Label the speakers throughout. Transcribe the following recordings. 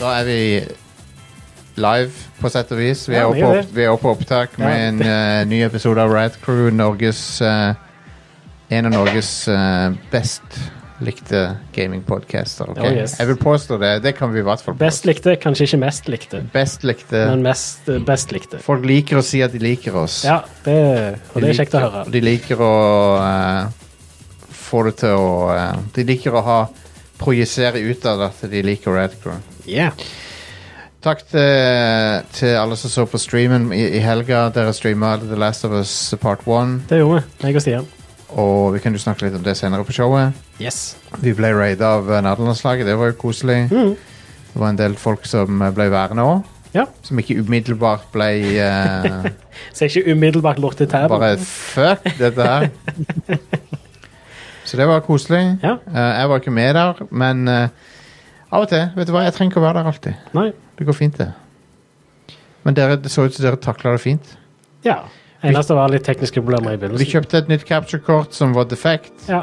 Speaker 1: er vi live, på sett og vis. Vi
Speaker 2: Ja,
Speaker 1: er
Speaker 2: vi
Speaker 1: oppe,
Speaker 2: er det.
Speaker 1: opp, vi er oppe på opptak med
Speaker 2: Ja.
Speaker 1: en eh, ny episode av Rad Crew, Norges eh, En av Norges eh, best likte gamingpodcaster. ok?
Speaker 2: Oh, yes.
Speaker 1: Jeg vil påstå det. Det kan vi i hvert fall
Speaker 2: Best
Speaker 1: påstå.
Speaker 2: likte, kanskje ikke mest likte,
Speaker 1: Best likte.
Speaker 2: men mest, eh, best likte.
Speaker 1: Folk liker å si at de liker oss.
Speaker 2: Ja, det,
Speaker 1: De
Speaker 2: og det er kjekt å
Speaker 1: liker-
Speaker 2: høre.
Speaker 1: De liker å eh, få det til å eh, De liker å ha projisere utad at de liker Rad Crew.
Speaker 2: Yeah.
Speaker 1: Takk til, til alle som så på streamen i, i helga. Dere streama The Last of Us Part 1.
Speaker 2: Det gjorde vi, meg og Stian.
Speaker 1: Og vi kan jo snakke litt om det senere på showet.
Speaker 2: Yes.
Speaker 1: Vi ble raida av eh, nederlandslaget. Det var jo koselig.
Speaker 2: Mhm.
Speaker 1: Det var en del folk som eh, ble værende òg.
Speaker 2: Ja.
Speaker 1: Som ikke umiddelbart ble eh,
Speaker 2: Så jeg ikke umiddelbart lukter tæven.
Speaker 1: bare Fuck dette her. Så det var koselig.
Speaker 2: Ja.
Speaker 1: Eh, jeg var ikke med der, men eh, av og til Vet du hva, jeg trenger ikke å være der alltid.
Speaker 2: Nei.
Speaker 1: Det går fint, det. Men dere, det så ut som dere takla det fint.
Speaker 2: Ja. Eneste var litt tekniske problemer i
Speaker 1: Vi
Speaker 2: begynnelsen.
Speaker 1: kjøpte et nytt capture-kort som var defekt,
Speaker 2: Ja.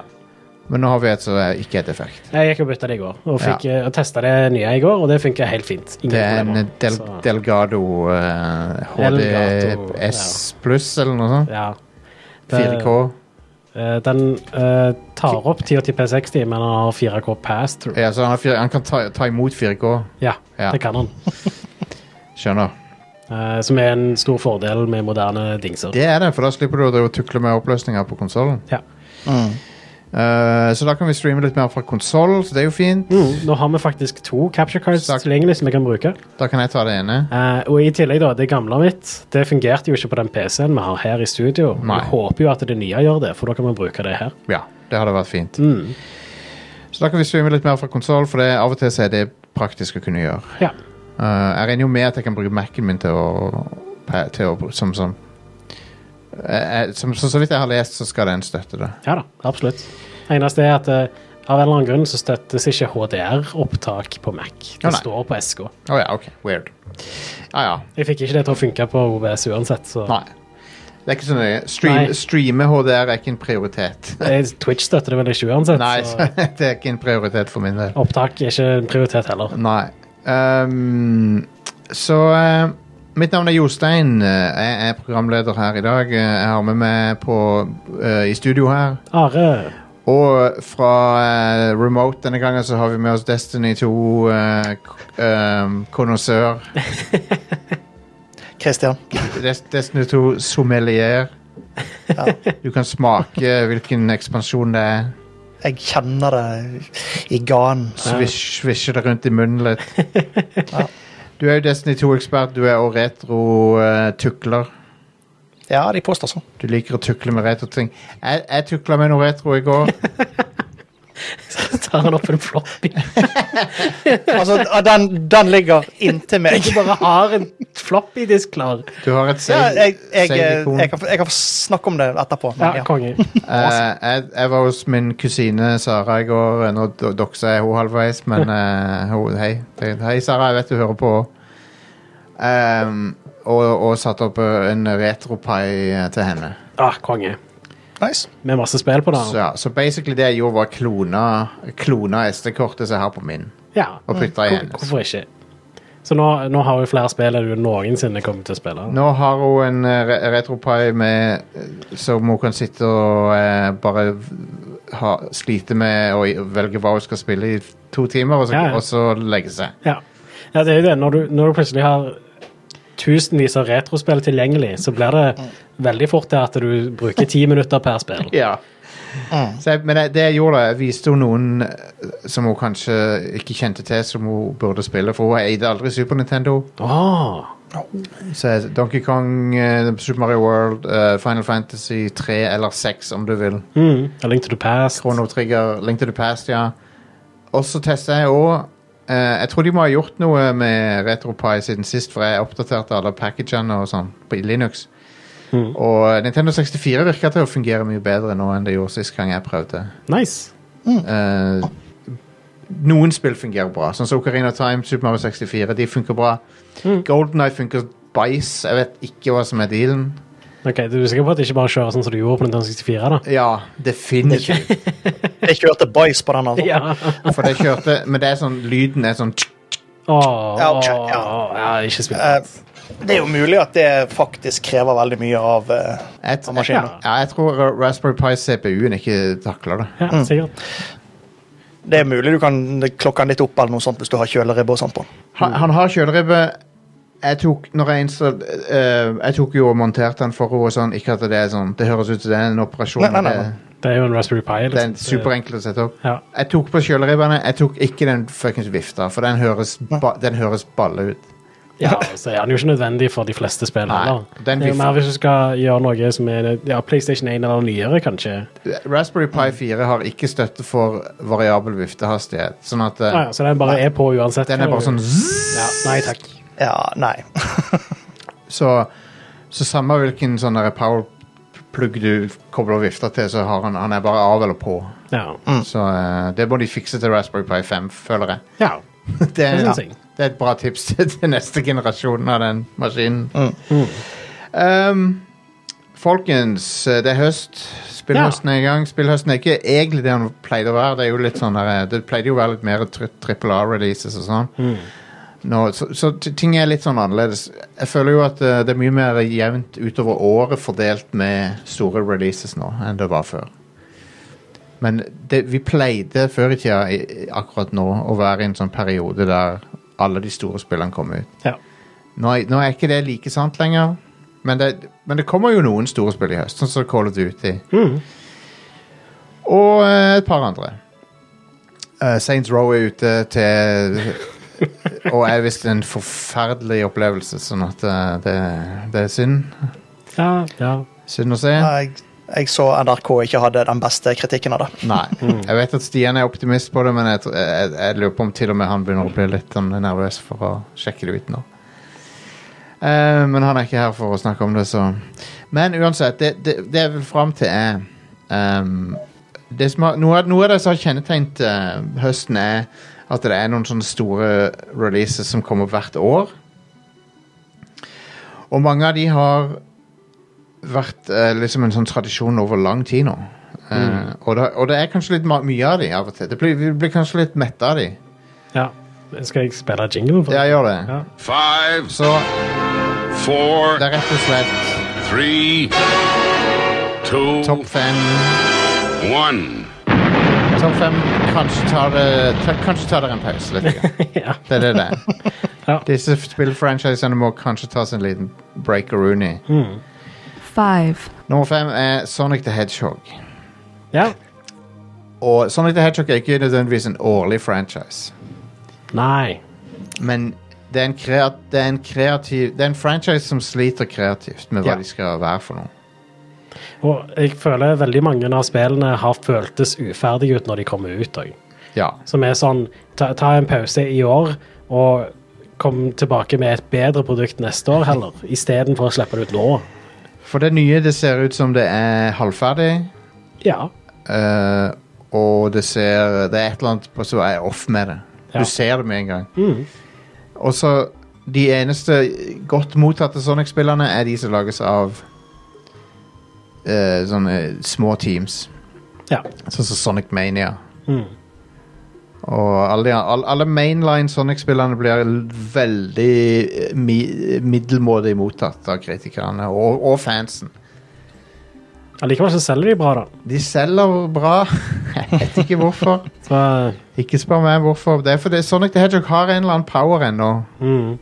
Speaker 1: men nå har vi et som er- ikke er defekt.
Speaker 2: Jeg gikk og bytta det i går, og fikk ja. testa det nye i går, og det funker helt fint. Ingen
Speaker 1: Det er en
Speaker 2: problemer.
Speaker 1: Del
Speaker 2: Så-
Speaker 1: Delgado eh,
Speaker 2: Elgato,
Speaker 1: HDS pluss eller noe sånt.
Speaker 2: Ja. Det-
Speaker 1: 4K.
Speaker 2: Eh, Den eh, tar opp 1080p60, men han har 4K pass-through.
Speaker 1: Ja, så han, har fire, han kan ta, ta imot 4K.
Speaker 2: Ja,
Speaker 1: Ja.
Speaker 2: det kan han.
Speaker 1: Skjønner.
Speaker 2: Eh, som er en stor fordel med moderne dingser.
Speaker 1: Det er det, for da slipper du å drive og tukle med oppløsninger på konsollen. Eh,
Speaker 2: Ja.
Speaker 1: så da kan vi streame litt mer fra konsoll, så det er jo fint.
Speaker 2: Mm, nå har vi faktisk to capture cards
Speaker 1: Sagt.
Speaker 2: tilgjengelig som vi kan bruke.
Speaker 1: Da kan jeg ta det ene.
Speaker 2: Eh, og i tillegg, da, det gamle mitt det fungerte jo ikke på den PC-en vi har her i studio.
Speaker 1: Nei.
Speaker 2: Vi håper jo at det nye gjør det, for da kan vi bruke det her.
Speaker 1: Ja, det hadde vært fint.
Speaker 2: Mm.
Speaker 1: Så da kan vi streame litt mer fra konsoll, for det, av og til så er det praktisk å kunne gjøre.
Speaker 2: Ja.
Speaker 1: Eh, jeg regner jo med at jeg kan bruke Mac-en min til å, til å bru- som, som, Eh, eh, som, som Så vidt jeg har lest, så skal den støtte det.
Speaker 2: ja da, absolutt. Eneste er at eh, av en eller annen grunn så støttes ikke HDR-opptak på Mac. Det
Speaker 1: Å, nei.
Speaker 2: står på SK.
Speaker 1: Å ja, ok. Weird. Ja ja.
Speaker 2: Jeg fikk ikke det til å funke på OBS uansett, så
Speaker 1: Nei. Det er ikke så nøye. Stream,
Speaker 2: Nei.
Speaker 1: streame HDR er ikke en prioritet.
Speaker 2: Eh, Twitch støtter det vel ikke uansett,
Speaker 1: Nei,
Speaker 2: så
Speaker 1: det er ikke en prioritet for min del.
Speaker 2: opptak er ikke en prioritet heller.
Speaker 1: Nei. Ehm, så eh, mitt navn er Jostein. Eh, jeg er programleder her i dag. Eh, jeg har med meg på, eh, i studio her.
Speaker 2: Are,
Speaker 1: Og fra eh, remote denne gangen så har vi med oss Destiny 2, eh, k- ehm, konnoisseur.
Speaker 3: Christian.
Speaker 1: Des Destiny 2 sommelier.
Speaker 3: Ja.
Speaker 1: Du kan smake hvilken ekspansjon det er.
Speaker 3: Jeg kjenner det i gan.
Speaker 1: Svisj, svisje det rundt i munnen litt.
Speaker 3: Ja.
Speaker 1: Du er jo Destiny 2-ekspert. Du er eh, òg retro-tukler.
Speaker 3: Ja, de påstår sånn.
Speaker 1: Du liker å tukle med retro-ting. Jeg, jeg tukla med noe retro i går.
Speaker 2: tar han opp en floppy?
Speaker 3: Altså, den, den ligger inntil meg.
Speaker 2: Du bare har en floppydisk klar.
Speaker 1: Du har et
Speaker 3: Ja,
Speaker 1: save-
Speaker 3: jeg, jeg, eh, jeg,
Speaker 1: save-ikon.
Speaker 3: kan, jeg kan snakke om det etterpå.
Speaker 2: Ja,
Speaker 3: Men, ja.
Speaker 2: konge.
Speaker 1: Eh, jeg, jeg var hos min kusine Sara i går. Nå do- doksa jeg henne halvveis, men eh, hun- hei. Hei, Sara. Jeg vet du hører på. Ehm, og, og satte opp eh, en retropai eh, til henne.
Speaker 2: Ja, Ah, konge.
Speaker 3: Nice.
Speaker 2: Med masse spill på
Speaker 1: Så,
Speaker 2: det.
Speaker 1: ja, så basically det jeg gjorde, var klona, klona SD-kortet som jeg har på min,
Speaker 2: Ja,
Speaker 3: Mm.
Speaker 1: og putta i
Speaker 2: hvor-
Speaker 1: hennes.
Speaker 2: hvorfor ikke? Så nå, nå har vi flere spill enn du noensinne kommer til å spille.
Speaker 1: Nå har hun en eh, re retropie med eh, som hun kan sitte og eh, bare v- ha, slite med og i- velge hva hun skal spille i to timer, og så,
Speaker 2: Ja, ja.
Speaker 1: og så legge seg.
Speaker 2: Ja, ja det er jo det. Når du, når du plutselig har tusenvis av retrospill tilgjengelig, så blir det veldig fort til at du bruker ti minutter per spill.
Speaker 1: Ja.
Speaker 3: Mm.
Speaker 1: Så jeg, men jeg, det jeg gjorde, da, jeg viste henne noen eh, som hun kanskje ikke kjente til, som hun burde spille, for hun eide aldri Super Nintendo.
Speaker 2: Åh,
Speaker 1: Så jeg- Donkey Kong, eh, Super Mario World, eh, Final Fantasy 3 eller 6, om du vil.
Speaker 2: mm. A Link to the Past.
Speaker 1: Chrono Trigger, Link to the Past, ja. Og så testa jeg òg Jeg tror de må ha gjort noe med RetroPie siden sist, for jeg oppdaterte alle packagene og sånn på Linux.
Speaker 2: Mhm.
Speaker 1: Og Nintendo 64 virker til å fungere mye bedre nå enn det gjorde sist gang jeg prøvde.
Speaker 2: Nice.
Speaker 1: Eh, noen spill fungerer bra, sånn som Ocarina of Time, Super Mario 64. De funker bra.
Speaker 2: Mhm.
Speaker 1: Golden Eye funker bæsj. Jeg vet ikke hva som er dealen.
Speaker 2: Ok, Du er sikker på at det ikke bare kjører sånn som du gjorde på Nintendo 64? da?
Speaker 1: Ja, definitivt.
Speaker 3: Jeg kjørte boys på den. Altså.
Speaker 2: Ja.
Speaker 1: For det kjørte Men det er sånn, lyden er sånn
Speaker 2: Åh,
Speaker 3: Ja, ok,
Speaker 2: åh,
Speaker 3: ja.
Speaker 2: ja, ikke spill.
Speaker 3: Eh, det er jo mulig at det faktisk krever veldig mye av eh,
Speaker 1: Jeg,
Speaker 3: Av
Speaker 1: jeg,
Speaker 3: maskiner.
Speaker 1: ja, jeg tror Ra- Raspberry Pi CPU-en ikke takler det.
Speaker 2: Ja, sikkert.
Speaker 3: Det er mulig du kan klokke den litt opp eller noe sånt hvis du har kjøleribbe og sånt på den.
Speaker 1: Han, han har kjøleribbe. Jeg tok, når jeg, install, eh, jeg tok jo og monterte den for henne. og Sånn, ikke at det er sånn Det høres ut som det er en operasjon.
Speaker 3: Nei, nei, nei,
Speaker 1: det-
Speaker 3: nei.
Speaker 2: Det er jo en Raspberry Pi. Liksom.
Speaker 1: Det er en
Speaker 2: så-
Speaker 1: superenkelt å sette opp.
Speaker 2: Ja.
Speaker 1: Jeg tok på kjøleribbene. Jeg tok ikke den fuckings vifta, for den høres, ba den høres balle ut.
Speaker 2: ja, så er den jo ikke nødvendig for de fleste spill
Speaker 1: Nei,
Speaker 2: heller. Det
Speaker 1: den
Speaker 2: er jo
Speaker 1: vil-
Speaker 2: mer hvis du skal gjøre noe som er ja, PlayStation 1 eller nyere, kanskje.
Speaker 1: Raspberry Pi 4 har ikke støtte for variabel viftehastighet, sånn at eh,
Speaker 2: Ah, Ja, ja, så den bare er på uansett.
Speaker 1: den er bare sånn zzz,
Speaker 2: ja, Nei takk.
Speaker 3: Ja, nei.
Speaker 1: så, så samme hvilken sånn der powerplug du kobler vifta til, så har han, han er bare av eller på.
Speaker 2: Ja.
Speaker 1: Så eh, det må de fikse til Raspberry Pi 5, føler jeg.
Speaker 2: ja.
Speaker 1: Det er,
Speaker 2: Det
Speaker 1: ja,
Speaker 2: synes jeg.
Speaker 1: det er et bra tips til til neste generasjon av den maskinen.
Speaker 3: Mm.
Speaker 1: Um, folkens, eh, det er høst. Spillhøsten er i gang. Spillhøsten er ikke egentlig det den pleide å være. Det, er jo litt sånn der, det pleide jo å være litt mer trippel A-releases og sånn.
Speaker 2: Mm.
Speaker 1: Nå, så, så t- ting er litt sånn annerledes. Jeg føler jo at eh, det er mye mer jevnt utover året fordelt med store releases nå enn det var før. Men det, vi pleide før i tida, i- i- akkurat nå, å være i en sånn periode der alle de store spillene kom ut.
Speaker 2: Ja.
Speaker 1: Nå, er- nå er ikke det like sant lenger, men det, men det kommer jo noen store spill i høst, sånn som Call of Duty.
Speaker 2: Mm.
Speaker 1: Og eh, et par andre. Eh, Saints Row er ute til Og er visst en forferdelig opplevelse, sånn at eh, det, det er synd.
Speaker 2: ja, ja.
Speaker 1: Synd å se.
Speaker 3: Jeg, jeg så NRK ikke hadde den beste kritikken av det.
Speaker 1: Nei. Jeg vet at Stian er optimist på det, men jeg, tr- jeg, jeg lurer på om til og med han begynner å bli litt sånn nervøs for å sjekke det ut nå. Eh, men han er ikke her for å snakke om det, så Men uansett, det, det, det jeg vil fram til, er ehm, det som har, noe, av- noe av det som har kjennetegnet eh, høsten, er at det er noen sånne store releases som kommer hvert år. Og mange av de har vært eh, liksom en sånn tradisjon over lang tid nå. Eh,
Speaker 2: Mm.
Speaker 1: og, det, og det er kanskje litt ma- mye av de av og til. Det blir, vi blir kanskje litt mette av de.
Speaker 2: ja. Skal jeg spille jinglen for
Speaker 1: Ja,
Speaker 2: det?
Speaker 1: gjør det.
Speaker 2: Ja.
Speaker 4: Five,
Speaker 1: Så
Speaker 4: four,
Speaker 1: det er rett og slett
Speaker 4: three, two,
Speaker 1: topp fem
Speaker 4: one.
Speaker 1: Topp fem Kanskje tar det ta- Kanskje tar dere en pause litt. grann.
Speaker 2: Ja.
Speaker 1: Det er det det er.
Speaker 2: Ja.
Speaker 1: Disse spillfranchisene må kanskje ta seg en liten break og rooney.
Speaker 2: Mm.
Speaker 5: five,
Speaker 1: Nummer fem er Sonic the Hedgehog.
Speaker 2: ja.
Speaker 1: Og Sonic the Hedgehog er ikke nødvendigvis en årlig franchise.
Speaker 2: Nei.
Speaker 1: Men det er en, kreat, det er en kreativ Det er en franchise som sliter kreativt med hva
Speaker 2: Ja.
Speaker 1: de skal være for noe.
Speaker 2: Og jeg føler veldig mange av spillene har føltes uferdige ut når de kommer ut òg.
Speaker 1: Ja.
Speaker 2: Som er sånn ta, ta en pause i år og kom tilbake med et bedre produkt neste år heller, istedenfor å slippe det ut nå.
Speaker 1: For det nye, det ser ut som det er halvferdig,
Speaker 2: Ja.
Speaker 1: eh, og det ser Det er et eller annet på som er off med det.
Speaker 2: Ja.
Speaker 1: Du ser det med en gang.
Speaker 2: Mm.
Speaker 1: Og så De eneste godt mottatte Sonic-spillerne er de som lages av eh, sånne små teams.
Speaker 2: ja.
Speaker 1: Sånn som Sonic Mania.
Speaker 2: Mm.
Speaker 1: Og alle, de- all- alle mainline Sonic-spillerne blir l- veldig eh, mi, middelmådig mottatt av kritikerne og, og fansen.
Speaker 2: Allikevel så selger de bra, da.
Speaker 1: De selger bra. Jeg vet ikke hvorfor.
Speaker 2: Så,
Speaker 1: Ikke spør meg hvorfor. Det er fordi Sonic the Hedgehog har en eller annen power ennå.
Speaker 2: mm.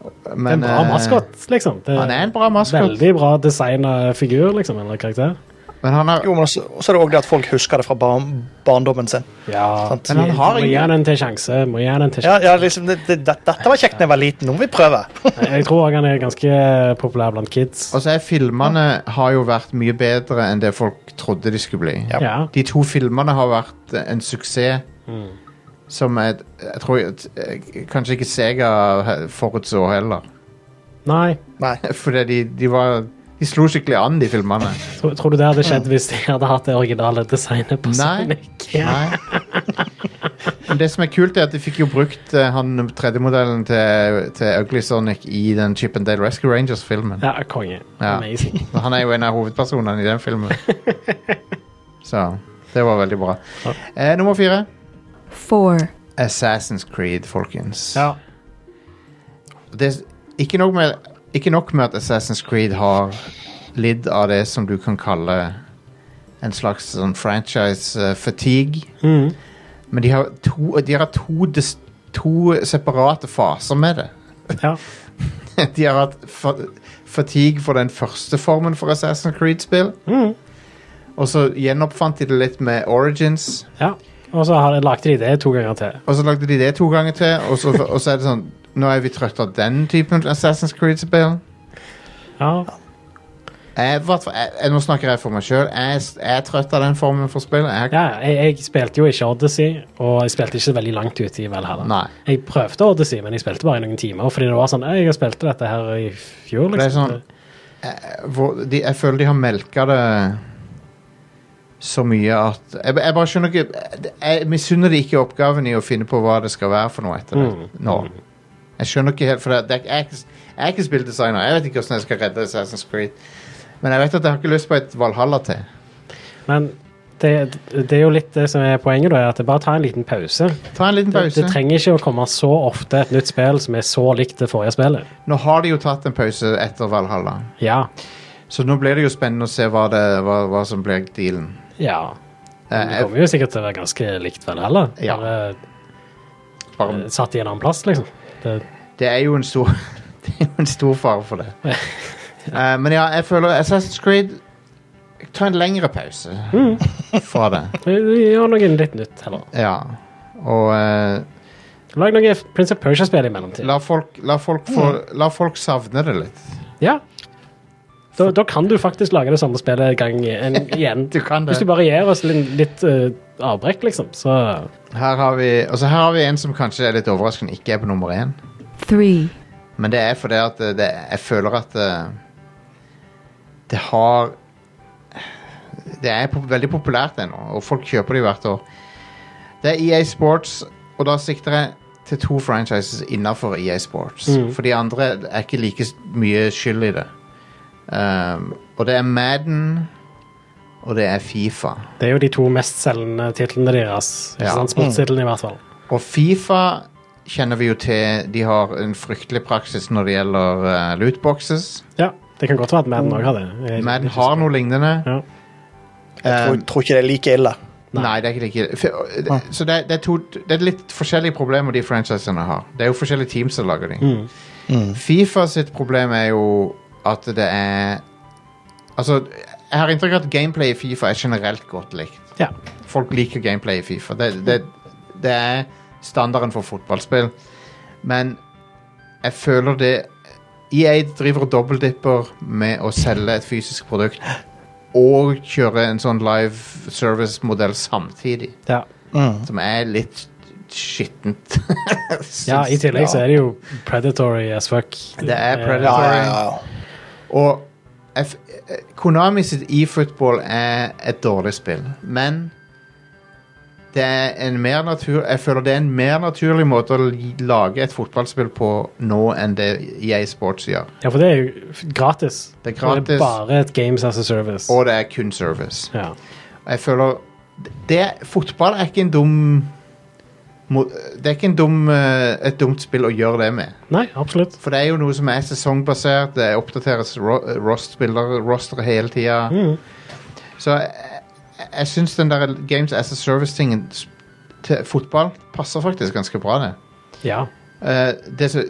Speaker 2: Det er
Speaker 1: Men,
Speaker 2: en bra
Speaker 1: eh,
Speaker 2: maskot, liksom. Det
Speaker 1: Han er en bra maskot,
Speaker 2: Veldig bra designa figur, liksom, eller karakter.
Speaker 1: men han har
Speaker 3: Jo, men også, også er det òg det at folk husker det fra bar barndommen sin.
Speaker 2: Ja.
Speaker 3: Sant?
Speaker 1: Men han har
Speaker 2: Må gi
Speaker 1: ingen
Speaker 2: han en til sjanse. Må gi han en til
Speaker 3: Ja,
Speaker 2: sjanse.
Speaker 3: ja liksom, det, det, det- dette var kjekt da jeg var liten, nå må vi prøve.
Speaker 2: Jeg tror òg han er ganske populær blant kids.
Speaker 1: Og så er filmene har jo vært mye bedre enn det folk trodde de skulle bli.
Speaker 3: Ja.
Speaker 2: Ja.
Speaker 1: De to filmene har vært en suksess
Speaker 2: Mm.
Speaker 1: som jeg, jeg tror jeg, jeg, kanskje ikke Sega he- forutså heller.
Speaker 2: Nei.
Speaker 3: Nei.
Speaker 1: Fordi de, de var De slo skikkelig an, de filmene.
Speaker 2: Tror, tror du det hadde skjedd hvis de hadde hatt det originale designet på
Speaker 1: Nei.
Speaker 2: Sonic?
Speaker 1: Nei. Men det som er kult, er at de fikk jo brukt eh, han tredjemodellen til, til Ugly Sonic i den Chip and Dale Rescue Rangers-filmen.
Speaker 2: Ja, konge.
Speaker 1: Ja.
Speaker 2: Amazing.
Speaker 1: Så Han er jo en av hovedpersonene i den filmen. Så det var veldig bra. Eh, nummer fire.
Speaker 5: four,
Speaker 1: Assassin's Creed, folkens.
Speaker 2: Ja.
Speaker 1: det, er s- ikke, nok med, ikke nok med at Assassin's Creed har lidd av det som du kan kalle en slags sånn franchise-fatigue,
Speaker 2: Mhm.
Speaker 1: men de har, to, de har hatt to, dis- to separate faser med det.
Speaker 2: Ja.
Speaker 1: De har hatt fa fatigue for den første formen for Assassin's Creed-spill,
Speaker 2: Mhm.
Speaker 1: og så gjenoppfant de det litt med Origins.
Speaker 2: ja. Og så har- lagde de det to ganger til.
Speaker 1: Og så lagde de det to ganger til, og så, og så er det sånn Nå er vi trøtte av den typen Assassin's Creed-spill.
Speaker 2: Ja.
Speaker 1: Jeg, hvert fall- jeg, jeg, nå snakker jeg for meg sjøl. Jeg, jeg er trøtt av den formen for spill. Jeg,
Speaker 2: Ja, jeg, jeg spilte jo ikke Odyssey, og jeg spilte ikke så veldig langt ute i Valhalla.
Speaker 1: Nei.
Speaker 2: Jeg prøvde Odyssey, men jeg spilte bare i noen timer, fordi det var sånn «Ei, Jeg spilte dette her i fjor,
Speaker 1: Det er
Speaker 2: liksom.
Speaker 1: sånn- hvor, de, jeg føler de har melka det så mye at Jeg, jeg bare skjønner ikke Jeg, jeg misunner de ikke oppgaven i å finne på hva det skal være for noe etter det.
Speaker 2: Mm.
Speaker 1: Nå. Jeg skjønner ikke helt, for det, det er, ikke- jeg, er ikke- jeg er ikke spilldesigner. Jeg vet ikke hvordan jeg skal redde Assassin's Creed. Men jeg vet at jeg har ikke lyst på et Valhalla til.
Speaker 2: Men det, det er jo litt det som er poenget, da, er at det bare ta en liten pause.
Speaker 1: Ta en liten
Speaker 2: Det,
Speaker 1: pause.
Speaker 2: det trenger ikke å komme så ofte et nytt spill som er så likt det forrige spillet.
Speaker 1: Nå har de jo tatt en pause etter Valhalla,
Speaker 2: Ja.
Speaker 1: så nå blir det jo spennende å se hva, det, hva, hva som blir dealen.
Speaker 2: ja. Men
Speaker 1: Eh,
Speaker 2: Det kommer jo sikkert til å være ganske likt Valhalla.
Speaker 1: Ja.
Speaker 2: Bare
Speaker 1: jeg- bare,
Speaker 2: eh, satt i en annen plass, liksom. Det,
Speaker 1: det er jo en stor Det er jo en stor fare for det. Eh, men ja, jeg føler Assassin's Creed Ta en lengre pause fra det.
Speaker 2: mm. vi- vi gjør noe litt nytt heller.
Speaker 1: Ja. Og eh,
Speaker 2: Lag noe Prince of Persia-spill i mellomtiden.
Speaker 1: la, folk, la, folk få, la folk savne det litt.
Speaker 2: Ja. Da, da kan du faktisk lage det samme spillet gang en, igjen.
Speaker 1: Du kan det.
Speaker 2: Hvis du bare gir oss litt, litt eh, avbrekk, liksom, så
Speaker 1: Her har vi, og så her har vi en som kanskje er litt overraskende ikke er på nummer én.
Speaker 5: three,
Speaker 1: Men det er fordi at eh, det, det, jeg føler at eh, det har Det er pop veldig populært ennå, og folk kjøper det hvert år. Det er EA Sports, og da sikter jeg til to franchises innafor EA Sports. For de andre er ikke like s- mye skyld i det. Um, og det er Madden, og det er Fifa.
Speaker 2: Det er jo de to mestselgende titlene deres.
Speaker 1: Ja.
Speaker 2: Ikke sant? Sportstitlene, i hvert fall.
Speaker 1: Og Fifa kjenner vi jo til. De har en fryktelig praksis når det gjelder eh, lootboxes.
Speaker 2: Ja, Det kan godt være at Madden òg har det. Jeg-
Speaker 1: Madden har noe lignende. Eh,
Speaker 2: Ja.
Speaker 3: Jeg
Speaker 2: Um,
Speaker 3: tror, tror ikke det er like ille.
Speaker 1: Nei, det er ikke like for- det- Så det, det, er to, det er litt forskjellige problemer de franchisene har. Det er jo forskjellige teams som lager de.
Speaker 2: Mm.
Speaker 1: Fifa sitt problem er jo at det er Altså, jeg har inntrykk av at gameplay i Fifa er generelt godt likt.
Speaker 2: Ja.
Speaker 1: Folk liker gameplay i Fifa. Det, det, det er standarden for fotballspill. Men jeg føler det EA driver og dobbeltdipper med å selge et fysisk produkt og kjøre en sånn live service-modell samtidig,
Speaker 2: Ja. mm.
Speaker 1: som er litt skittent.
Speaker 2: ja, I tillegg så er det jo predatory as fuck.
Speaker 1: Det er
Speaker 2: Eh,
Speaker 1: predatory.
Speaker 3: Ja, ja, ja.
Speaker 1: Og F Konami sitt eFootball er et dårlig spill, men det er en mer natur, jeg føler det er en mer naturlig måte å li- lage et fotballspill på nå enn det EA Sports gjør.
Speaker 2: Ja, for det er jo f- gratis.
Speaker 1: Det er
Speaker 2: Og Det
Speaker 1: gratis.
Speaker 2: er bare et games as a service.
Speaker 1: Og det er kun service.
Speaker 2: Ja.
Speaker 1: Jeg føler det, Fotball er ikke en dum mo- Det er ikke en dum, eh, et dumt spill å gjøre det med.
Speaker 2: Nei, absolutt.
Speaker 1: For det er jo noe som er sesongbasert, det oppdateres ro- Rost-spillere rostere hele tida.
Speaker 2: Mm.
Speaker 1: Så jeg, jeg syns den der Games as a Service-tingen s- til fotball passer faktisk ganske bra, det.
Speaker 2: Ja.
Speaker 1: Eh, det, så-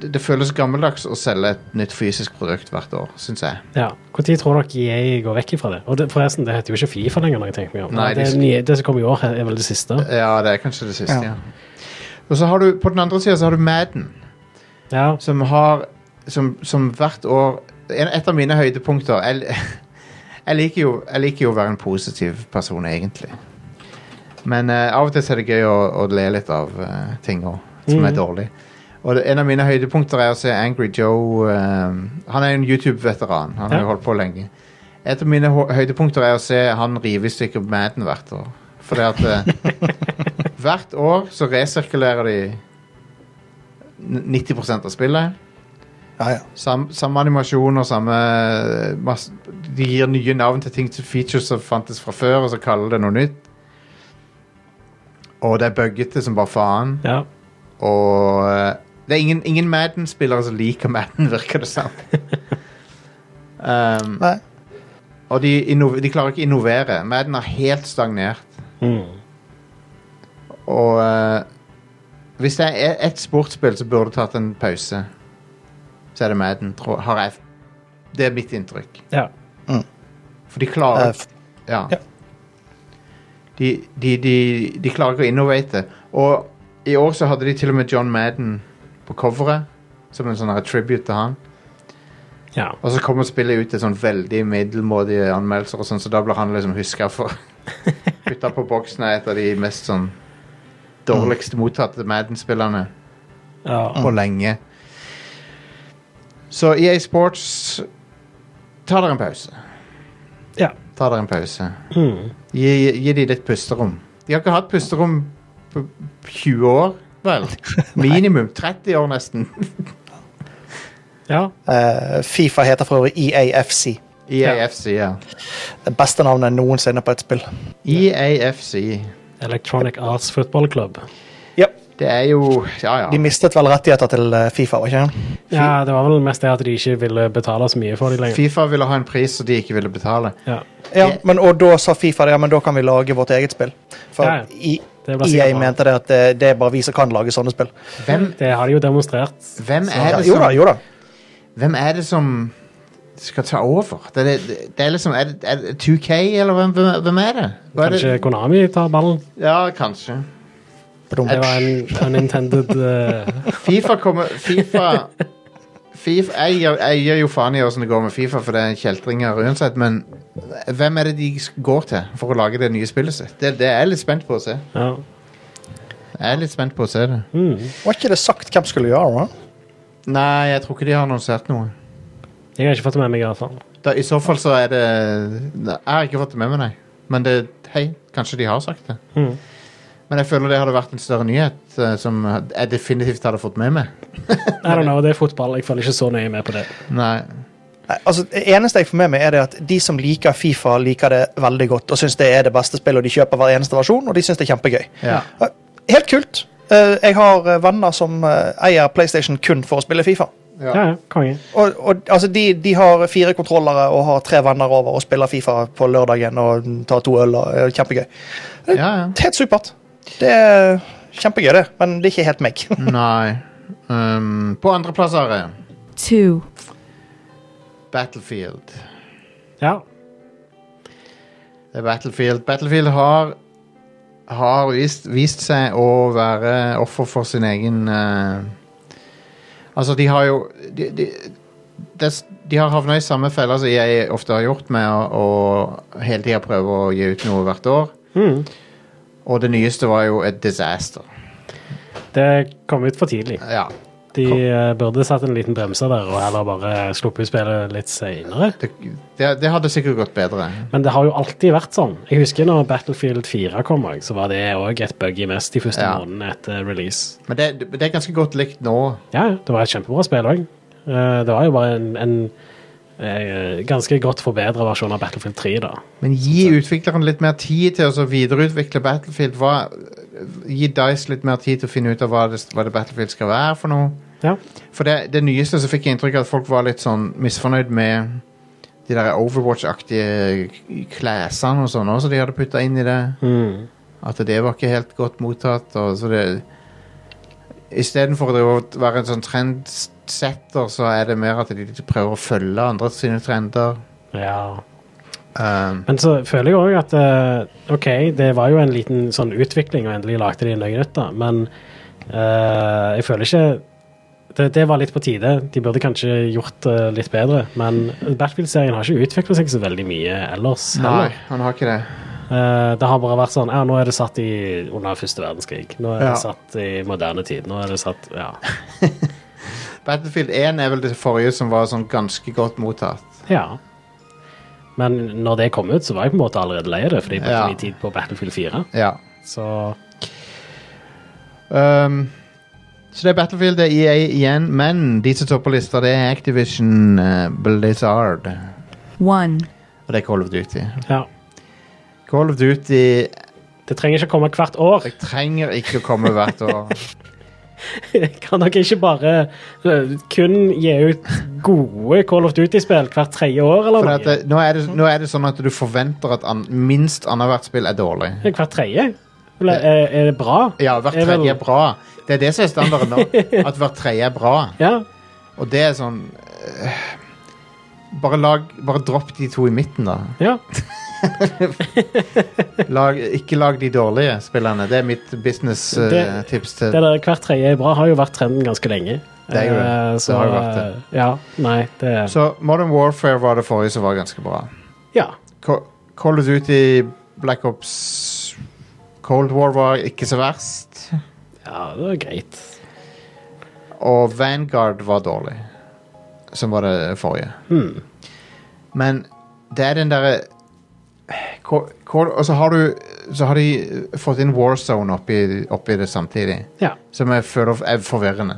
Speaker 1: det. Det føles gammeldags å selge et nytt fysisk produkt hvert år, syns jeg.
Speaker 2: Ja. Når tror dere EA går vekk ifra det? Og det, forresten, det heter jo ikke Fifa lenger. når jeg tenker meg om.
Speaker 1: Nei,
Speaker 2: det,
Speaker 1: de-
Speaker 2: er nye, det som kom i år, er vel det siste.
Speaker 1: Ja, det er kanskje det siste,
Speaker 3: Ja.
Speaker 1: ja. Og så har du, på den andre sida så har du Madden,
Speaker 2: Ja,
Speaker 1: som har Som, som hvert år en- Et av mine høydepunkter jeg, jeg, liker jo, jeg liker jo å være en positiv person, egentlig. Men eh, av og til så er det gøy å, å le litt av eh, ting også, som er dårlig. Og det, en av mine høydepunkter er å se Angry Joe eh, Han er jo en YouTube-veteran. Han har
Speaker 2: Ja.
Speaker 1: jo holdt på lenge. Et av mine hå- høydepunkter er å se han rive i stykker Madden hvert år. Fordi at eh, hvert år så resirkulerer de n- 90 av spillet.
Speaker 3: ja, ja.
Speaker 1: Sam, samme animasjon og samme masse, De gir nye navn til ting til features som fantes fra før, og så kaller det noe nytt. Og det er buggete som bare faen.
Speaker 2: ja.
Speaker 1: Og eh, Det er ingen, ingen Madden-spillere som liker Madden, virker det som. um,
Speaker 3: Nei.
Speaker 1: og de, inno- de klarer ikke å innovere. Madden har helt stagnert.
Speaker 2: Mm.
Speaker 1: Og eh, hvis det er ett sportsspill som burde tatt en pause, så er det Madden. Tror, har jeg, det er mitt inntrykk.
Speaker 2: Ja.
Speaker 1: For de
Speaker 3: Eh,
Speaker 1: klarer
Speaker 3: f-
Speaker 1: ja.
Speaker 3: ja.
Speaker 1: De, de, de, de klarer ikke å innovate. Og i år så hadde de til og med John Madden på coveret, som en sånn her tribute til han.
Speaker 2: ja.
Speaker 1: Og så kommer spillet ut til sånn veldig middelmådige anmeldelser, og sånn, så da blir han liksom huska for Putta på boksen er et av de mest sånn dårligst mottatte Madden-spillerne
Speaker 2: ja.
Speaker 1: på lenge. Så EA Sports Ta dere en pause.
Speaker 2: ja.
Speaker 1: Ta dere en pause.
Speaker 2: Mm.
Speaker 1: Gi, gi de litt pusterom. De har ikke hatt pusterom på 20 år, vel? Minimum 30 år, nesten.
Speaker 2: ja.
Speaker 3: eh, Fifa heter for øvrig EAFC.
Speaker 1: EAFC, ja. E
Speaker 3: Det beste navnet noensinne på et spill.
Speaker 1: EAFC.
Speaker 2: Electronic Arts Football Club.
Speaker 3: Ja.
Speaker 1: Det er jo Ja, ja.
Speaker 3: De mistet vel rettigheter til eh, Fifa, var ikke det?
Speaker 2: Ja, det var vel mest det at de ikke ville betale så mye for dem lenger.
Speaker 1: Fifa ville ha en pris som de ikke ville betale.
Speaker 2: Ja.
Speaker 3: Ja, Eh, men, og da sa Fifa det, ja, men da kan vi lage vårt eget spill. For
Speaker 2: Ja, ja.
Speaker 3: I,
Speaker 2: Det ble
Speaker 3: EA
Speaker 2: sikkert bra.
Speaker 3: mente det at eh, det, det er bare vi som kan lage sånne spill.
Speaker 1: Hvem,
Speaker 2: Det har de jo demonstrert.
Speaker 1: hvem, er
Speaker 3: Ja,
Speaker 1: det
Speaker 3: jo da,
Speaker 2: sånn.
Speaker 1: som,
Speaker 3: jo da.
Speaker 1: hvem er det som skal ta over? Det er, det er liksom Er det, er det 2K, eller hvem, hvem- hvem er det? Hva er det?
Speaker 2: Kanskje Konami tar ballen.
Speaker 1: Ja, kanskje.
Speaker 2: Det var en unintended eh,
Speaker 1: Fifa kommer FIFA, FIFA jeg, gir- jeg gir jo faen i åssen det går med Fifa, for det er kjeltringer uansett, men hvem er det de går til for å lage det nye spillet sitt? Det, det er jeg litt spent på å se.
Speaker 2: ja.
Speaker 1: Jeg er litt spent på å se det.
Speaker 2: mm.
Speaker 3: Var ikke det sagt hvem skulle gjøre det? da?
Speaker 1: Nei, jeg tror ikke de har annonsert noe.
Speaker 2: Jeg har ikke fått det med meg, i hvert fall.
Speaker 1: Da, I så fall så er det Nei, Jeg har ikke fått det med meg, nei. Men det, hei, kanskje de har sagt det.
Speaker 2: Mhm.
Speaker 1: Men jeg føler det hadde vært en større nyhet eh, som jeg definitivt hadde fått med meg.
Speaker 2: I don't know, det er fotball. Jeg følger ikke så nøye med på det.
Speaker 1: Nei.
Speaker 3: Nei, altså, det eneste jeg får med meg, er det at de som liker Fifa, liker det veldig godt og syns det er det beste spillet, og de kjøper hver eneste versjon, og de syns det er kjempegøy.
Speaker 1: Ja.
Speaker 3: Eh, Helt kult. Eh, Jeg har eh, venner som eh, eier PlayStation kun for å spille Fifa.
Speaker 1: Ja.
Speaker 2: Ja, ja, konge.
Speaker 3: Og, og altså, de, de har fire kontrollere og har tre venner over og spiller Fifa på lørdagen og tar to øl. og eh, Kjempegøy.
Speaker 1: ja, ja.
Speaker 3: Helt supert. Det er kjempegøy, det, men det er ikke helt meg.
Speaker 1: Nei. Um, på andreplass har jeg
Speaker 5: two,
Speaker 1: Battlefield.
Speaker 2: Ja.
Speaker 1: Det er Battlefield. Battlefield har har vist, vist seg å være offer for sin egen eh, Altså, de har jo De, de, des- de har havna i samme feller som jeg ofte har gjort, med å, å hele tida prøve å gi ut noe hvert år.
Speaker 2: Mm.
Speaker 1: Og det nyeste var jo et disaster.
Speaker 2: Det kom ut for tidlig.
Speaker 1: Ja.
Speaker 2: De eh, burde satt en liten bremse der, og heller bare sluppet ut spillet litt senere.
Speaker 1: Det, det, det hadde sikkert gått bedre.
Speaker 2: Men det har jo alltid vært sånn. Jeg husker når Battlefield 4 kom, også, så var det òg et buggy mest de første
Speaker 1: Ja.
Speaker 2: månedene etter release.
Speaker 1: Men det, det er ganske godt likt nå.
Speaker 2: Ja, ja, det var et kjempebra spill òg. Det var jo bare en, en eh, ganske godt forbedra versjon av Battlefield 3, da.
Speaker 1: Men gi utvikleren litt mer tid til å så videreutvikle Battlefield. Hva, gi Dice litt mer tid til å finne ut av hva det, hva det Battlefield skal være for noe.
Speaker 2: Ja.
Speaker 1: For det, det nyeste så fikk jeg inntrykk av at folk var litt sånn misfornøyd med de der Overwatch-aktige k- klesene og sånn også, de hadde putta inn i det.
Speaker 2: Mm.
Speaker 1: At det var ikke helt godt mottatt. Og så det Istedenfor å drive og være en sånn trendsetter, så er det mer at de prøver å følge andre sine trender.
Speaker 2: ja.
Speaker 1: Um,
Speaker 2: Men så føler jeg òg at eh, OK, det var jo en liten sånn utvikling, og endelig lagde de noe nytt, da, men eh, jeg føler ikke det, det var litt på tide. De burde kanskje gjort det litt bedre. Men Battlefield-serien har ikke utvikla seg så veldig mye ellers.
Speaker 1: nei,
Speaker 2: heller.
Speaker 1: han har ikke det.
Speaker 2: Eh, det har bare vært sånn Ja, nå er det satt i under første verdenskrig. Nå er
Speaker 1: Ja.
Speaker 2: det satt i moderne tid. Nå er det satt Ja.
Speaker 1: Battlefield 1 er vel det forrige som var sånn ganske godt mottatt.
Speaker 2: ja. Men når det kom ut, så var jeg på en måte allerede lei av det, for de brukte
Speaker 1: Ja.
Speaker 2: mye tid på Battlefield 4.
Speaker 1: Ja.
Speaker 2: Så
Speaker 1: Um, så det er Battlefield, det er EA igjen, men de som står på lista, det er Activision eh, Blizzard.
Speaker 5: one,
Speaker 1: Og det er Call of Duty.
Speaker 2: ja.
Speaker 1: Call of Duty
Speaker 2: Det trenger ikke komme hvert år.
Speaker 1: trenger ikke å komme hvert år.
Speaker 2: Kan dere ikke bare eh, kun gi ut gode Call of Duty-spill hvert tredje år, eller
Speaker 1: For
Speaker 2: noe?
Speaker 1: at det, nå, er det, nå er det sånn at du forventer at an, minst annethvert spill er dårlig.
Speaker 2: Hvert tredje? Eller er, er det bra?
Speaker 1: Ja, hvert
Speaker 2: Er vel-
Speaker 1: tredje er bra. Det er det som er standarden nå. At hvert tredje er bra.
Speaker 2: Ja.
Speaker 1: Og det er sånn øh, Bare lag Bare dropp de to i midten, da.
Speaker 2: ja.
Speaker 1: Lag, ikke lag de dårlige spillerne. Det er mitt
Speaker 2: Det-
Speaker 1: business-tips til
Speaker 2: Det der hvert tredje er bra har jo vært trenden ganske lenge.
Speaker 1: Det er jo det.
Speaker 2: Eh,
Speaker 1: Det
Speaker 2: Så,
Speaker 1: har jo vært det.
Speaker 2: eh, Ja. Nei, det
Speaker 1: Så Modern Warfare var det forrige som var ganske bra.
Speaker 2: Ja.
Speaker 1: Co- Call of Duty, Black Ops Cold War var ikke så verst.
Speaker 2: ja, det var greit.
Speaker 1: Og Vanguard var dårlig. Som var det forrige.
Speaker 2: Hmm.
Speaker 1: Men det er den derre Ko- Ko- Og så har du Så har de fått inn Warzone oppi, oppi det samtidig.
Speaker 2: Ja.
Speaker 1: Som jeg føler er forvirrende.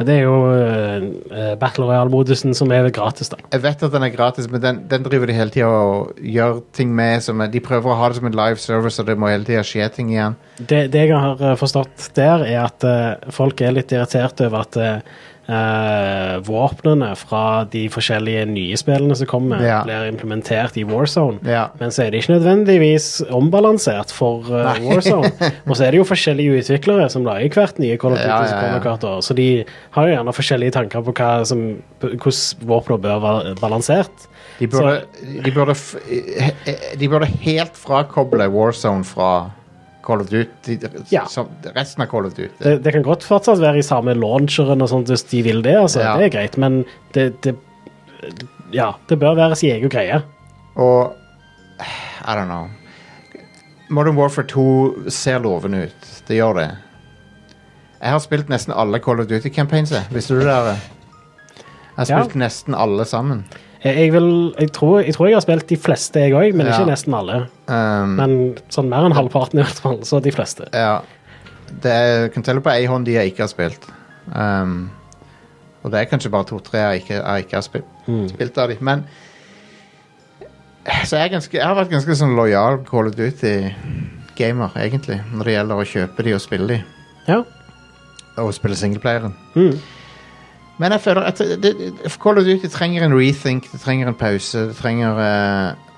Speaker 2: Det er jo eh, Battle Royale-modusen som er gratis, da.
Speaker 1: Jeg vet at den er gratis, men den, den driver de hele tida og gjør ting med. Som er, de prøver å ha det som en live service, og det må hele tida skje ting igjen.
Speaker 2: Det, det jeg har eh, forstått der, er at eh, folk er litt irritert over at eh, våpnene fra de forskjellige nye spillene som kommer,
Speaker 1: Ja.
Speaker 2: blir implementert i Warzone.
Speaker 1: Ja.
Speaker 2: Men så er det ikke nødvendigvis ombalansert for eh,
Speaker 1: Nei.
Speaker 2: Warzone. Og så er det jo forskjellige utviklere som lager hvert nye Call of Duty
Speaker 1: Ja, ja,
Speaker 2: som
Speaker 1: ja.
Speaker 2: kommer hvert år. Så de har jo gjerne forskjellige tanker på hva som, på hvordan våpnene bør være balansert.
Speaker 1: De burde, de burde, f- eh, eh, de burde helt frakoble Warzone fra Call of Duty.
Speaker 2: Ja.
Speaker 1: Som resten av Call of Duty.
Speaker 2: Det, det kan godt fortsatt være i samme launcheren og sånt, hvis de vil det, altså.
Speaker 1: Ja.
Speaker 2: Det er greit, men det, det Ja, det bør være sin egen greie.
Speaker 1: Og eh, I don't know. Modern Warfare 2 ser lovende ut. Det gjør det. Jeg har spilt nesten alle Call of Duty-campaigns. jeg. Visste du det? Are? Jeg har
Speaker 2: Ja.
Speaker 1: spilt nesten alle sammen.
Speaker 2: Jeg, jeg, vil, jeg, tror, jeg tror jeg har spilt de fleste, jeg òg, men
Speaker 1: Ja.
Speaker 2: ikke nesten alle.
Speaker 1: Um,
Speaker 2: Men sånn mer enn halvparten, i hvert fall. Så de fleste.
Speaker 1: Ja. Det er, kan telle på ei hånd de jeg ikke har spilt. Um, og det er kanskje bare to-tre jeg, ikke- jeg ikke har spilt, spilt av de. Men så jeg, er ganske, jeg har vært ganske sånn lojal Call of Duty-gamer, egentlig, når det gjelder å kjøpe de og spille de,
Speaker 2: Ja.
Speaker 1: og spille singleplayeren.
Speaker 2: Mm.
Speaker 1: Men jeg føler at det, det, Call of Duty trenger en rethink, det trenger en pause, det trenger eh,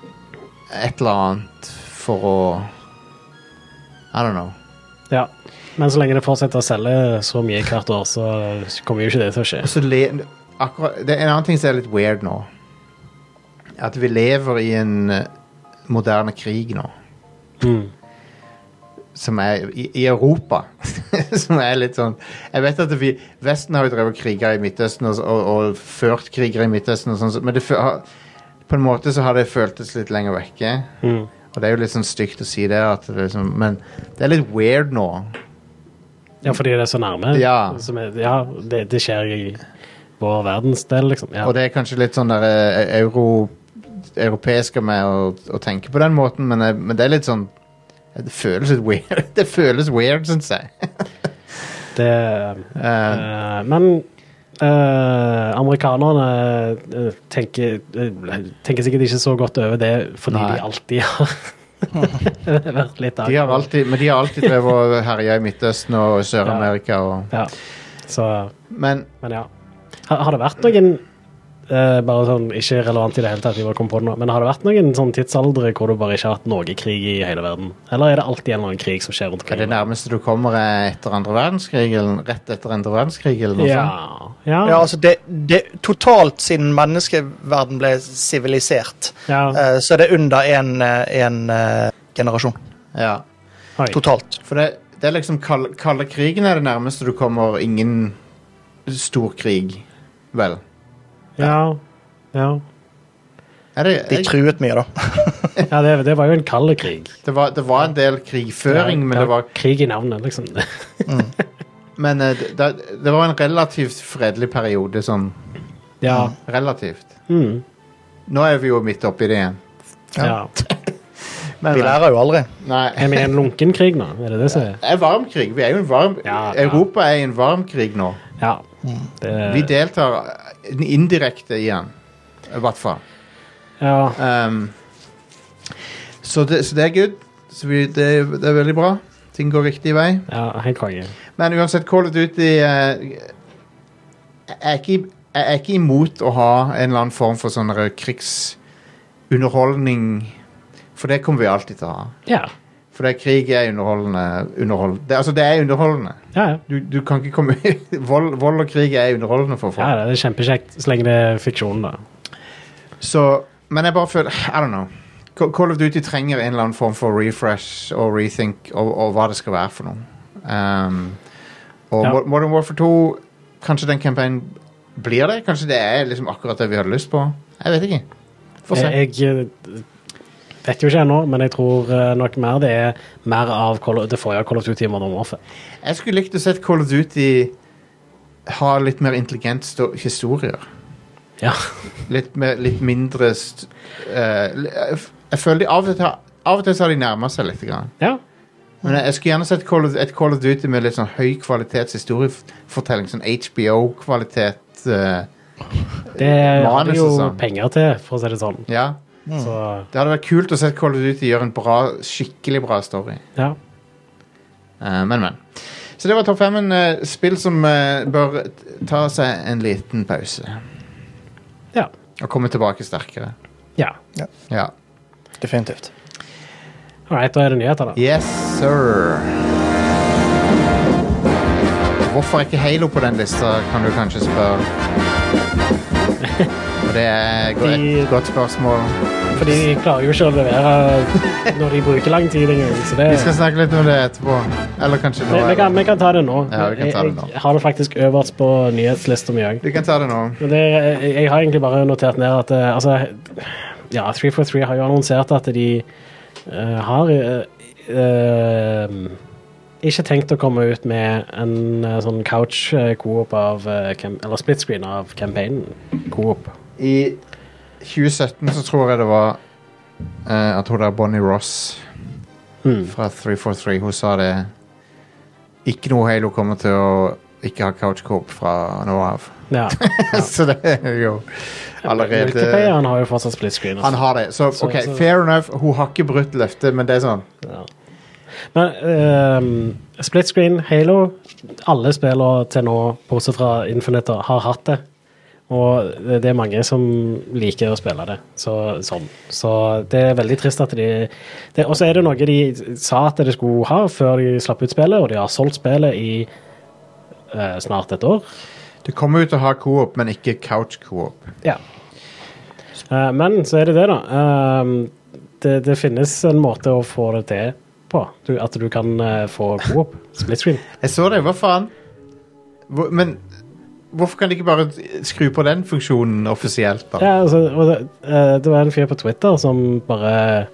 Speaker 1: et eller annet for å I don't know.
Speaker 2: ja. Men så lenge det fortsetter å selge så mye hvert år, så kommer jo ikke det til å skje.
Speaker 1: Og så le, akkurat, det er en annen ting som er litt weird nå. At vi lever i en eh, moderne krig nå.
Speaker 2: Mm.
Speaker 1: Som er i, i Europa. som er litt sånn Jeg vet at vi, Vesten har jo drevet kriger i Midtøsten og, og, og ført kriger i Midtøsten, og sånn, så- men det, fø- har- på en måte så har det føltes litt lenger vekke.
Speaker 2: Mm.
Speaker 1: Og det er jo litt sånn stygt å si det, at det er liksom, men det er litt weird nå.
Speaker 2: Ja, fordi det er så nærme.
Speaker 1: Ja.
Speaker 2: Som er, ja det, det skjer i vår verdensdel, liksom. Ja.
Speaker 1: Og det er kanskje litt sånn der eh, euro, europeisk av meg å, å tenke på den måten, men, eh, men det er litt sånn Det føles litt weird, Det føles weird, syns jeg.
Speaker 2: det
Speaker 1: Eh,
Speaker 2: Eh, men eh, amerikanerne eh, tenker, eh, tenker sikkert ikke så godt over det fordi
Speaker 1: Nei.
Speaker 2: de alltid har vært litt
Speaker 1: de har alltid, men de har alltid drevet og herja i Midtøsten og Sør-Amerika og
Speaker 2: Ja. Så,
Speaker 1: Men
Speaker 2: men ja. Har, har det vært noen eh, bare sånn, Ikke relevant i det hele tatt, jeg bare kom på det nå, men har det vært noen sånn tidsaldre hvor du bare ikke har hatt noe krig i hele verden? Eller er det alltid en eller annen krig som skjer rundt
Speaker 1: er det
Speaker 2: omkring?
Speaker 1: nærmeste du kommer er etter andre verdenskrig, eller rett etter andre verdenskrig, eller noe
Speaker 2: Ja.
Speaker 1: sånt?
Speaker 2: Ja.
Speaker 3: Ja, altså det, det, totalt siden menneskeverden ble sivilisert,
Speaker 2: ja.
Speaker 3: eh, så er det under én eh, generasjon.
Speaker 1: Ja.
Speaker 2: Oi.
Speaker 3: Totalt.
Speaker 1: For det, det er liksom kal- Kalde krigen er det nærmeste du kommer ingen storkrig, vel?
Speaker 2: Ja. Ja.
Speaker 1: Er det,
Speaker 3: De truet mye, da.
Speaker 2: ja det, det var jo en kald krig.
Speaker 1: Det var, det var en del krigføring, men, det var,
Speaker 2: Krig i navnet, liksom.
Speaker 1: men eh, det, det- det var en relativt fredelig periode. Sånn
Speaker 2: ja.
Speaker 1: relativt.
Speaker 2: Mm.
Speaker 1: Nå er vi jo midt oppi det igjen.
Speaker 2: ja.
Speaker 1: Men,
Speaker 3: Vi lærer jo aldri.
Speaker 2: Er
Speaker 1: nei,
Speaker 2: vi i en lunken krig nå? Er det det som er?
Speaker 1: det er varm krig. Vi er jo en varm,
Speaker 2: Ja, ja.
Speaker 1: Europa er i en varm krig nå.
Speaker 2: Ja. Mm. Det,
Speaker 1: Vi deltar eh, indirekte igjen, i hvert fall.
Speaker 2: ja.
Speaker 1: Um, så, det, så det er good. Så vi, det, det er veldig bra. Ting går riktig vei.
Speaker 2: ja, helt konge.
Speaker 1: Men uansett, Call of Duty eh, jeg, er ikke, jeg er ikke imot å ha en eller annen form for sånn der krigsunderholdning. For det kommer vi alltid til å ha.
Speaker 2: Ja,
Speaker 1: For det, krig er underholdende. Underhold. Det, altså, det er underholdende.
Speaker 2: ja, ja.
Speaker 1: Du, du kan ikke komme vold, vold og krig er underholdende for folk.
Speaker 2: ja det er kjempekjekt så lenge det er fiksjon, da.
Speaker 1: Så, men jeg bare føler I don't know. Ca- Call of Duty trenger en eller annen form for refresh og rethink og, og hva det skal være for noe. Um, og
Speaker 2: Ja.
Speaker 1: Mo- Modern Warfare 2 Kanskje den campaignen blir det? Kanskje det er liksom akkurat det vi hadde lyst på? Jeg vet ikke. Få se.
Speaker 2: Jeg, jeg eh, vet jo ikke ennå, men jeg tror eh, nok mer det er mer av Call of- det forrige Call of Duty i Modern Warfare.
Speaker 1: Jeg skulle likt å sett Call of Duty ha litt mer intelligent sto- historier.
Speaker 2: Ja.
Speaker 1: Litt, mer, litt mindre st eh, li- jeg f- Jeg føler de av og til har- av og til så har de nærma seg litt. Grann.
Speaker 2: ja.
Speaker 1: Men jeg, jeg skulle gjerne sett Call of, et Call of Duty med litt sånn høy kvalitets historiefortelling. Sånn HBO-kvalitet. eh,
Speaker 2: Det har de
Speaker 1: Manus
Speaker 2: jo
Speaker 1: og sånn.
Speaker 2: penger til, for å si det sånn.
Speaker 1: ja.
Speaker 2: Så
Speaker 1: Det hadde vært kult å se Call of Duty gjøre en bra, skikkelig bra story.
Speaker 2: ja.
Speaker 1: Eh, men, men. Så det var topp fem. En spill som eh, bør t- ta seg en liten pause.
Speaker 2: Ja.
Speaker 1: Og komme tilbake sterkere.
Speaker 2: ja.
Speaker 1: Ja.
Speaker 3: Definitivt.
Speaker 2: All right, da er det nyheter, da.
Speaker 1: Yes, sir. Hvorfor er ikke Halo på den lista, kan du kanskje spørre. Og det er et
Speaker 2: De-
Speaker 1: godt- godt spørsmål.
Speaker 2: For de klarer jo ikke å levere når de bruker lang tid engang. Så det,
Speaker 1: Vi skal snakke litt om det etterpå. Eller kanskje nå.
Speaker 2: vi, vi, kan,
Speaker 1: eller-
Speaker 2: vi kan ta det nå.
Speaker 1: Ja, vi kan ta det nå.
Speaker 2: Jeg, jeg har det faktisk øverst på nyhetslista mi òg.
Speaker 1: Vi kan ta det nå.
Speaker 2: Men det, jeg, jeg har egentlig bare notert ned at eh, altså, ja, 343 har jo annonsert at de eh, har eh, eh, ikke tenkt å komme ut med en eh, sånn couch-coop av eh, cam- Eller split screen av campaignen. Coop.
Speaker 1: I 2017 så tror jeg det var eh, Jeg tror det er Bonnie Ross
Speaker 2: Hmm.
Speaker 1: fra 343. Hun sa det Ikke noe Halo kommer til å ikke ha couchcoop fra nå av.
Speaker 2: Ja.
Speaker 1: så det er jo allerede
Speaker 2: Multiplayeren har jo fortsatt split screen. altså.
Speaker 1: Han har det. Så
Speaker 2: Så-
Speaker 1: ok,
Speaker 2: så-
Speaker 1: fair enough. Hun har ikke brutt løftet, men det er sånn
Speaker 2: Ja. Men ehm, split screen, Halo Alle spillene til nå, bortsett fra Infinite, har hatt det. Og det det er mange som liker å spille det så, sånn. Så det er veldig trist at de det- Og så er det noe de sa at de skulle ha før de slapp ut spillet, og de har solgt spillet i eh, snart et år.
Speaker 1: Det kommer ut til å ha coop, men ikke couchcoop.
Speaker 2: Ja. Eh, men så er det det, da. Ehm, det, det finnes en måte å få det til på. Du, at du kan eh, få coop. Split screen.
Speaker 1: Jeg så det, hva faen? Hvor, men hvorfor kan de ikke bare skru på den funksjonen offisielt, da?
Speaker 2: Ja, altså, og det, eh, det var en fyr på Twitter som bare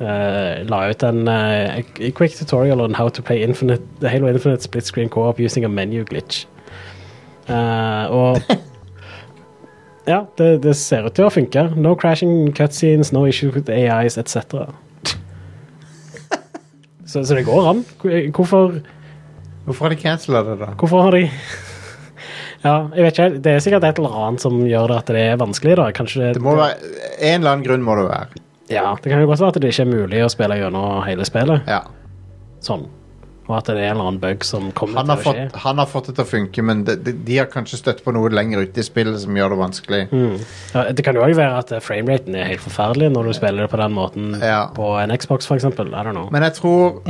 Speaker 2: eh, la ut en eh, a quick tutorial on how to play Infinite, Halo Infinite split screen co-op using a menu glitch. Eh, og Ja, det, det ser ut til å funke. No crashing cutscenes, no issues with AIs etc. Så, så det går an. Hvor- Hvorfor
Speaker 1: Hvorfor har de cancela det, da?
Speaker 2: Hvorfor har de Ja, jeg vet ikke. helt. Det er sikkert et eller annet som gjør det at det er vanskelig. da. Kanskje
Speaker 1: Det må være, En eller annen grunn må det være.
Speaker 2: Ja, det kan jo godt være at det ikke er mulig å spille gjennom hele spillet.
Speaker 1: Ja.
Speaker 2: Sånn. Og at det er en eller annen bug som kommer
Speaker 1: Han, har
Speaker 2: til å skje.
Speaker 1: fått, han har fått det til å funke, men de, de, de har kanskje støtt på noe lenger ute i spillet som gjør det vanskelig.
Speaker 2: Mm. Ja, det kan jo òg være at eh, frameraten er helt forferdelig når du spiller det på den måten
Speaker 1: Ja.
Speaker 2: på en Xbox, for eksempel. I don't know.
Speaker 1: Men jeg tror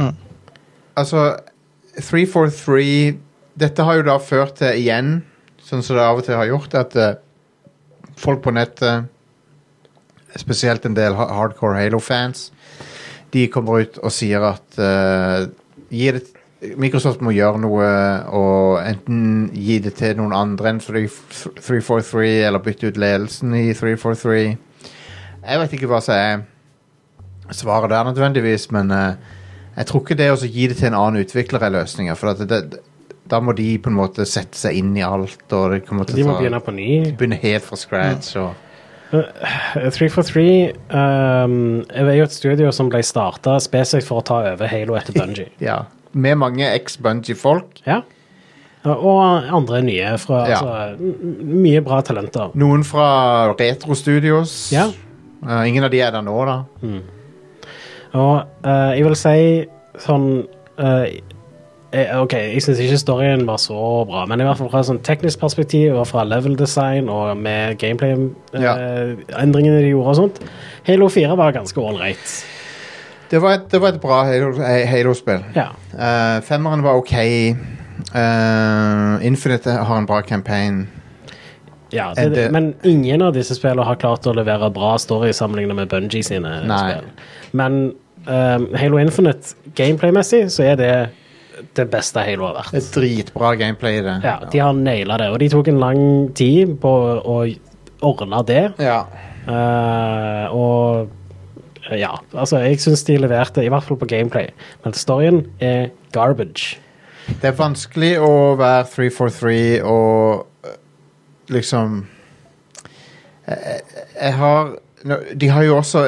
Speaker 1: Altså, 343 Dette har jo da ført til igjen, sånn som det av og til har gjort, at eh, folk på nettet, spesielt en del ha- hardcore Halo-fans, de kommer ut og sier at eh, gi det, Microsoft må gjøre noe og enten gi det til noen andre enn 3- 343, eller bytte ut ledelsen i 343. Jeg vet ikke hva som er svaret der nødvendigvis, men eh, jeg tror ikke det å så gi det til en annen utvikler er løsninga. For at det, det, da må de på en måte sette seg inn i alt, og det kommer til
Speaker 2: De
Speaker 1: å
Speaker 2: må
Speaker 1: ta-
Speaker 2: begynne på ny.
Speaker 1: begynne helt fra scratch. Og,
Speaker 2: 343 um, er jo et studio som ble starta spesifikt for å ta over Halo etter Bungie.
Speaker 1: ja. Med mange ex-Bungie-folk.
Speaker 2: Ja. Og andre nye fra
Speaker 1: Ja.
Speaker 2: altså, m- m- Mye bra talenter.
Speaker 1: Noen fra Retro Studios.
Speaker 2: Ja.
Speaker 1: Eh, ingen av de er der nå, da.
Speaker 2: Og eh, jeg vil si sånn eh, eh, OK, jeg syns ikke storyen var så bra, men i hvert fall fra et sånn teknisk perspektiv og fra level design og med
Speaker 1: Ja.
Speaker 2: gameplay-endringene de gjorde og sånt, Halo 4 var ganske ålreit.
Speaker 1: Det var, et, det var et bra Halo- Halo-spill.
Speaker 2: Ja.
Speaker 1: Eh, femmeren var OK. Eh, Infinite har en bra campaign.
Speaker 2: Ja,
Speaker 1: Er
Speaker 2: det,
Speaker 1: det-
Speaker 2: men ingen av disse spillene har klart å levere bra story sammenlignet med Bungie sine
Speaker 1: Nei.
Speaker 2: spill. Men ehm, Halo Infinite, gameplay-messig, så er det det beste Halo har
Speaker 1: Det
Speaker 2: vært.
Speaker 1: er dritbra gameplay i det.
Speaker 2: Ja, de har naila det, og de tok en lang tid på å ordne det.
Speaker 1: Ja.
Speaker 2: Eh, og ja, altså, jeg syns de leverte, i hvert fall på gameplay. Men storyen er garbage.
Speaker 1: Det er vanskelig å være 343 og eh, liksom jeg, jeg har nå- de har, jo også,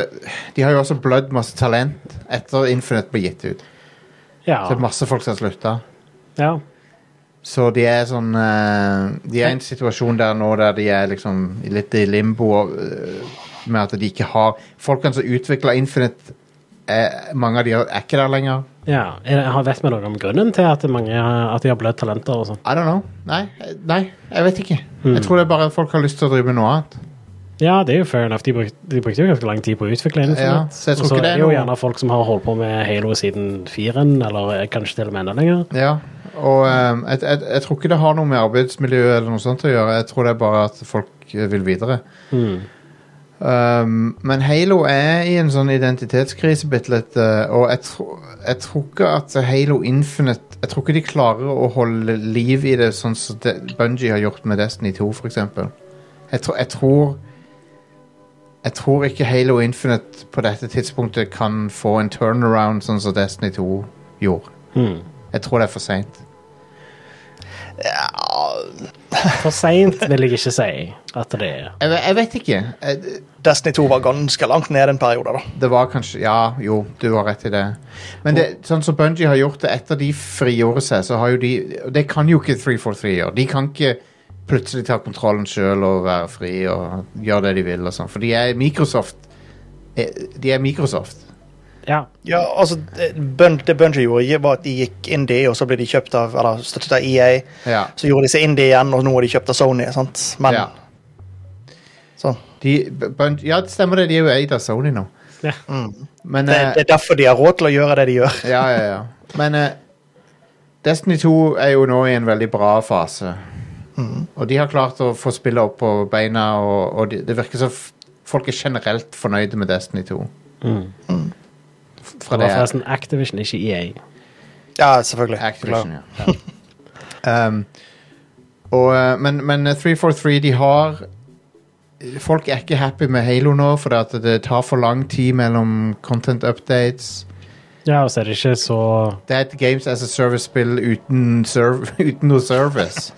Speaker 1: de har jo også blødd masse talent etter Infinite ble gitt ut.
Speaker 2: Ja.
Speaker 1: Så det er masse folk som har slutta.
Speaker 2: ja.
Speaker 1: Så de er sånn eh, De er i en situasjon der nå der de er liksom litt i limbo og, eh, med at de ikke har Folkene som utvikla Infinite, eh, mange av de er ikke der lenger.
Speaker 2: ja. Er det- Vet vi noe om grunnen til at, mange, at de har blødd talenter og sånn?
Speaker 1: I don't know. Nei, eh, nei jeg vet ikke. Jeg tror det er bare folk har lyst til å drive med noe annet.
Speaker 2: Ja, det er jo fair enough. De brukte, de brukte jo ganske lang tid på å utvikle Infinite.
Speaker 1: Ja, så jeg tror
Speaker 2: og så
Speaker 1: ikke det er
Speaker 2: er jo
Speaker 1: noe-
Speaker 2: gjerne folk som har holdt på med Halo siden 4-en, eller kanskje til og med enda lenger.
Speaker 1: Ja, og ehm, jeg, jeg, jeg tror ikke det har noe med arbeidsmiljøet eller noe sånt å gjøre. Jeg tror det er bare at folk eh, vil videre. Mm. Ehm, men Halo er i en sånn identitetskrise bitte litt, eh, og jeg, tro, jeg tror ikke at Halo Infinite Jeg tror ikke de klarer å holde liv i det sånn som de, Bungie har gjort med Destiny 2, for eksempel. Jeg, tro, jeg tror jeg tror ikke Halo Infinite på dette tidspunktet kan få en turnaround sånn som Destiny 2 gjorde.
Speaker 2: Mm.
Speaker 1: Jeg tror det er for seint.
Speaker 2: For seint vil jeg ikke si at det er.
Speaker 1: Jeg, ve- jeg vet ikke. Jeg,
Speaker 3: Destiny 2 var ganske langt ned en periode, da.
Speaker 1: det var kanskje Ja, jo, du har rett i det. Men det, sånn som Bungie har gjort det etter de frigjorde seg, så har jo de og Det kan jo ikke 343 gjøre. De kan ikke plutselig ta kontrollen sjøl og være fri og gjøre det de vil og sånn. For de er Microsoft. Eh, De er Microsoft.
Speaker 2: Ja.
Speaker 3: Ja, altså, det Bun- det Bungie gjorde, var at de gikk indie, og så ble de kjøpt av, eller støttet av EA.
Speaker 1: Ja.
Speaker 3: Så gjorde de seg indie igjen, og nå er de kjøpt av Sony. sant? Men
Speaker 1: ja.
Speaker 3: sånn.
Speaker 1: De, Bungie, ja, det stemmer det. De er jo eid av Sony nå.
Speaker 2: Ja.
Speaker 1: Men
Speaker 3: Mm. det,
Speaker 1: eh,
Speaker 3: det er derfor de har råd til å gjøre det de gjør.
Speaker 1: Ja, ja, ja. Men eh, Destiny 2 er jo nå i en veldig bra fase. Og de har klart å få spillet opp på beina, og, og de, det virker som f- folk er generelt fornøyde med Destiny 2. F- Fra
Speaker 2: Mm.
Speaker 1: det
Speaker 2: Det var forresten sånn Activision, ikke E EA.
Speaker 3: Ja, selvfølgelig.
Speaker 1: Activision, ja. um, og, eh, men, men 343, de har Folk er ikke happy med Halo nå, fordi at det tar for lang tid mellom content updates.
Speaker 2: Ja, og så er det ikke så
Speaker 1: Det er et Games as a Service-spill uten, serv uten noe service.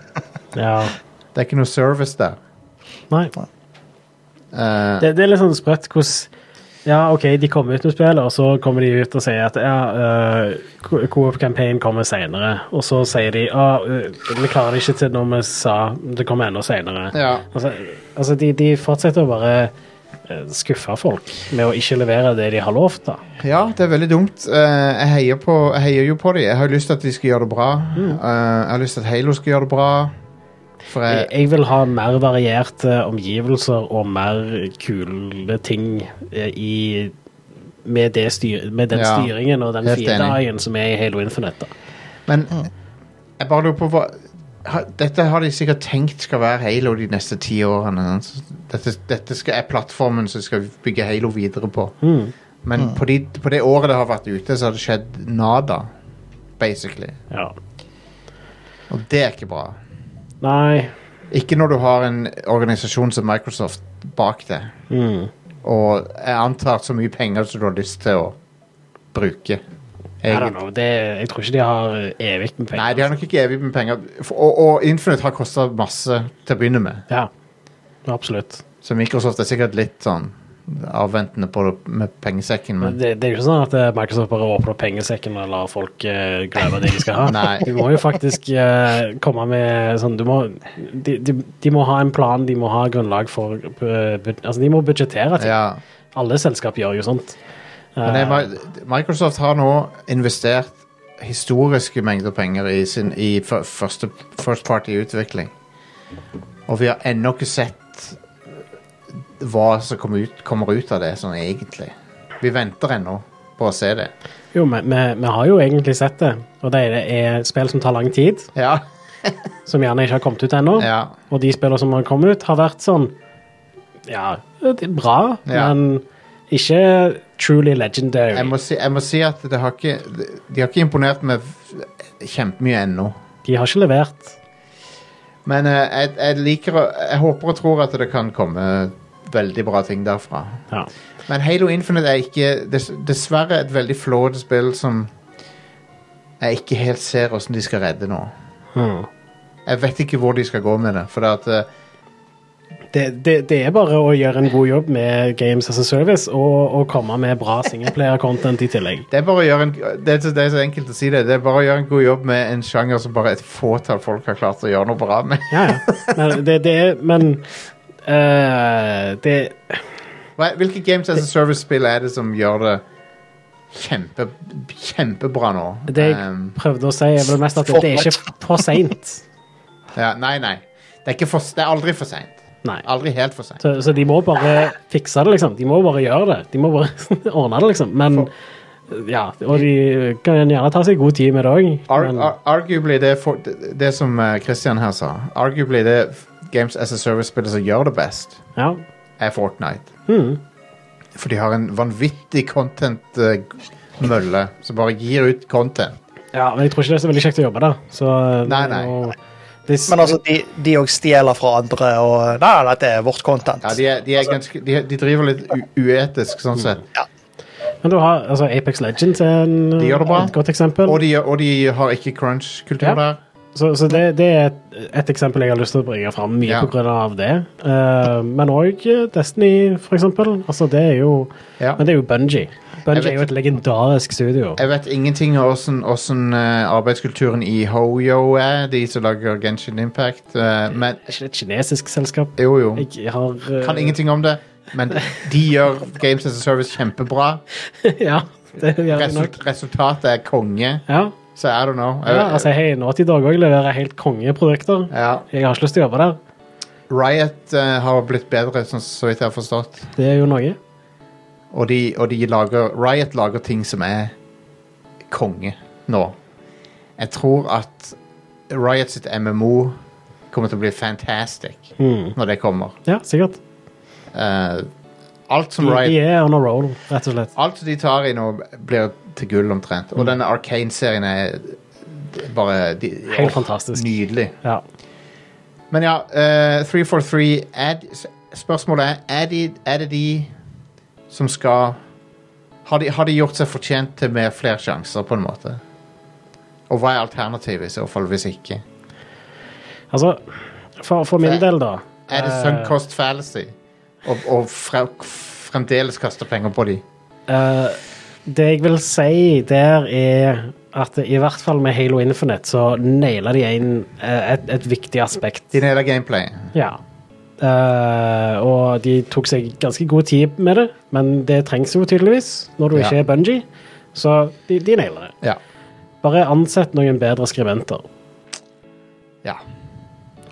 Speaker 2: Ja.
Speaker 1: Det er ikke noe service der.
Speaker 2: Nei.
Speaker 1: Eh,
Speaker 2: Det, det er litt sånn sprøtt hvordan Ja, OK, de kommer ut med spillet, og så kommer de ut og sier at ja, eh, Co- Coop Campaign kommer senere. Og så sier de at vi klarer det ikke til når vi sa det kommer enda senere.
Speaker 1: Ja.
Speaker 2: Altså, altså de, de fortsetter å bare eh, skuffe folk med å ikke levere det de har lovt, da.
Speaker 1: ja, det er veldig dumt. Eh, jeg, heier på, jeg heier jo på dem. Jeg har jo lyst til at de skal gjøre det bra. Eh, jeg har lyst til at Halo skal gjøre det bra. For
Speaker 2: Jeg,
Speaker 1: jeg,
Speaker 2: jeg vil ha mer varierte omgivelser og mer kule ting eh, i med, det styr, med den
Speaker 1: Ja,
Speaker 2: styringen og den
Speaker 1: helt enig.
Speaker 2: fridagen som er i Halo Infinite. Da.
Speaker 1: men jeg bare lurer på hva ha, Dette har de sikkert tenkt skal være Halo de neste ti årene. sant? Så Dette, dette skal, er plattformen som skal bygge Halo videre på.
Speaker 2: Hmm.
Speaker 1: Men på, de, på det året det har vært ute, så har det skjedd nada, basically.
Speaker 2: Ja.
Speaker 1: Og det er ikke bra.
Speaker 2: Nei.
Speaker 1: Ikke når du har en organisasjon som Microsoft bak deg.
Speaker 2: Hmm.
Speaker 1: Og jeg antar så mye penger som du har lyst til å bruke.
Speaker 2: I don't know. Det, jeg tror ikke de har evig med penger.
Speaker 1: Nei, de har nok ikke evig med penger. For- Og, og Infinite har kosta masse til å begynne med.
Speaker 2: Ja, absolutt.
Speaker 1: Så Microsoft er sikkert litt sånn avventende på det med pengesekken. Men
Speaker 2: Det, det er jo ikke sånn at eh, Microsoft bare åpner pengesekken og lar folk eh, glemme det de skal ha.
Speaker 1: Nei.
Speaker 2: Du må jo faktisk eh, komme med sånn du må, de, de, de må ha en plan, de må ha grunnlag for eh, bud- Altså, de må budsjettere ting.
Speaker 1: ja.
Speaker 2: Alle selskap gjør jo sånt. Eh,
Speaker 1: Men det, er Mi- Microsoft har nå investert historiske mengder penger i, sin, i fir- første first party-utvikling. Og vi har ennå ikke sett hva som kommer ut, kommer ut av det, sånn egentlig. Vi venter ennå på å se det.
Speaker 2: Jo, men vi- vi har jo egentlig sett det, og det er- er spill som tar lang tid,
Speaker 1: Ja.
Speaker 2: som gjerne ikke har kommet ut ennå.
Speaker 1: ja.
Speaker 2: Og de spillene som har kommet ut, har vært sånn Ja, det er bra,
Speaker 1: Ja.
Speaker 2: men ikke truly legendary.
Speaker 1: Jeg må, si, jeg må si at det har ikke, de har ikke imponert meg kjempemye ennå.
Speaker 2: De har ikke levert.
Speaker 1: Men eh, jeg, jeg liker å Jeg håper og tror at det kan komme veldig bra ting derfra.
Speaker 2: Ja.
Speaker 1: Men Halo Infinite er ikke dess- dessverre et veldig flawed spill som jeg ikke helt ser hvordan de skal redde nå.
Speaker 2: Hmm.
Speaker 1: Jeg vet ikke hvor de skal gå med det. For det at, eh,
Speaker 2: Det, det, det er bare å gjøre en god jobb med Games as a Service og, og komme med bra singleplayer-content i tillegg.
Speaker 1: det er bare å gjøre en det er, så, det er så enkelt å si det. Det er bare å gjøre en god jobb med en sjanger som bare et fåtall folk har klart å gjøre noe bra med.
Speaker 2: Ja, ja. Men det, det er Men eh, det
Speaker 1: Hva- Hvilke Games as a Service-spill er det som gjør det kjempe, kjempebra nå?
Speaker 2: Det jeg
Speaker 1: Um,
Speaker 2: prøvde å si, er vel mest at det, det er ikke for seint.
Speaker 1: ja, nei, nei. Det er, ikke for, det er aldri for seint.
Speaker 2: Nei.
Speaker 1: Aldri helt for seint.
Speaker 2: Så, så de må bare fikse det, liksom. De må bare gjøre det. De må bare ordne det, liksom. Men ja, og de kan gjerne ta seg god tid med det òg.
Speaker 1: Ar
Speaker 2: men-
Speaker 1: ar arguably det, er for, det, det som eh, Christian her sa Arguably det f- Games as a Service-spillet som gjør det best,
Speaker 2: Ja.
Speaker 1: er Fortnite.
Speaker 2: Hmm.
Speaker 1: For de har en vanvittig content-mølle som bare gir ut content.
Speaker 2: ja, men jeg tror ikke det er så veldig kjekt å jobbe der. Så
Speaker 1: Nei, nei.
Speaker 2: og- Det,
Speaker 3: Men altså, de- de òg stjeler fra andre, og nei, nei, dette er vårt content.
Speaker 1: Ja, de, er, de, er
Speaker 2: Altså-
Speaker 1: ganske, de, de driver litt u uetisk, sånn sett.
Speaker 2: Hmm. men du har altså, Apex Legends er en,
Speaker 1: De gjør det bra.
Speaker 2: et godt eksempel.
Speaker 1: Og de, og de har ikke crunch-kultur
Speaker 2: Ja.
Speaker 1: der.
Speaker 2: Så, så det, det er et, et eksempel jeg har lyst til å bringe fram, mye
Speaker 1: Ja.
Speaker 2: på grunn av det. Eh, men òg Destiny, for eksempel. Altså, det er jo
Speaker 1: Ja.
Speaker 2: Men det er jo Bunji.
Speaker 1: Jeg
Speaker 2: Bunji
Speaker 1: vet-
Speaker 2: er jo et legendarisk studio.
Speaker 1: Jeg vet ingenting om åssen- åssen eh, arbeidskulturen i Hoyo er, de som lager Genshin Impact, eh, men
Speaker 2: Er ikke det et kinesisk selskap?
Speaker 1: jo, jo.
Speaker 2: Jeg har eh,
Speaker 1: Kan ingenting om det, men de gjør Games as a Service kjempebra.
Speaker 2: ja, det gjør jeg nok.
Speaker 1: Result, resultatet er konge,
Speaker 2: Ja.
Speaker 1: så I don't know. Eh,
Speaker 2: ja altså, hei, Naughty Dog òg leverer helt kongeprodukter.
Speaker 1: Ja.
Speaker 2: Jeg har ikke lyst til å jobbe der.
Speaker 1: Riot eh, har blitt bedre, sånn så vidt jeg har forstått.
Speaker 2: Det er jo noe.
Speaker 1: Og, de, og de lager, Riot lager ting som er konge nå. Jeg tror at Riot sitt MMO kommer til å bli fantastic
Speaker 2: Mm.
Speaker 1: når det kommer.
Speaker 2: Ja, sikkert.
Speaker 1: Eh, alt som
Speaker 2: De, de
Speaker 1: Riot
Speaker 2: er on a roll, rett og slett.
Speaker 1: Alt de tar i nå, blir til gull omtrent.
Speaker 2: Mm.
Speaker 1: Og denne Arcane-serien er bare de,
Speaker 2: Helt
Speaker 1: åh,
Speaker 2: fantastisk.
Speaker 1: Nydelig.
Speaker 2: Ja.
Speaker 1: Men ja, eh, 343 er, de- s- Spørsmålet er er, de, er det de som skal har de, har de gjort seg fortjent til med flere sjanser, på en måte? Og hva er alternativet, i så fall, hvis ikke?
Speaker 2: Altså, for, for min del, da
Speaker 1: Er det
Speaker 2: eh,
Speaker 1: sunk cost fallacy? Og, og fre, fremdeles kaste penger på de?
Speaker 2: Eh, det jeg vil si der, er at i hvert fall med Halo Infinite så naila de inn eh, et, et viktig aspekt.
Speaker 1: De nailer gameplay.
Speaker 2: Ja. Eh, og de tok seg ganske god tid med det, men det trengs jo tydeligvis når du
Speaker 1: Ja.
Speaker 2: ikke er Bunji, så de, de nailer det.
Speaker 1: Ja.
Speaker 2: Bare ansett noen bedre skribenter.
Speaker 1: ja.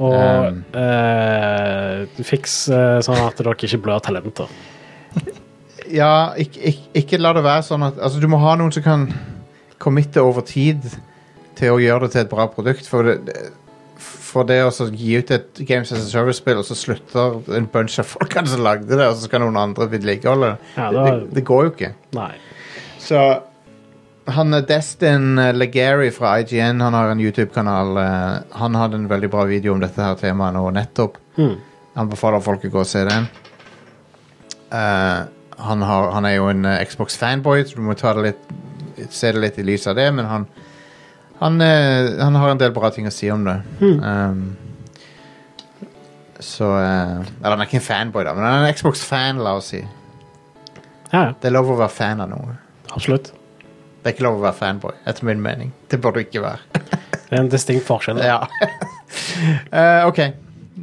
Speaker 2: Og
Speaker 1: Um.
Speaker 2: eh, fiks eh, sånn at dere ikke blør talenter.
Speaker 1: Ja, ikke, ikke, ikke la det være sånn at altså, Du må ha noen som kan committe over tid til å gjøre det til et bra produkt. For det, det- for det å så gi ut et Games as a Service-spill, og så slutter en bunch av folkene som lagde det, og så skal noen andre vedlikeholde det.
Speaker 2: Ja,
Speaker 1: det,
Speaker 2: da-
Speaker 1: det, det går jo ikke.
Speaker 2: Nei.
Speaker 1: Så han eh, Destin eh, Legary fra IGN, han har en YouTube-kanal. eh, Han hadde en veldig bra video om dette her temaet nå nettopp. Anbefaler folk å gå og se den. Eh, han, har, han er jo en eh, Xbox-fanboy, så du må ta det litt, se det litt i lys av det, men han han, eh, han har en del bra ting å si om det. Um, så eh, Eller han er ikke en fanboy, da, men han er en Xbox-fan, la oss si.
Speaker 2: Ja, ja,
Speaker 1: Det er lov å være fan av noe.
Speaker 2: absolutt.
Speaker 1: Det er ikke lov å være fanboy, etter min mening. Det bør du ikke være.
Speaker 2: Det er en distinkt forskjell.
Speaker 1: Ja. Eh, OK.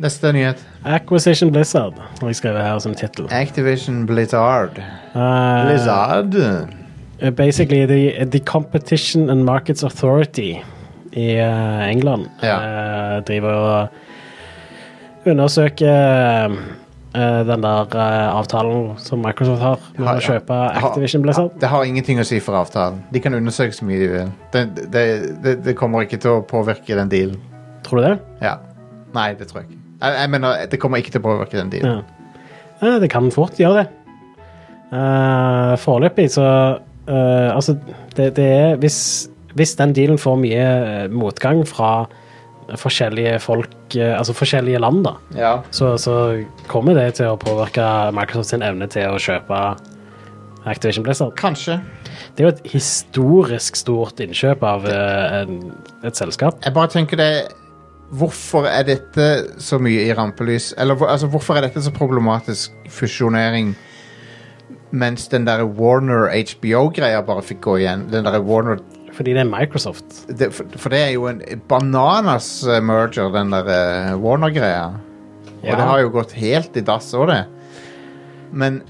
Speaker 1: Neste nyhet.
Speaker 2: Acquisition Blizzard har jeg skrevet her som tittel.
Speaker 1: Activision Eh, Blizzard.
Speaker 2: Eh,
Speaker 1: Blizzard.
Speaker 2: uh, basically the, the Competition and Markets Authority i uh, England
Speaker 1: Ja.
Speaker 2: uh, driver og undersøker uh, den der uh, avtalen som Microsoft har med
Speaker 1: Har-
Speaker 2: å kjøpe
Speaker 1: har-
Speaker 2: Activision Blizzard.
Speaker 1: Det har ingenting å si for avtalen. De kan undersøke så mye de vil. Det, det, det, det kommer ikke til å påvirke den dealen.
Speaker 2: Tror du det?
Speaker 1: Ja. Nei, det tror jeg ikke. Jeg, jeg mener, det kommer ikke til å påvirke den dealen.
Speaker 2: Ja. Eh, Det kan fort gjøre det. Eh, Foreløpig så eh, Altså, det, det er hvis, hvis den dealen får mye eh, motgang fra forskjellige folk, eh, altså forskjellige land, da,
Speaker 1: Ja.
Speaker 2: så, så kommer det til å påvirke Microsoft sin evne til å kjøpe Activision Blizzard.
Speaker 1: Kanskje.
Speaker 2: Det er jo et historisk stort innkjøp av eh, en, et selskap.
Speaker 1: Jeg bare tenker det Hvorfor er dette så mye i rampelys? Eller hvor- altså, hvorfor er dette så problematisk fusjonering? Mens den der Warner HBO-greia bare fikk gå igjen. Den der Warner
Speaker 2: Fordi det er Microsoft.
Speaker 1: det, for, for det er jo en bananas eh, merger, den der eh, Warner-greia. Og
Speaker 2: Ja.
Speaker 1: det har jo gått helt i dass òg, det. Men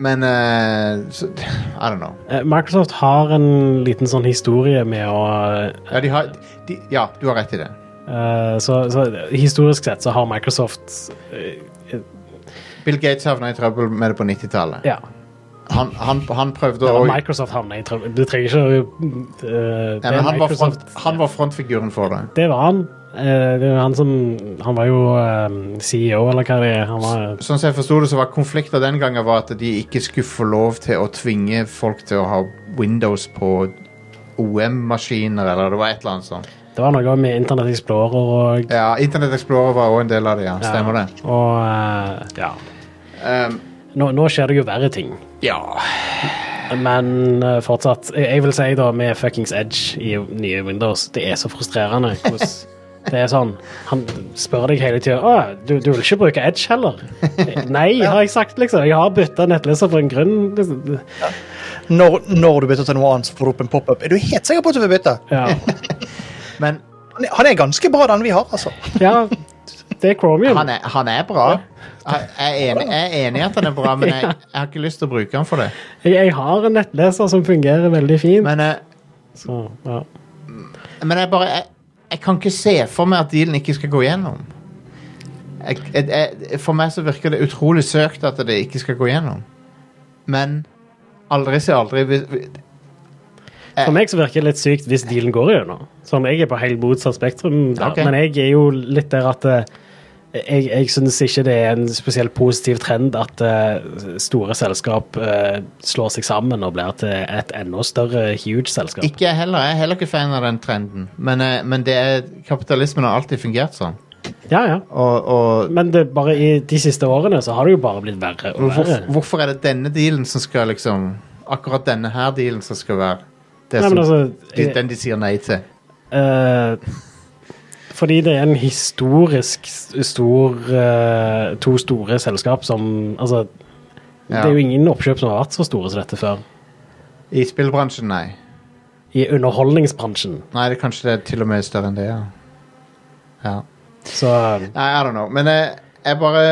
Speaker 1: Men eh, så, I don't know.
Speaker 2: Eh, Microsoft har en liten sånn historie med å eh,
Speaker 1: Ja, de har, de, ja du har rett i det.
Speaker 2: Eh, så, så historisk sett så har Microsoft eh,
Speaker 1: Bill Gates havna i trøbbel med det på 90-tallet.
Speaker 2: Ja.
Speaker 1: Han, han, han prøvde
Speaker 2: Det
Speaker 1: å
Speaker 2: var Microsoft havna i trøbbel. Du trenger ikke å eh,
Speaker 1: ja,
Speaker 2: det er
Speaker 1: men han, var
Speaker 2: Microsoft-
Speaker 1: front, han var frontfiguren for det.
Speaker 2: Det var han. Eh, det var han som Han var jo eh, CEO, eller hva det er. Han var,
Speaker 1: Sånn som jeg forsto det, så var konflikter den gangen var at de ikke skulle få lov til å tvinge folk til å ha Windows på OM-maskiner, eller det var et eller annet sånt.
Speaker 2: det var noe med Internett Explorer og
Speaker 1: Ja, Internet Explorer var òg en del av det, ja. Stemmer det.
Speaker 2: Og eh, ja.
Speaker 1: Um,
Speaker 2: Nå, nå skjer det jo verre ting.
Speaker 1: ja.
Speaker 2: Men eh, fortsatt jeg, jeg vil si, da, med fuckings Edge i nye Windows, det er så frustrerende hvordan det er sånn. Han spør deg hele tida Å, du, du vil ikke bruke Edge heller? Nei, har jeg sagt, liksom. Jeg har bytta nettleser for en grunn. Liksom.
Speaker 3: Når, når du bytter til noe annet, så får du opp en pop-up. Er du helt sikker på at du vil bytte?
Speaker 2: Ja.
Speaker 1: Men
Speaker 3: Han er, han er ganske bra, den vi har, altså.
Speaker 2: ja, det er Chromium.
Speaker 1: han er, han er bra. Jeg jeg er enig- jeg er enig i at han er bra, men jeg, jeg har ikke lyst til å bruke han for det.
Speaker 2: Jeg, jeg har en nettleser som fungerer veldig fint.
Speaker 1: Men, eh,
Speaker 2: Så, ja.
Speaker 1: men jeg bare jeg, jeg kan ikke se for meg at dealen ikke skal gå gjennom. Jeg, jeg, jeg, for meg så virker det utrolig søkt at det ikke skal gå gjennom. Men aldri si aldri. Hvis- hvis- Eh.
Speaker 2: For meg så virker det litt sykt hvis dealen går gjennom. Sånn, jeg er på helt motsatt spektrum, der,
Speaker 1: Ok.
Speaker 2: men jeg er jo litt der at eh, jeg, jeg syns ikke det er en spesielt positiv trend at eh, store selskap eh, slår seg sammen og blir til et enda større huge selskap.
Speaker 1: Ikke jeg heller. Jeg er heller ikke fan av den trenden. Men, eh, men det er, kapitalismen har alltid fungert sånn.
Speaker 2: Ja, ja.
Speaker 1: Og, og
Speaker 2: Men det, bare i de siste årene så har det jo bare blitt verre og verre.
Speaker 1: Hvorfor, hvorfor er det denne dealen som skal liksom Akkurat denne her dealen som skal være det
Speaker 2: Nei,
Speaker 1: som,
Speaker 2: men altså,
Speaker 1: de,
Speaker 2: jeg-
Speaker 1: den de sier nei til?
Speaker 2: Eh, fordi det er en historisk s- stor eh, To store selskap som Altså, det
Speaker 1: Ja.
Speaker 2: er jo ingen oppkjøp som har vært så store som dette før.
Speaker 1: I spillbransjen, nei.
Speaker 2: I underholdningsbransjen.
Speaker 1: Nei, det er kanskje det er til og med større enn det, ja. ja.
Speaker 2: Så
Speaker 1: Nei, I don't know. Men jeg, jeg bare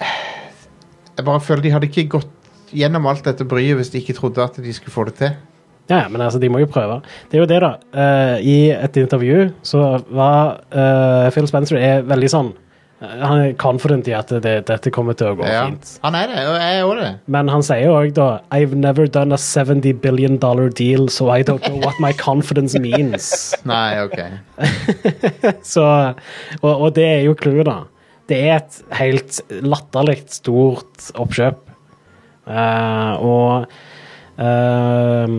Speaker 1: Jeg bare føler de hadde ikke gått gjennom alt dette bryet hvis de ikke trodde at de skulle få det til.
Speaker 2: Ja, men altså, de må jo prøve. Det er jo det, da. Eh, I et intervju så var eh, Phil Spencer er veldig sånn eh, Han er confident i at det, dette kommer til å gå
Speaker 1: Ja.
Speaker 2: fint.
Speaker 1: Han er det, og jeg er òg det.
Speaker 2: Men han sier jo òg, da I've never done a 70 billion dollar deal, so I don't know what my confidence means.
Speaker 1: Nei, OK.
Speaker 2: Så, og, og det er jo clouet, da. Det er et helt latterlig stort oppkjøp. Eh, og ehm,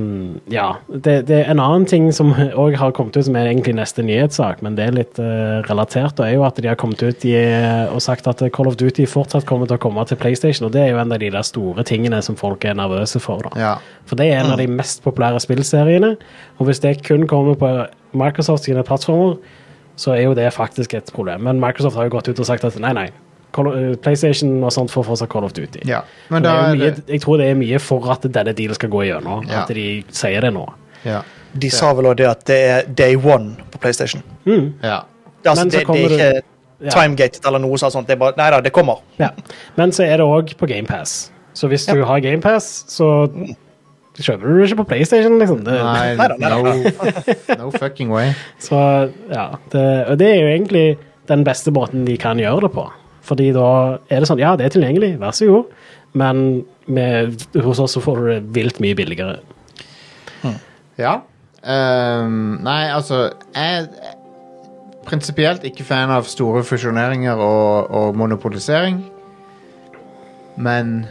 Speaker 2: Ja. Det, det er en annen ting som òg har kommet ut, som er egentlig neste nyhetssak, men det er litt eh, relatert, og er jo at de har kommet ut i, og sagt at Call of Duty fortsatt kommer til å komme til PlayStation, og det er jo en av de der store tingene som folk er nervøse for. da.
Speaker 1: Ja.
Speaker 2: For det er en
Speaker 1: Ah.
Speaker 2: av de mest populære spillseriene. Og hvis det kun kommer på Microsoft sine plattformer, så er jo det faktisk et problem. Men Microsoft har jo gått ut og sagt at nei, nei. Call- eh, PlayStation og sånt får fortsatt Call of Duty.
Speaker 1: ja.
Speaker 2: Og
Speaker 1: Men
Speaker 2: det
Speaker 1: da
Speaker 2: er jo
Speaker 1: er
Speaker 2: mye,
Speaker 1: det
Speaker 2: jeg tror det er mye for at denne dealen skal gå igjennom.
Speaker 1: Ja.
Speaker 2: At de sier det nå.
Speaker 1: Ja.
Speaker 3: De sa vel også det at det er day one på PlayStation.
Speaker 1: ja.
Speaker 3: Det, er altså,
Speaker 2: Men så
Speaker 3: det, det
Speaker 2: kommer
Speaker 3: er
Speaker 2: du-
Speaker 3: ikke timegated eller noe sånt. Det er bare, nei da, det kommer.
Speaker 2: Ja. Men så er det òg på GamePass. Så hvis du har GamePass, så kjøper du det ikke på PlayStation, liksom. Det,
Speaker 1: Nei,
Speaker 3: Neida,
Speaker 1: no, no fucking way.
Speaker 2: Så ja, det, og det er jo egentlig den beste måten de kan gjøre det på. Fordi da er det sånn, ja, det er tilgjengelig, vær så god, men med, hos oss så får du det vilt mye billigere.
Speaker 1: Ja. Ehm, nei, altså Jeg er prinsipielt ikke fan av store fusjoneringer og, og monopolisering. Men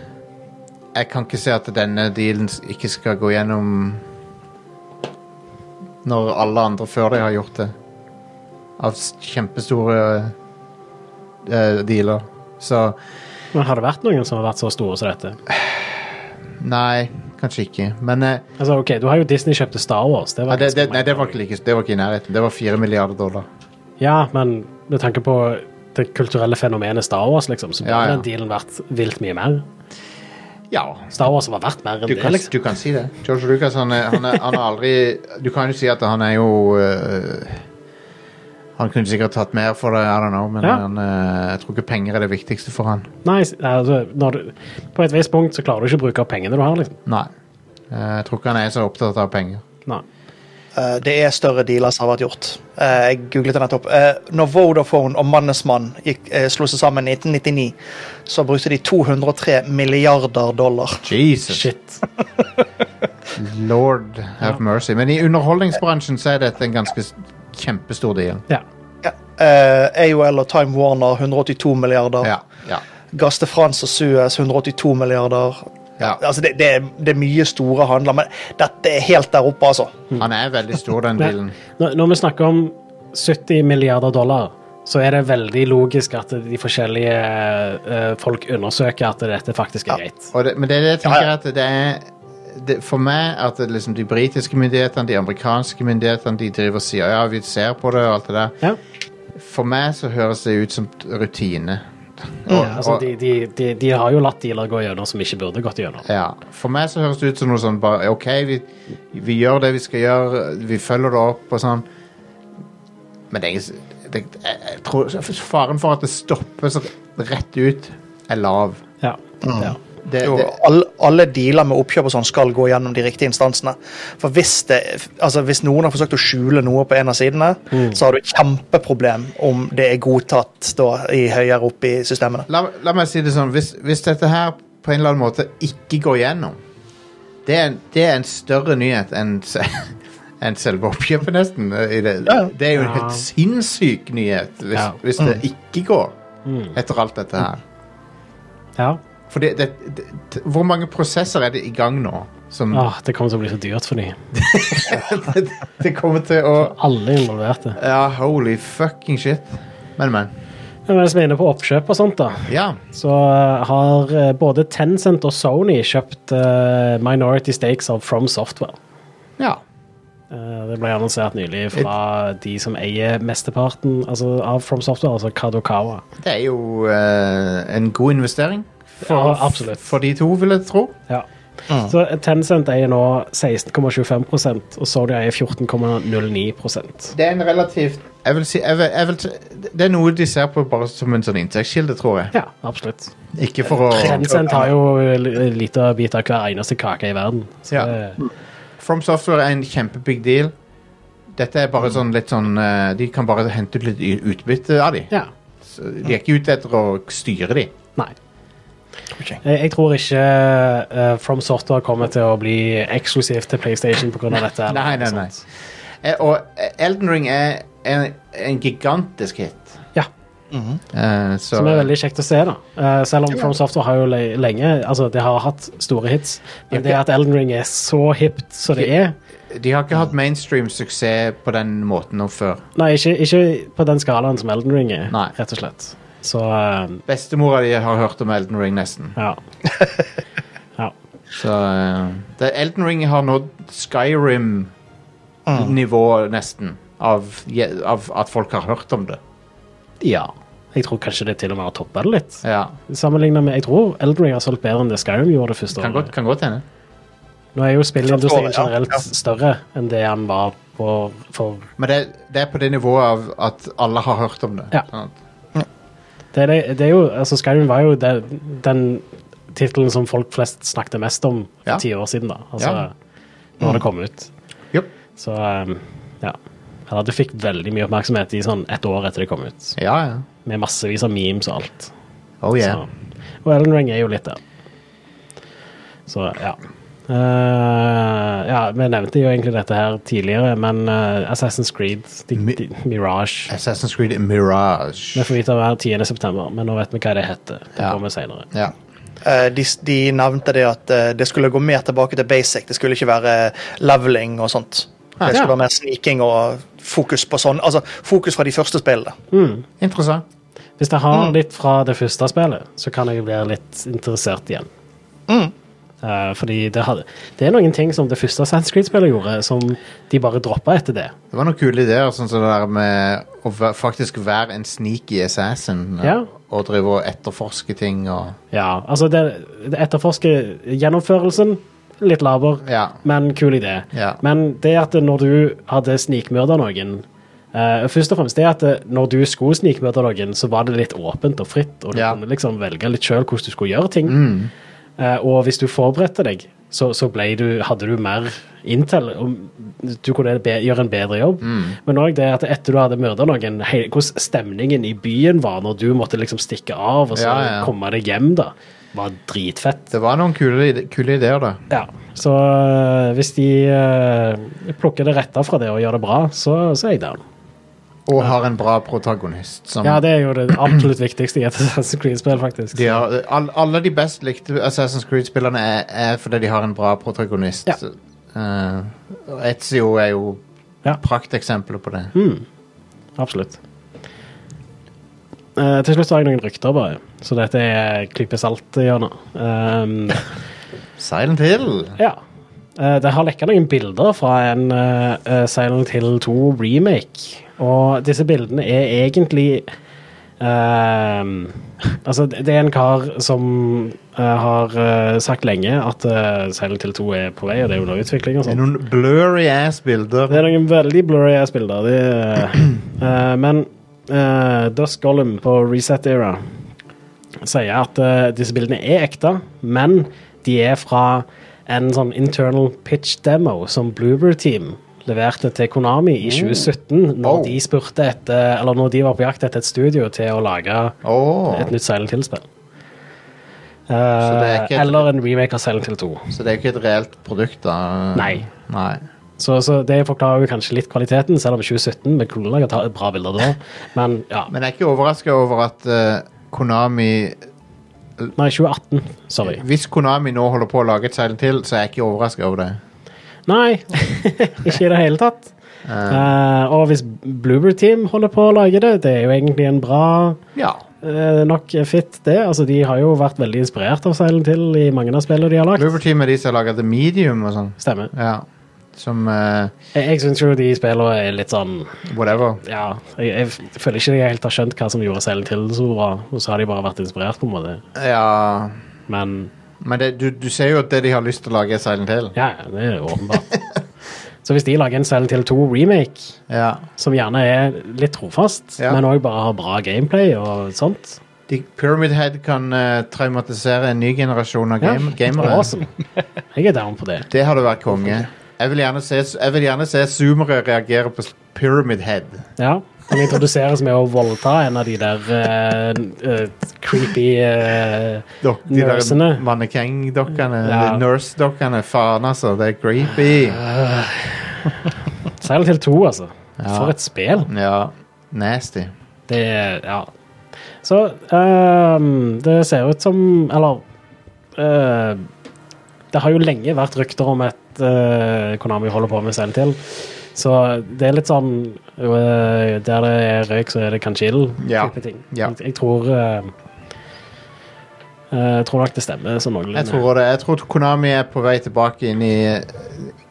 Speaker 1: jeg kan ikke se at denne dealen s- ikke skal gå gjennom når alle andre før de har gjort det. Av s- kjempestore eh, dealer. Så
Speaker 2: Men har det vært noen som har vært så store som dette?
Speaker 1: nei, kanskje ikke. Men eh,
Speaker 2: Altså, ok, du har jo Disney kjøpte Star Wars. Det
Speaker 1: ja,
Speaker 2: var
Speaker 1: det, det,
Speaker 2: ganske
Speaker 1: nei, det var ikke like, det var ikke i nærheten. Det var fire milliarder dollar.
Speaker 2: Ja, men med tanke på det kulturelle fenomenet Star Wars, liksom, så burde
Speaker 1: Ja, ja.
Speaker 2: den dealen vært vilt mye mer.
Speaker 1: Ja,
Speaker 2: Star Wars var verdt mer enn
Speaker 1: du
Speaker 2: det,
Speaker 1: kan,
Speaker 2: liksom.
Speaker 1: du kan si det. George Lucas, han er, han, er, han er aldri Du kan jo si at han er jo øh, Han kunne sikkert tatt mer for det, I don't know, men
Speaker 2: Ja.
Speaker 1: han, øh, jeg tror ikke penger er det viktigste for han.
Speaker 2: Nei, s- altså, når du, på et visst punkt så klarer du ikke å bruke opp pengene du har, liksom.
Speaker 1: Nei. Eh, Jeg tror ikke han er så opptatt av penger.
Speaker 2: Nei.
Speaker 3: Eh, det er større dealer som har vært gjort. Eh, jeg googlet det nettopp. Eh, når Vodafone og Mannes Mann gikk- eh, slo seg sammen i 1999, så brukte de 203 milliarder dollar.
Speaker 1: Jesus.
Speaker 2: Shit.
Speaker 1: Lord have mercy. Men i underholdningsbransjen så er dette en ganske s- kjempestor deal.
Speaker 2: Ja.
Speaker 3: Ja. Eh, AOL og Time Warner 182 milliarder.
Speaker 1: Ja. ja.
Speaker 3: Gas de France og Suez 182 milliarder.
Speaker 1: ja.
Speaker 3: Altså, det, det, er, det er mye store handler, men dette er helt der oppe, altså.
Speaker 1: Han er veldig stor, den
Speaker 2: Ja.
Speaker 1: dealen.
Speaker 2: Når, når vi snakker om 70 milliarder dollar, så er det veldig logisk at de forskjellige eh, folk undersøker at dette faktisk er greit.
Speaker 1: Og det, men det er det jeg
Speaker 3: Ja,
Speaker 1: tenker
Speaker 3: ja.
Speaker 1: at det er det, For meg at det, liksom, de britiske myndighetene, de amerikanske myndighetene, de driver og sier ja, vi ser på det og alt det der.
Speaker 2: Ja.
Speaker 1: For meg så høres det ut som t- rutine.
Speaker 2: Ja, altså, de, de, de, de har jo latt dealer gå gjennom som ikke burde gått gjennom.
Speaker 1: Ja. For meg så høres det ut som noe sånn bare OK, vi, vi gjør det vi skal gjøre, vi følger det opp og sånn. Men det, er ikke s- det, jeg, jeg tror faren for at det stopper så rett ut, er lav.
Speaker 2: Ja. ja.
Speaker 1: Det,
Speaker 3: Jo,
Speaker 1: det,
Speaker 3: Eh, alle, alle dealer med oppkjøp og sånn skal gå gjennom de riktige instansene. For hvis, det, altså hvis noen har forsøkt å skjule noe på en av sidene,
Speaker 2: Mm.
Speaker 3: så har du et kjempeproblem om det er godtatt da, i høyere opp i systemene.
Speaker 1: la, la meg si det sånn hvis, hvis dette her på en eller annen måte ikke går gjennom Det er en, det er en større nyhet enn se- enn selve oppkjøpet, nesten. eh, i Det,
Speaker 3: Ja.
Speaker 1: det er jo en
Speaker 2: Ja.
Speaker 1: helt sinnssyk nyhet hvis,
Speaker 2: Ja.
Speaker 1: hvis det ikke går
Speaker 2: Mm.
Speaker 1: etter alt dette her.
Speaker 2: ja.
Speaker 1: For det, det, det, t- hvor mange prosesser er det i gang nå? Som
Speaker 2: Åh, det kommer til å bli så dyrt for dem.
Speaker 1: det, det kommer til å
Speaker 2: Alle er involverte.
Speaker 1: Ja, holy fucking shit. Men, men.
Speaker 2: Men mens vi er inne på oppkjøp og sånt, da,
Speaker 1: Ja.
Speaker 2: så eh, har eh, både Tencent og Sony kjøpt eh, minority stakes av From Software.
Speaker 1: ja.
Speaker 2: Eh, det ble annonsert nylig fra de som eier mesteparten altså, av From Software, altså Kadokawa.
Speaker 1: Det er jo eh, en god investering
Speaker 2: Ja, absolutt.
Speaker 1: for de to, vil jeg tro.
Speaker 2: Ja.
Speaker 1: Mm.
Speaker 2: Så Tencent eier nå 16,25 og Sony eier 14,09
Speaker 1: Det er en relativt jeg vil si, jeg vil, jeg vil, t- Det er noe de ser på bare som en sånn inntektskilde, tror jeg.
Speaker 2: Ja, absolutt.
Speaker 1: Ikke for å
Speaker 2: Tencent har jo en liten bit av hver eneste kake i verden. Så
Speaker 1: Ja. Mm.
Speaker 2: det-
Speaker 1: From Software er en kjempebig deal. Dette er bare sånn litt sånn eh, De kan bare hente ut litt y- utbytte av de.
Speaker 2: ja.
Speaker 1: Så De er ikke ute etter å styre de.
Speaker 2: Nei. Jeg, jeg tror ikke eh, From Software kommer til å bli eksklusiv til PlayStation pga. dette.
Speaker 1: Nei, nei, nei. Eh, Og eh, Elden Ring er en, en gigantisk hit.
Speaker 2: Ja,
Speaker 1: Eh, så
Speaker 2: Som er veldig kjekt å se, da. Eh, selv om From Software har jo le lenge Altså, det har hatt store hits. Men det at Elden Ring er så hipt som det er
Speaker 1: de har ikke hatt mainstream suksess på den måten nå før.
Speaker 2: Nei, ikke, ikke på den skalaen som Elden Ring er,
Speaker 1: Nei.
Speaker 2: rett og slett. Så eh,
Speaker 1: Bestemora di har hørt om Elden Ring, nesten.
Speaker 2: ja. ja.
Speaker 1: Så eh, det, Elden Ring har nådd Skyrim-nivå Mm. nesten. Av, je- av at folk har hørt om det.
Speaker 2: Ja. Jeg tror kanskje det til og med har toppa det litt.
Speaker 1: Ja,
Speaker 2: Sammenlignet med Jeg tror Elden Ring har solgt bedre enn det Skyrim gjorde det første
Speaker 1: Kan godt,
Speaker 2: året.
Speaker 1: kan godt hende.
Speaker 2: Nå er jo spillindustrien
Speaker 3: Kan godt, ja.
Speaker 2: generelt
Speaker 3: Ja.
Speaker 2: større enn det han var på for
Speaker 1: Men det, det er på det nivået av at alle har hørt om det.
Speaker 2: Ja.
Speaker 1: Sånn at-
Speaker 2: Det, er det, det er jo Altså, Skyrim var jo den, den tittelen som folk flest snakket mest om
Speaker 1: Ja.
Speaker 2: for ti år siden, da. Altså,
Speaker 1: Ja. Mm.
Speaker 2: når det kom ut.
Speaker 1: Jupp.
Speaker 2: Så um, ja. Eller det fikk veldig mye oppmerksomhet i sånn ett år etter det kom ut,
Speaker 1: Ja, ja.
Speaker 2: med massevis av memes og alt.
Speaker 1: Oh yeah.
Speaker 2: Så. Og Ellen Ring er jo litt der. Så ja. Eh, ja, vi nevnte jo egentlig dette her tidligere, men eh, Assassin's Creed, de,
Speaker 1: Mi-
Speaker 2: de, Mirage
Speaker 1: Assassin's Creed Mirage.
Speaker 2: Vi får vite hver 10. september, men nå vet vi hva det heter. Det
Speaker 1: Ja.
Speaker 2: kommer senere.
Speaker 1: Ja.
Speaker 3: Eh, de, de nevnte det at eh, det skulle gå mer tilbake til basic. Det skulle ikke være leveling og sånt. Det
Speaker 2: Ah, Ja.
Speaker 3: skulle være mer sniking og fokus på sånn Altså fokus fra de første spillene.
Speaker 1: Interessant.
Speaker 2: Hvis jeg har litt fra det første spillet, så kan jeg bli litt interessert igjen. Eh, fordi det, hadde, det er noen ting som det første Assassin's Creed-spillet gjorde, som de bare droppa etter det.
Speaker 1: Det var noen kule ideer, sånn som det der med å væ- faktisk være en sneaky assassin eh,
Speaker 2: Ja.
Speaker 1: og drive og etterforske ting og
Speaker 2: Ja, altså det, det etterforske gjennomførelsen litt laber,
Speaker 1: Ja.
Speaker 2: men kul idé.
Speaker 1: Ja.
Speaker 2: Men det at når du hadde snikmørda noen eh, Først og fremst det at eh, når du skulle snikmørde noen, så var det litt åpent og fritt, og du
Speaker 1: Ja. Mm.
Speaker 2: kunne liksom velge litt sjøl hvordan du skulle gjøre ting. Eh, og hvis du forberedte deg, så, så ble du, hadde du mer intel. Og du kunne be, gjøre en bedre jobb.
Speaker 1: Mm.
Speaker 2: Men òg det at etter du hadde myrda noen, hei, hvordan stemningen i byen var når du måtte liksom stikke av og så
Speaker 1: Ja, ja.
Speaker 2: komme deg hjem, da, var dritfett.
Speaker 1: Det var noen kule, ide- kule ideer, da.
Speaker 2: Ja, Så øh, hvis de øh, plukker det rette fra det og gjør det bra, så, så er jeg down.
Speaker 1: Og har en bra protagonist. Som
Speaker 2: Ja, det er jo det absolutt viktigste i et Assassin's Creed-spill, faktisk.
Speaker 1: de har, all, alle de best likte Assassin's Creed-spillerne er, er fordi de har en bra protagonist.
Speaker 2: Ja.
Speaker 1: Eh, og Ezio er jo
Speaker 2: Ja.
Speaker 1: prakteksempler på det.
Speaker 2: Absolutt. Eh, til slutt har jeg noen rykter, bare. Så dette er klype salt-hjørnet. Um,
Speaker 1: Silent Hill!
Speaker 2: ja. Eh, det har lekka noen bilder fra en eh, eh, Silent Hill 2 remake. Og disse bildene er egentlig ehm, Altså, det det er en kar som eh, har eh, sagt lenge at eh, Silent Hill 2 er på vei, og det er under utvikling og
Speaker 1: Det er
Speaker 2: sånn.
Speaker 1: noen blurry ass bilder.
Speaker 2: Det er noen veldig blurry ass bilder. Det, eh, men uh, Dusk Gollum på Reset Era sier at eh, disse bildene er ekte, men de er fra en sånn internal pitch demo som Bloober Team leverte til Konami i 2017, når
Speaker 1: Oh.
Speaker 2: de spurte etter, eller når de var på jakt etter et studio til å lage
Speaker 1: Åh,
Speaker 2: et nytt Silent Hill-spill. Eh,
Speaker 1: det er ikke et-
Speaker 2: eller en remake av Silent Hill 2.
Speaker 1: Så det er jo ikke et reelt produkt, da.
Speaker 2: Nei.
Speaker 1: Nei.
Speaker 2: Så, så det forklarer jo kanskje litt kvaliteten, selv om 2017 med Kullag har tatt bra bilder da. Men ja,
Speaker 1: Men jeg er ikke overraska over at eh, Konami
Speaker 2: nei, 2018. Sorry.
Speaker 1: Hvis Konami nå holder på å lage et Silent Hill, så er jeg ikke overraska over det.
Speaker 2: Nei, ikke i det hele tatt. Eh, og hvis Bluebird Team holder på å lage det, det er jo egentlig en bra
Speaker 1: Ja.
Speaker 2: eh, nok fit, det. Altså, de har jo vært veldig inspirert av Silent Hill i mange av spillene de har lagd.
Speaker 1: Bloober Team er de som har laga The Medium og sånn.
Speaker 2: Stemmer.
Speaker 1: Ja. Som eh,
Speaker 2: Jeg, jeg syns jo de spillene er litt sånn
Speaker 1: whatever.
Speaker 2: Ja, jeg, jeg føler ikke de helt har skjønt hva som gjorde Silent Hill så bra, og så har de bare vært inspirert, på en måte.
Speaker 1: Ja
Speaker 2: Men
Speaker 1: Men det, du, du ser jo at det de har lyst til å lage, er Silent Hill.
Speaker 2: Ja, ja, det er åpenbart. Så hvis de lager en Silent Hill 2 remake,
Speaker 1: Ja.
Speaker 2: som gjerne er litt trofast,
Speaker 1: Ja.
Speaker 2: men òg bare har bra gameplay og sånt
Speaker 1: De, Pyramid Head kan eh, traumatisere en ny generasjon av
Speaker 2: ja,
Speaker 1: game, gamere.
Speaker 2: Awesome. Jeg er down på det.
Speaker 1: Det hadde vært konge. Jeg vil gjerne se, jeg vil gjerne se zoomere reagere på Pyramid Head.
Speaker 2: Ja. Han introduseres med å voldta en av de der eh, eh, creepy eh,
Speaker 1: Dok, de
Speaker 2: Nursene.
Speaker 1: der mannekengdokkene.
Speaker 2: Ja. Ah.
Speaker 1: de Nurse-dokkene. Faen, altså. Det er creepy.
Speaker 2: Silent Hill 2, altså. For et spill.
Speaker 1: Ja. Nasty.
Speaker 2: Det Ja. Så ehm, det ser ut som Eller eh, Det har jo lenge vært rykter om at eh, Konami holder på med selv til. Så det er litt sånn eh, Der det er røyk, så er det kanskje ild.
Speaker 1: Ja.
Speaker 2: type ting.
Speaker 1: Ja.
Speaker 2: Jeg, jeg tror eh, eh, Jeg tror nok det stemmer sånn noenlunde.
Speaker 1: Jeg tror også det. Jeg tror Konami er på vei tilbake inn i eh,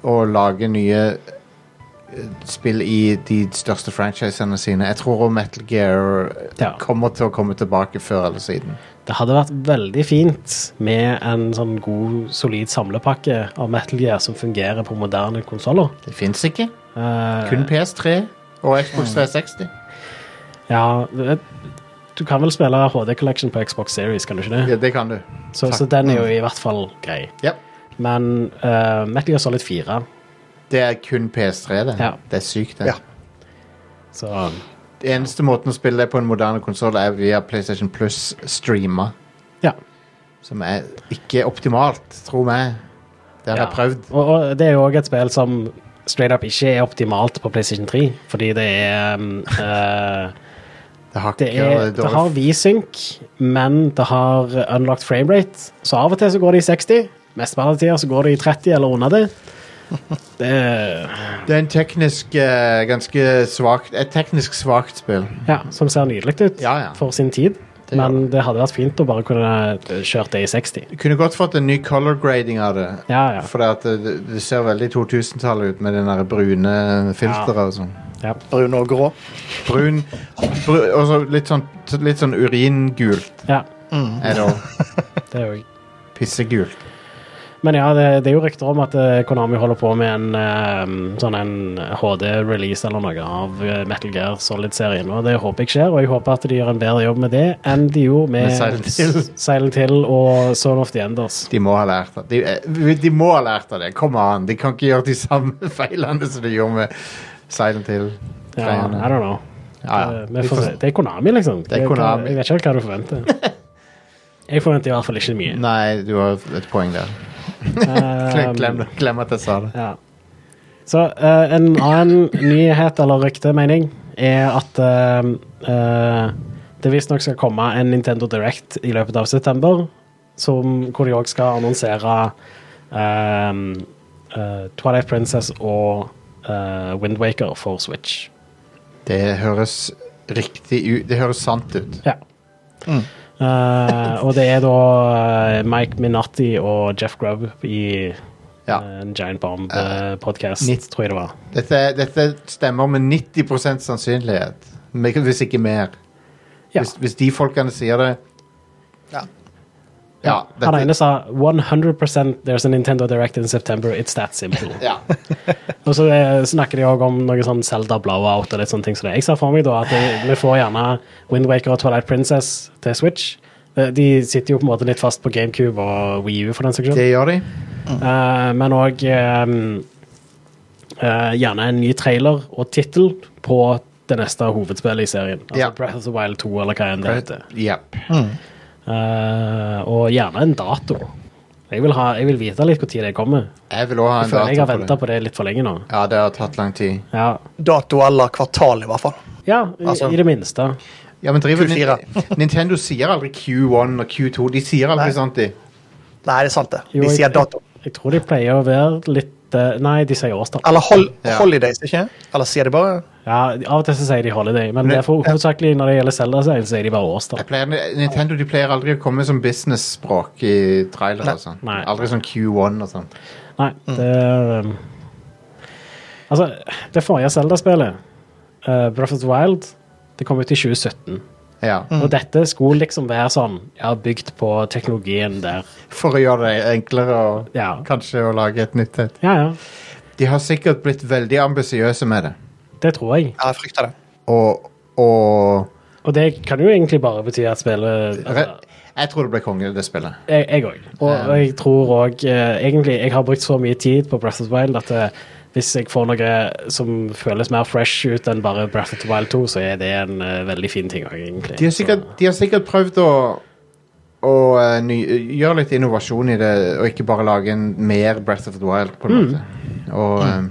Speaker 1: å lage nye eh, spill i de største franchisene sine. Jeg tror også Metal Gear eh,
Speaker 2: Ja.
Speaker 1: kommer til å komme tilbake før eller siden.
Speaker 2: Det hadde vært veldig fint med en sånn god, solid samlepakke av Metal Gear som fungerer på moderne konsoller.
Speaker 1: Det fins ikke.
Speaker 2: Eh,
Speaker 1: Kun PS3 og Xbox 360.
Speaker 2: Ja, det- du kan vel spille HD Collection på Xbox Series, kan du ikke det?
Speaker 1: Ja, det kan du.
Speaker 2: så, så
Speaker 1: takk.
Speaker 2: den er jo i hvert fall grei.
Speaker 1: Ja.
Speaker 2: Men uh, Metal Gear Solid 4,
Speaker 1: Det er kun PS3, det.
Speaker 2: Ja.
Speaker 1: Det er sykt, det.
Speaker 3: Ja.
Speaker 2: så
Speaker 1: Det eneste måten å spille det på en moderne konsoll er via PlayStation Plus streama.
Speaker 2: Ja.
Speaker 1: Som er ikke optimalt, tro meg. Det har
Speaker 2: Ja.
Speaker 1: jeg prøvd.
Speaker 2: Og, og det er jo òg et spill som straight up ikke er optimalt på PlayStation 3, fordi det er um, eh,
Speaker 1: Det hakker
Speaker 2: Det, er,
Speaker 1: og
Speaker 2: det
Speaker 1: dårlig-
Speaker 2: har V-sync, men det har unlocked framerate. Så av og til så går det i 60, mesteparten av tida så går det i 30 eller under det. Det
Speaker 1: Det er en teknisk eh, ganske svakt Et teknisk svakt spill.
Speaker 2: ja, Som ser nydelig ut
Speaker 1: Ja, ja.
Speaker 2: for sin tid.
Speaker 1: Det gjør
Speaker 2: men det hadde vært fint å bare kunne kjørt det i 60.
Speaker 1: Du kunne godt fått en ny color grading av det.
Speaker 2: Ja, ja.
Speaker 1: For det, at det, det ser veldig 2000-tallet ut med den der brune filteret og sånn.
Speaker 3: Brun og grå.
Speaker 1: Brun, bru, og så litt sånn, litt sånn uringult
Speaker 2: ja Mhm.
Speaker 1: er det òg.
Speaker 2: det er jo
Speaker 1: Pissegult.
Speaker 2: Men ja, det, det er jo rykter om at eh, Konami holder på med en eh, sånn en HD-release eller noe av eh, Metal Gear Solid-serien, og det håper jeg skjer, og jeg håper at de gjør en bedre jobb med det enn de gjorde med,
Speaker 1: Med Silent Hill.
Speaker 2: S- Silent Hill og Son of the Enders.
Speaker 1: De må ha lært av de, eh, de må ha lært av det. Kom an. De kan ikke gjøre de samme feilene som de gjorde med Silent
Speaker 2: Ja, I
Speaker 1: Hill-greiene.
Speaker 2: don't know.
Speaker 1: Ja, ja.
Speaker 2: Eh,
Speaker 1: Vi
Speaker 2: vi får
Speaker 1: får
Speaker 2: se. Det er Konami, liksom.
Speaker 1: er
Speaker 2: hva-
Speaker 1: Konami.
Speaker 2: Jeg vet ikke helt hva du forventer. Jeg forventer i hvert fall
Speaker 1: se.
Speaker 2: ikke mye.
Speaker 1: Nei, du har et poeng der. Glem, glem, det. glem at jeg sa det.
Speaker 2: Ja. Så eh, en annen nyhet, eller rykte, mening, er at eh, eh, det visstnok skal komme en Nintendo Direct i løpet av september, som, hvor de òg skal annonsere eh, eh, Twilight Princess og eh, Wind Waker for Switch.
Speaker 1: Det høres riktig ut. Det høres sant ut.
Speaker 2: Ja. Eh, og det er da eh, Mike Minatti og Jeff Grubb i
Speaker 1: Ja.
Speaker 2: eh, en Giant Bomb-podkast,
Speaker 1: nitt-
Speaker 2: tror jeg det var.
Speaker 1: Dette, dette stemmer med 90 sannsynlighet. Men- Hvis ikke mer.
Speaker 2: Ja.
Speaker 1: Hvis, hvis de folkene sier det
Speaker 3: Ja.
Speaker 1: Ja,
Speaker 2: Han ene
Speaker 1: dette,
Speaker 2: sa 100 there's a Nintendo Direct in September, it's that simple.
Speaker 1: ja.
Speaker 2: og så eh, snakker de òg om noe sånn Zelda blowout og litt sånne ting som det. Jeg ser for meg da at eh, vi- vi får gjerne Wind Waker og Twilight Princess til Switch. Eh, De sitter jo på en måte litt fast på GameCube og Wii U for den saks skyld.
Speaker 1: Det gjør de.
Speaker 2: Eh, men òg gjerne en ny trailer og tittel på det neste hovedspillet i serien. Altså
Speaker 1: Ja.
Speaker 2: Breath of the Wild 2 eller hva enn det heter.
Speaker 1: Jepp.
Speaker 2: Eh, og gjerne en dato. Jeg vil, ha, jeg vil vite litt når det kommer.
Speaker 1: Jeg vil òg ha
Speaker 2: Jeg
Speaker 1: en
Speaker 2: føler jeg har
Speaker 1: dato
Speaker 2: venta
Speaker 1: på det.
Speaker 2: på det litt for lenge nå.
Speaker 1: Ja, det har tatt lang tid.
Speaker 2: Ja,
Speaker 3: Dato eller kvartal, i hvert fall.
Speaker 2: ja i,
Speaker 3: Altså-
Speaker 2: i det minste.
Speaker 1: Ja, men driver
Speaker 3: Q4.
Speaker 1: Nintendo sier aldri Q1 og Q2. De sier aldri
Speaker 3: Nei.
Speaker 1: sånt, de.
Speaker 3: Nei, det er sant, det.
Speaker 2: Jo,
Speaker 3: De
Speaker 2: jeg-
Speaker 3: sier dato.
Speaker 2: Jeg tror de pleier å være litt eh, Nei, de sier årstall.
Speaker 3: Eller hol
Speaker 1: Ja.
Speaker 3: holidays, ikke? Eller sier de bare
Speaker 2: Ja, av og til så sier de holiday, men det er for, hovedsakelig når det gjelder Zelda-serien, så sier de bare årstall.
Speaker 1: Jeg pleier, Nintendo de pleier aldri å komme som business-språk i trailere og sånn.
Speaker 2: Nei.
Speaker 1: Aldri sånn Q1 og sånn.
Speaker 2: Nei, det er, um, Altså, det forrige Zelda-spillet, uh, Breath of the Wild, det kom ut i 2017.
Speaker 1: Ja.
Speaker 3: Mm.
Speaker 2: Og dette skulle liksom være sånn Ja, bygd på teknologien der.
Speaker 1: For å gjøre det enklere og
Speaker 2: Ja.
Speaker 1: kanskje å lage et nytt et.
Speaker 2: Ja, ja.
Speaker 1: De har sikkert blitt veldig ambisiøse med det.
Speaker 2: Det tror jeg.
Speaker 3: Ja, jeg frykter det.
Speaker 1: Og, og
Speaker 2: Og det kan jo egentlig bare bety at spillet altså,
Speaker 1: Re- Jeg tror det ble konge, det spillet.
Speaker 2: Jeg òg. Og, og jeg tror òg Egentlig, jeg har brukt så mye tid på Breath of the Wild at eh, hvis jeg får noe som føles mer fresh ut enn bare Breath of the Wild 2, så er det en eh, veldig fin ting òg, egentlig.
Speaker 1: De har sikkert, de har sikkert prøvd å, å eh, ny, gjøre litt innovasjon i det, og ikke bare lage en mer Breath of the Wild, på en måte. Og eh,
Speaker 2: Så,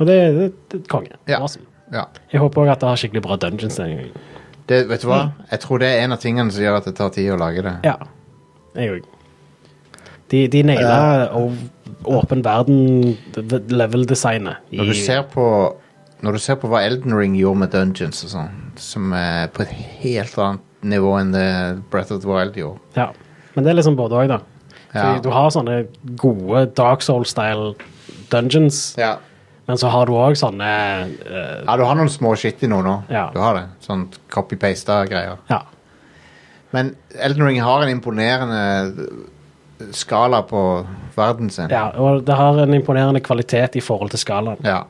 Speaker 2: og det det- det er konge.
Speaker 1: Ja.
Speaker 2: Awesome.
Speaker 1: ja.
Speaker 2: Jeg håper òg at det har skikkelig bra dungeons denne gangen.
Speaker 1: Det, vet du hva? Jeg tror det er en av tingene som gjør at det tar tid å lage det.
Speaker 2: Ja. Jeg òg. De, de
Speaker 1: Eh.
Speaker 2: naila å- åpen verden-level-designet i
Speaker 1: Når du ser på Når du ser på hva Elden Ring gjorde med Dungeons og sånn, som er på et helt annet nivå enn det Breath of the Wild gjorde.
Speaker 2: Ja, men det er liksom både òg, da. Fordi
Speaker 1: Ja.
Speaker 2: Du har sånne gode Dark Soul-style dungeons,
Speaker 1: Ja.
Speaker 2: men så har du òg sånne eh,
Speaker 1: du har noen små skitt i noe nå.
Speaker 2: Ja.
Speaker 1: Du har det. Sånn copy-pasta greier.
Speaker 2: Ja.
Speaker 1: Men Elden Ring har en imponerende skala på verden sin.
Speaker 2: ja. Og det har en imponerende kvalitet i forhold til skalaen.
Speaker 1: Ja.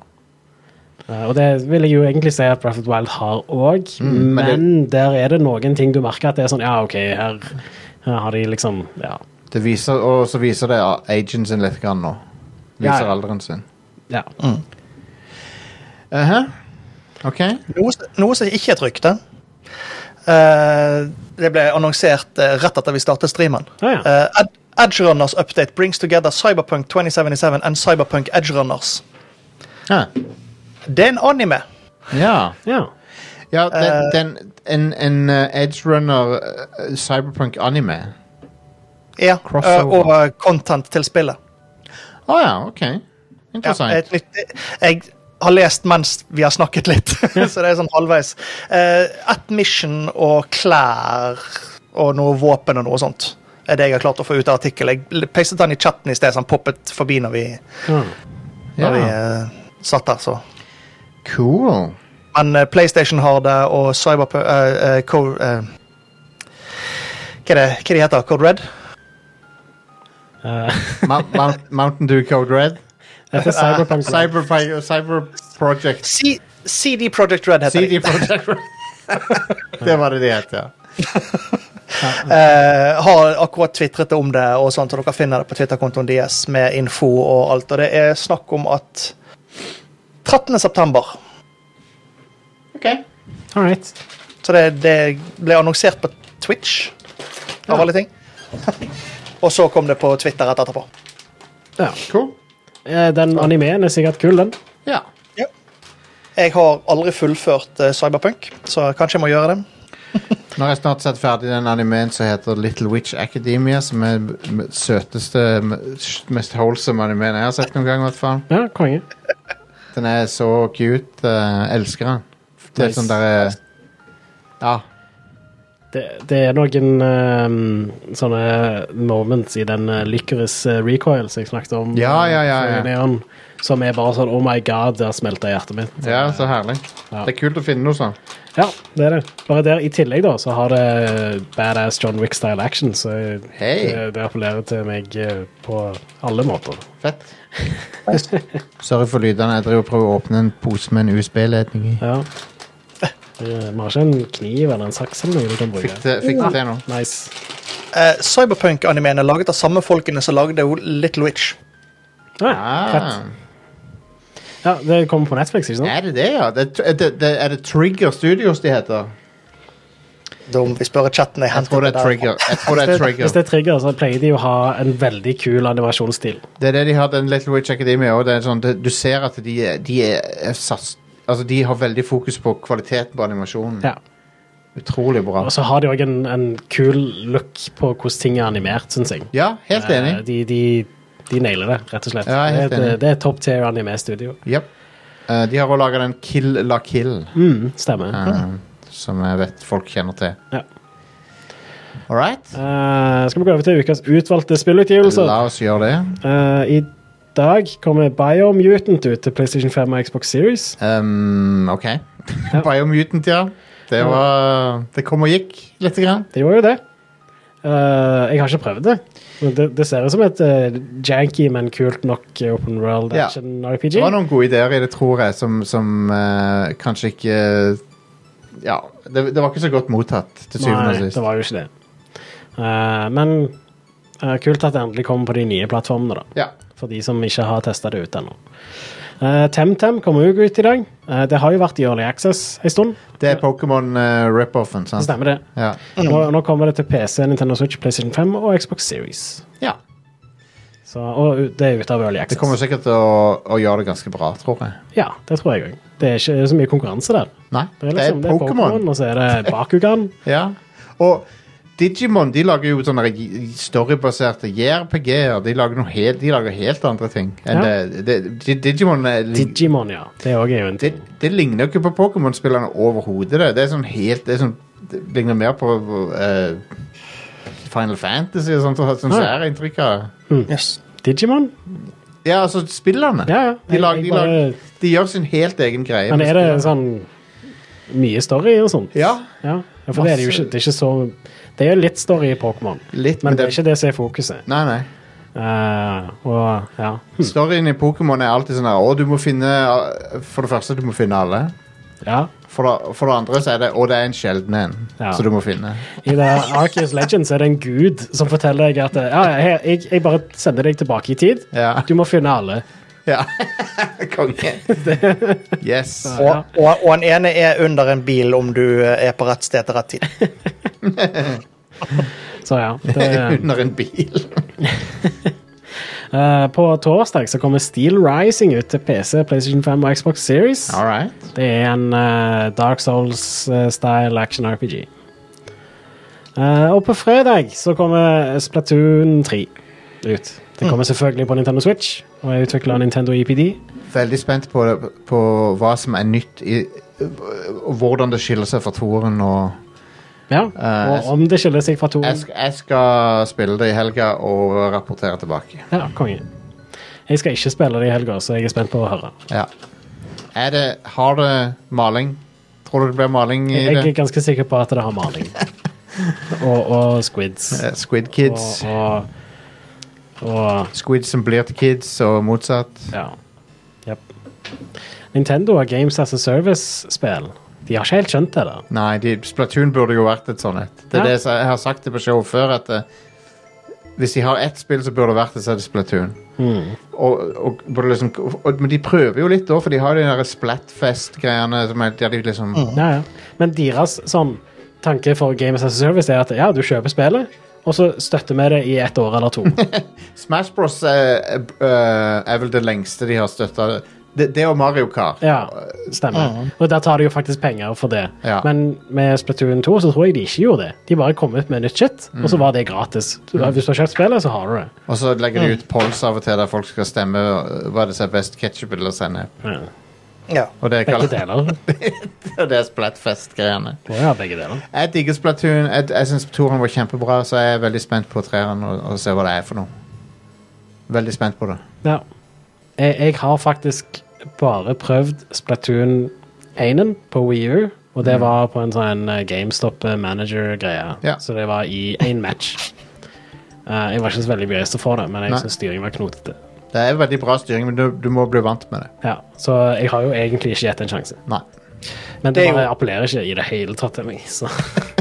Speaker 2: Eh, Og det vil jeg jo egentlig si at Breath of the Wild har òg,
Speaker 1: Mm, men
Speaker 2: men,
Speaker 1: det-
Speaker 2: der er det noen ting du merker at det er sånn Ja, OK, her, her har de liksom Ja.
Speaker 1: Det viser, og så viser det agen sin litt grann nå.
Speaker 2: Ja,
Speaker 1: Viser
Speaker 2: ja.
Speaker 1: alderen sin.
Speaker 2: ja.
Speaker 1: Mm. Aha. OK.
Speaker 3: Noe, s- noe som ikke er et rykte. Eh, det ble annonsert eh, rett etter vi startet streamen.
Speaker 2: Ah, ja.
Speaker 3: Eh, Ed Edge Runners update brings together Cyberpunk 2077 and Cyberpunk Edge Runners.
Speaker 1: Ja.
Speaker 3: Det er en anime.
Speaker 1: ja.
Speaker 2: ja.
Speaker 1: Ja, den, den, en, en eh, Edge Runner eh, Cyberpunk anime.
Speaker 3: Ja,
Speaker 1: Crossover.
Speaker 3: eh, og eh, content til spillet.
Speaker 1: Å ja, OK.
Speaker 3: Ja,
Speaker 1: Interessant.
Speaker 3: et nytt- jeg har lest mens vi har snakket litt, så det er sånn halvveis. Eh, et mission og klær og noe våpen og noe sånt er det jeg har klart å få ut av artikkelen. Jeg l- pastet den i chatten i sted, så han poppet forbi når vi,
Speaker 1: Ja,
Speaker 2: ja.
Speaker 3: når vi eh, satt der. Så.
Speaker 1: Cool.
Speaker 3: Men eh, PlayStation har det, og Cyber... eh, eh, Co- eh, hva, er det, hva er det heter Code Red?
Speaker 2: Eh,
Speaker 1: Mount, Mount, Mountain Dew Code Red.
Speaker 2: dette er Cyberpunk.
Speaker 1: Cyber, cyber Project
Speaker 3: C CD Project Red heter
Speaker 1: CD
Speaker 3: det.
Speaker 1: Project Red. det var det de het, ja.
Speaker 3: Eh, har akkurat tvitret om det, og sånt, og dere finner det på Twitter-kontoen deres med info og alt. Og det er snakk om at 13. september
Speaker 1: OK.
Speaker 2: All right.
Speaker 3: Så det, det ble annonsert på Twitch, av alle ting. og så kom det på Twitter rett etterpå.
Speaker 2: Ja.
Speaker 1: Cool.
Speaker 2: Eh, Den animeen er sikkert kul, den.
Speaker 1: Ja.
Speaker 3: Jeg har aldri fullført eh, Cyberpunk, så kanskje jeg må gjøre det.
Speaker 1: Nå har jeg snart sett ferdig den animeen som heter Little Witch Academia, som er m- m- søteste, m- mest wholesome animeen jeg har sett noen gang. i hvert fall.
Speaker 2: Ja, konge.
Speaker 1: Den er så cute. eh, elsker den. Det er
Speaker 2: Nice.
Speaker 1: sånn derre Ja.
Speaker 2: Det, det er noen ehm, sånne moments i den uh, Lycoris eh, recoil som jeg snakket om.
Speaker 1: Ja, ja, ja,
Speaker 2: eh,
Speaker 1: ja.
Speaker 2: Neon, som er bare sånn Oh my god, der smelta hjertet mitt.
Speaker 1: ja, så herlig.
Speaker 2: Ja.
Speaker 1: Det er kult å finne noe sånn. sånt.
Speaker 2: Ja, det er det. Bare der i tillegg da, så har det eh, badass John Wick-style action, så
Speaker 1: Hei.
Speaker 2: det, det appellerer til meg eh, på alle måter.
Speaker 1: Fett. Sorry for lydene. Jeg driver og prøver å åpne en pose med en USB-ledning i.
Speaker 2: Ja. Eh, Vi har ikke en kniv eller en saks eller noe du kan
Speaker 1: Fikk
Speaker 2: bruke.
Speaker 1: det, fikk det til nå.
Speaker 2: Nice.
Speaker 3: Eh, Cyberpunk-animeen er laget av samme folkene som lagde Little Witch.
Speaker 2: Ja, fett.
Speaker 1: Ah,
Speaker 2: Ja, det kommer på Netflix, ikke sant?
Speaker 1: er det det, ja? Det, er- det, det, er det Trigger Studios de heter?
Speaker 3: Da må vi spørre chatten. Jeg
Speaker 1: Jeg tror det er Trigger. Jeg tror det er Trigger.
Speaker 2: Hvis det er trigger, så pleier de å ha en veldig kul animasjonsstil.
Speaker 1: Det er det de har, den Little Witch Academia. Og det er sånn, det, du ser at de, er- de er, er sats, Altså, de har veldig fokus på kvaliteten på animasjonen.
Speaker 2: Ja.
Speaker 1: Utrolig bra.
Speaker 2: Og så har de òg en, en kul look på hvordan ting er animert, syns jeg.
Speaker 1: Ja, helt
Speaker 2: Eh,
Speaker 1: enig.
Speaker 2: De, de, de nailer det, rett og slett.
Speaker 1: Ja, jeg er helt
Speaker 2: det, er
Speaker 1: enig.
Speaker 2: et- det er top tier anime-studio.
Speaker 1: Jep. Eh, de har også laga den Kill La Kill,
Speaker 2: Mm, stemmer.
Speaker 1: eh, som jeg vet folk kjenner til.
Speaker 2: Ja.
Speaker 1: All right?
Speaker 2: Eh, skal vi gå over til ukas utvalgte spillutgivelser?
Speaker 1: La oss gjøre det.
Speaker 2: Eh, I dag kommer Biomutant ut til PlayStation 5 og Xbox Series.
Speaker 1: Um, OK. Biomutant, ja. Det var Det kom og gikk lite grann.
Speaker 2: Det gjorde jo det. Eh, jeg har ikke prøvd det. Men det, det ser ut som et eh, janky, men kult nok open world
Speaker 1: Ja.
Speaker 2: action RPG.
Speaker 1: Det var noen gode ideer i det, tror jeg, som, som eh, kanskje ikke Ja, det, det var ikke så godt mottatt, til syvende og
Speaker 2: Nei,
Speaker 1: sist.
Speaker 2: det var jo ikke det. Eh, men eh, kult at det endelig kommer på de nye plattformene, da.
Speaker 1: Ja.
Speaker 2: For de som ikke har testa det ut ennå. Eh, TemTem kommer jo ut i dag. Eh, det har jo vært i Early Access en stund.
Speaker 1: Det er Pokémon eh, rip-offen, sant?
Speaker 2: Stemmer det.
Speaker 1: Ja. Mm.
Speaker 2: Nå, nå kommer det til PC, Nintendo Switch, PlayStation 5 og Xbox Series.
Speaker 1: ja.
Speaker 2: Så, og u- det er ute av Early Access.
Speaker 1: Det kommer sikkert til å, å gjøre det ganske bra, tror jeg.
Speaker 2: Ja, det tror jeg òg. Det er ikke så mye konkurranse der.
Speaker 1: Nei,
Speaker 2: Det er,
Speaker 1: det
Speaker 2: liksom,
Speaker 1: er Pokémon.
Speaker 2: og så er det Bakugan.
Speaker 1: Ja. Og Digimon de lager jo sånne j- storybaserte JRPG-er. De, lager noe helt- de lager helt andre ting. Enn det, det, Di- Digimon er,
Speaker 2: Digimon, ja. Det òg er jo en
Speaker 1: det,
Speaker 2: ting.
Speaker 1: det ligner jo ikke på Pokémon-spillerne overhodet. Det. det er sånn helt Det, er sånn, det ligner mer på eh, Final Fantasy og sånt, og sånn som
Speaker 2: Ah,
Speaker 1: jeg
Speaker 2: ja.
Speaker 1: har inntrykk av.
Speaker 3: Yes.
Speaker 2: Digimon?
Speaker 1: Ja, altså spillerne.
Speaker 2: Ja, ja.
Speaker 1: De, lag,
Speaker 2: Jeg-
Speaker 1: de,
Speaker 2: jeg bare-
Speaker 1: lag, de gjør sin helt egen greie.
Speaker 2: Men
Speaker 1: med
Speaker 2: er det
Speaker 1: spillerne.
Speaker 2: sånn mye story og sånt?
Speaker 1: Ja,
Speaker 2: Ja, ja, for det er det jo
Speaker 1: Masse.
Speaker 2: ikke. Det er, ikke så, det er jo litt story i Pokémon,
Speaker 1: litt,
Speaker 2: men det er ikke Hm. det som er fokuset.
Speaker 1: Nei, nei.
Speaker 2: Eh, og ja.
Speaker 1: Storyen i Pokémon er alltid sånn her Å, du må finne For det første, du må finne alle.
Speaker 2: ja.
Speaker 1: For det, for det andre så er det Å, det er en sjelden en
Speaker 2: Ja.
Speaker 1: som du må finne.
Speaker 2: I det Arceus Legends er det en gud som forteller deg at ja, jeg, jeg, jeg bare sender deg tilbake i tid.
Speaker 1: Ja.
Speaker 2: Du må finne alle.
Speaker 1: ja. Konge. Yes.
Speaker 3: Og, og, og den ene er under en bil om du eh, er på rett sted til rett tid.
Speaker 2: Så ja. Det,
Speaker 1: Under en bil.
Speaker 2: eh, på torsdag så kommer Steel Rising ut til PC, PlayStation 5 og Xbox Series.
Speaker 1: All right.
Speaker 2: Det er en eh, Dark Souls-style action RPG. Eh, og på fredag så kommer Splatoon 3 ut. Det
Speaker 1: Mm.
Speaker 2: kommer selvfølgelig på Nintendo Switch og er utvikla av Nintendo E EPD.
Speaker 1: Veldig spent på, på hva som er nytt i og Hvordan det skiller seg fra toeren og
Speaker 2: Ja,
Speaker 1: Eh,
Speaker 2: og om det skiller seg fra to
Speaker 1: jeg, sk- jeg skal spille det i helga og rapportere tilbake.
Speaker 2: Ja, konge. Jeg skal ikke spille det i helga, så jeg er spent på å høre.
Speaker 1: Ja. Er det Har det maling? Tror du det blir maling i
Speaker 2: Jeg er
Speaker 1: det?
Speaker 2: ganske sikker på at det har maling. Og, og squids.
Speaker 1: Eh, Squid
Speaker 2: Og,
Speaker 1: Kids.
Speaker 2: og, og
Speaker 1: Squid som blir til kids, og motsatt.
Speaker 2: Ja. Jep. Nintendo har Games as a Service-spill. De har ikke helt skjønt det der.
Speaker 1: Nei, de, Splatoon burde jo vært et sånt et. Det
Speaker 2: Ja.
Speaker 1: er det som jeg har sagt det på show før, at eh, hvis de har ett spill som burde det vært det, så er det Splatoon. Og, og, burde liksom, og, men de prøver jo litt da, for de har de der Splatfest-greiene som er, der de liksom
Speaker 2: Ja, ja. Men deres sånn, tanke for Games as a Service er at ja, du kjøper spillet, og så støtter vi det i ett år eller to.
Speaker 1: Smash Bros er, er- er vel det lengste de har støtta. Det, det og Mario Kart.
Speaker 2: Ja, stemmer. Og der tar de jo faktisk penger for det.
Speaker 1: Ja.
Speaker 2: Men med Splatoon 2 så tror jeg de ikke gjorde det. De bare kom ut med nytt shit, og så var det gratis. Du- Hvis du har kjøpt spillet, så har du det.
Speaker 1: Og så legger de ut polls av og til der folk skal stemme øh, hva det som er best ketsjup eller sennep.
Speaker 2: Ja.
Speaker 3: Ja.
Speaker 1: Og det er,
Speaker 2: Begge
Speaker 1: kall-
Speaker 2: deler.
Speaker 1: og det er Splatfest-greiene.
Speaker 2: Må jo ha begge deler.
Speaker 1: Jeg digger Splatoon. Jeg, jeg syns toeren var kjempebra, så jeg er veldig spent på treeren og, og se hva det er for noe. Veldig spent på det.
Speaker 2: Ja. Jeg, jeg har faktisk bare prøvd Splatoon 1 på Wii U, og det var på en sånn eh, GameStop eh, manager-greie.
Speaker 1: Mm. Ja.
Speaker 2: Så det var i én match. Eh, jeg var ikke så veldig begeistra for det, men jeg
Speaker 1: Nei.
Speaker 2: syns styringen var knotete.
Speaker 1: Det er veldig bra styring, men du, du må bli vant med det.
Speaker 2: Ja, så jeg har jo egentlig ikke gitt en sjanse.
Speaker 1: Nei.
Speaker 2: Men det,
Speaker 3: Det er
Speaker 2: bare
Speaker 3: jo-
Speaker 2: appellerer ikke i det hele tatt til meg. Så.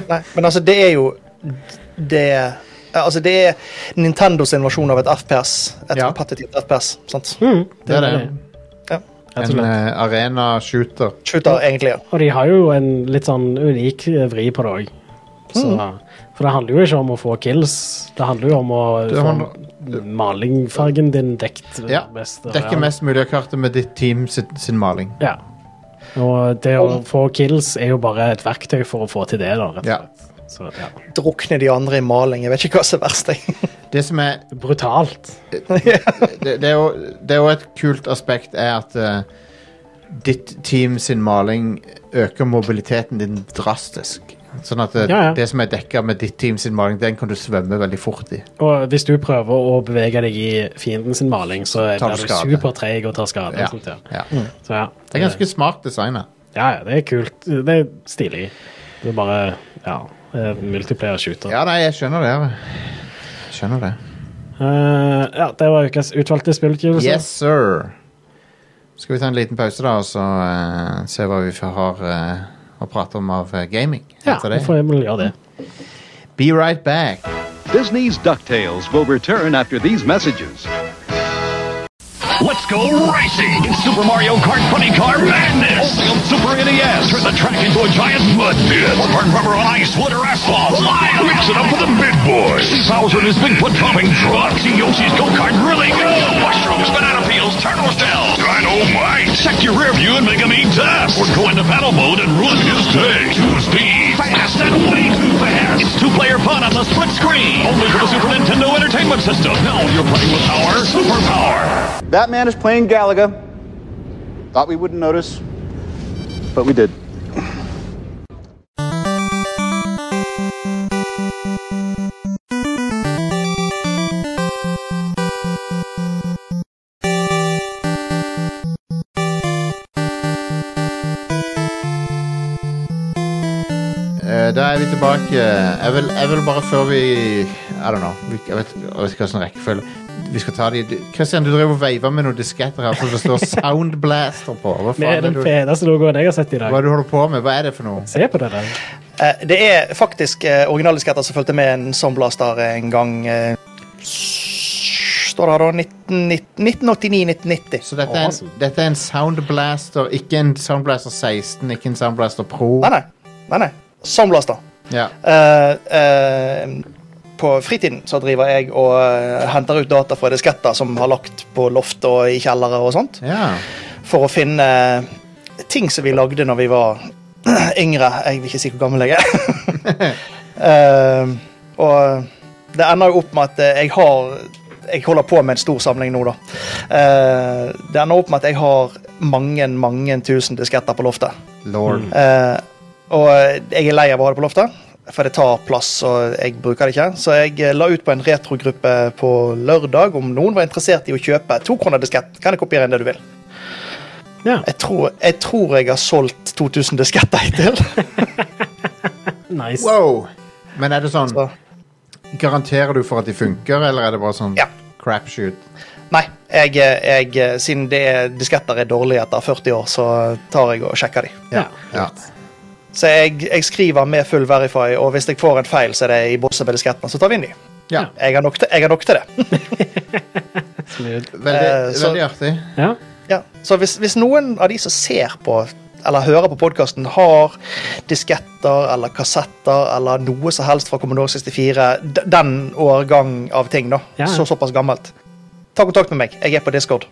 Speaker 3: Nei, men altså, det er jo det ja, Altså, det er Nintendos invasjon av et FPS. Et
Speaker 1: Ja. Mm.
Speaker 3: kompetitivt FPS. sant?
Speaker 1: Det er det.
Speaker 3: Ja.
Speaker 2: Rett og
Speaker 1: En
Speaker 2: slett.
Speaker 1: eh, arena-shooter.
Speaker 3: Shooter, egentlig. ja.
Speaker 2: Og de har jo en litt sånn unik eh, vri på det òg.
Speaker 1: Mm.
Speaker 2: For det handler jo ikke om å få kills, det handler jo om å
Speaker 1: Det handler-
Speaker 2: få malingfargen din dekt eh,
Speaker 1: Ja.
Speaker 2: best.
Speaker 1: Dekker mest mulig av kartet med ditt team sin, sin maling.
Speaker 2: Ja. Og det å få kills er jo bare et verktøy for å få til det, da, rett og
Speaker 1: Ja.
Speaker 2: slett. Så, ja.
Speaker 3: Drukne de andre i maling. Jeg vet ikke hva som er verst. jeg.
Speaker 1: Det som er
Speaker 2: Brutalt.
Speaker 1: det, det, er jo, det er jo et kult aspekt er at eh, ditt team sin maling øker mobiliteten din drastisk. Sånn at det,
Speaker 2: Ja, ja.
Speaker 1: det som er dekka med ditt team sin maling, den kan du svømme veldig fort i.
Speaker 2: Og hvis du prøver å bevege deg i fienden sin maling, så
Speaker 1: Tar du
Speaker 2: blir du
Speaker 1: skade.
Speaker 2: supertreig og tar skade.
Speaker 1: Ja.
Speaker 2: og sånt, ja.
Speaker 1: Ja.
Speaker 2: Så, ja.
Speaker 1: Det er ganske smart designa.
Speaker 2: Ja, ja, det er kult. Det er stilig. Det er bare ja, eh, multiplayer shooter. Ja.
Speaker 1: Ja, nei, jeg skjønner det. Jeg skjønner det.
Speaker 2: Eh, ja, det var ukas utvalgte spillutgivelse.
Speaker 1: Yes, sir. Skal vi ta en liten pause, da, og så eh, se hva vi har eh, å prate om av eh, gaming?
Speaker 2: ja,
Speaker 1: etter
Speaker 2: vi
Speaker 1: det?
Speaker 2: får vel gjøre det.
Speaker 1: Be right back.
Speaker 6: Disney's DuckTales will return after these messages.
Speaker 7: Let's go racing! It's Super Mario Kart Funny Car Madness!
Speaker 6: Only on Super
Speaker 7: E Turn
Speaker 6: NES.
Speaker 7: the track into a giant mud pit! Or burn rubber on ice, wood, or asphalt! Live! Mix it up for the big boys! See Bowser and his Bigfoot pumping truck! See Yoshi's go-kart really go! Mushrooms, banana peels, turtle shells! Dynamite! Check your rear view and make him eat dust! Or go into battle mode and ruin his day! Too speed! Fast and way too fast! It's two-player fun on the split screen! Only for the Super Nintendo Entertainment System! Now you're playing with our superpower!
Speaker 8: That man is playing Galaga. Thought we wouldn't notice, but we did.
Speaker 1: Eh, da er vi tilbake. Jeg vil, jeg vil bare før vi I don't know. vi- Jeg vet, jeg vet ikke hvilken rekkefølge. Vi skal ta de du- Christian, du driver og veiver med noen disketter her som det står Soundblaster på. Hva
Speaker 2: Det er
Speaker 1: faen er
Speaker 2: den
Speaker 1: du,
Speaker 2: fedeste logoen jeg har sett i dag.
Speaker 1: hva er det du holder på med? Hva er det for noe?
Speaker 2: Se på det der.
Speaker 3: Eh, Det er faktisk eh, originale disketter som fulgte med en Soundblaster en gang eh, s- Står det her da? 1989-1990.
Speaker 1: Så dette er, en,
Speaker 2: Awesome.
Speaker 1: dette er en Soundblaster, ikke en Soundblaster 16, ikke en Soundblaster Pro.
Speaker 3: Nei, nei. nei, nei. Soundblaster.
Speaker 1: Ja.
Speaker 3: Eh, eh, på fritiden så driver jeg og eh, henter ut data fra disketter som har lagt på loft og i kjellere og sånt,
Speaker 1: ja.
Speaker 3: for å finne ting som vi lagde når vi var yngre. Jeg vil ikke si hvor gammel jeg er. Eh, og det ender jo opp med at eh, jeg har Jeg holder på med en stor samling nå, da. Eh, det ender opp med at jeg har mange, mange tusen disketter på loftet.
Speaker 1: Lord.
Speaker 3: Eh, og jeg er lei av å ha det på loftet, for det tar plass, og jeg bruker det ikke. Så jeg eh, la ut på en retrogruppe på lørdag om noen var interessert i å kjøpe to kroner diskett. Kan jeg kopiere inn det du vil?
Speaker 2: Ja.
Speaker 3: Jeg tror jeg, tror jeg har solgt 2000 disketter hittil.
Speaker 2: Nice.
Speaker 1: Wow! Men er det sånn
Speaker 3: Så,
Speaker 1: Garanterer du for at de funker, eller er det bare sånn
Speaker 3: Ja.
Speaker 1: crapshoot?
Speaker 3: Nei, jeg, eh, jeg, siden det er, disketter er dårlige etter 40 år, så tar jeg og sjekker de.
Speaker 2: Ja.
Speaker 1: Ja.
Speaker 3: Så jeg, jeg skriver med full verify, og hvis jeg får en feil, så er det i bosset med diskettene, så tar vi en ny.
Speaker 1: ja.
Speaker 3: Jeg har nok til, jeg har nok til det.
Speaker 2: Smooth.
Speaker 1: Veldig,
Speaker 3: Eh, så-
Speaker 1: veldig artig.
Speaker 2: Ja.
Speaker 3: Ja, så hvis, hvis noen av de som ser på eller hører på podkasten, har disketter eller kassetter eller noe som helst fra Commodore 64, d- den årgang av ting, da,
Speaker 2: Ja.
Speaker 3: så såpass gammelt, ta kontakt med meg. Jeg er på Discord.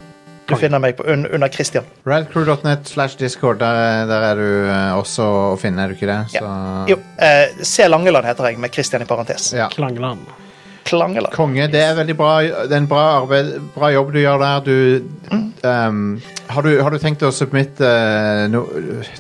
Speaker 3: Du
Speaker 2: Konge.
Speaker 3: finner meg på un under Christian.
Speaker 1: Radcrew.net slash discord, der, der er du eh, også å finne, er du ikke det? Så,
Speaker 3: Jo, eh, C. Langeland heter jeg, med Christian i parentes.
Speaker 1: Ja.
Speaker 2: Klangland.
Speaker 3: Klangeland.
Speaker 1: Konge, det er veldig bra. Det er en bra, arbeid, bra jobb du gjør der. Du, ehm, har, du har du tenkt å submitte eh, no,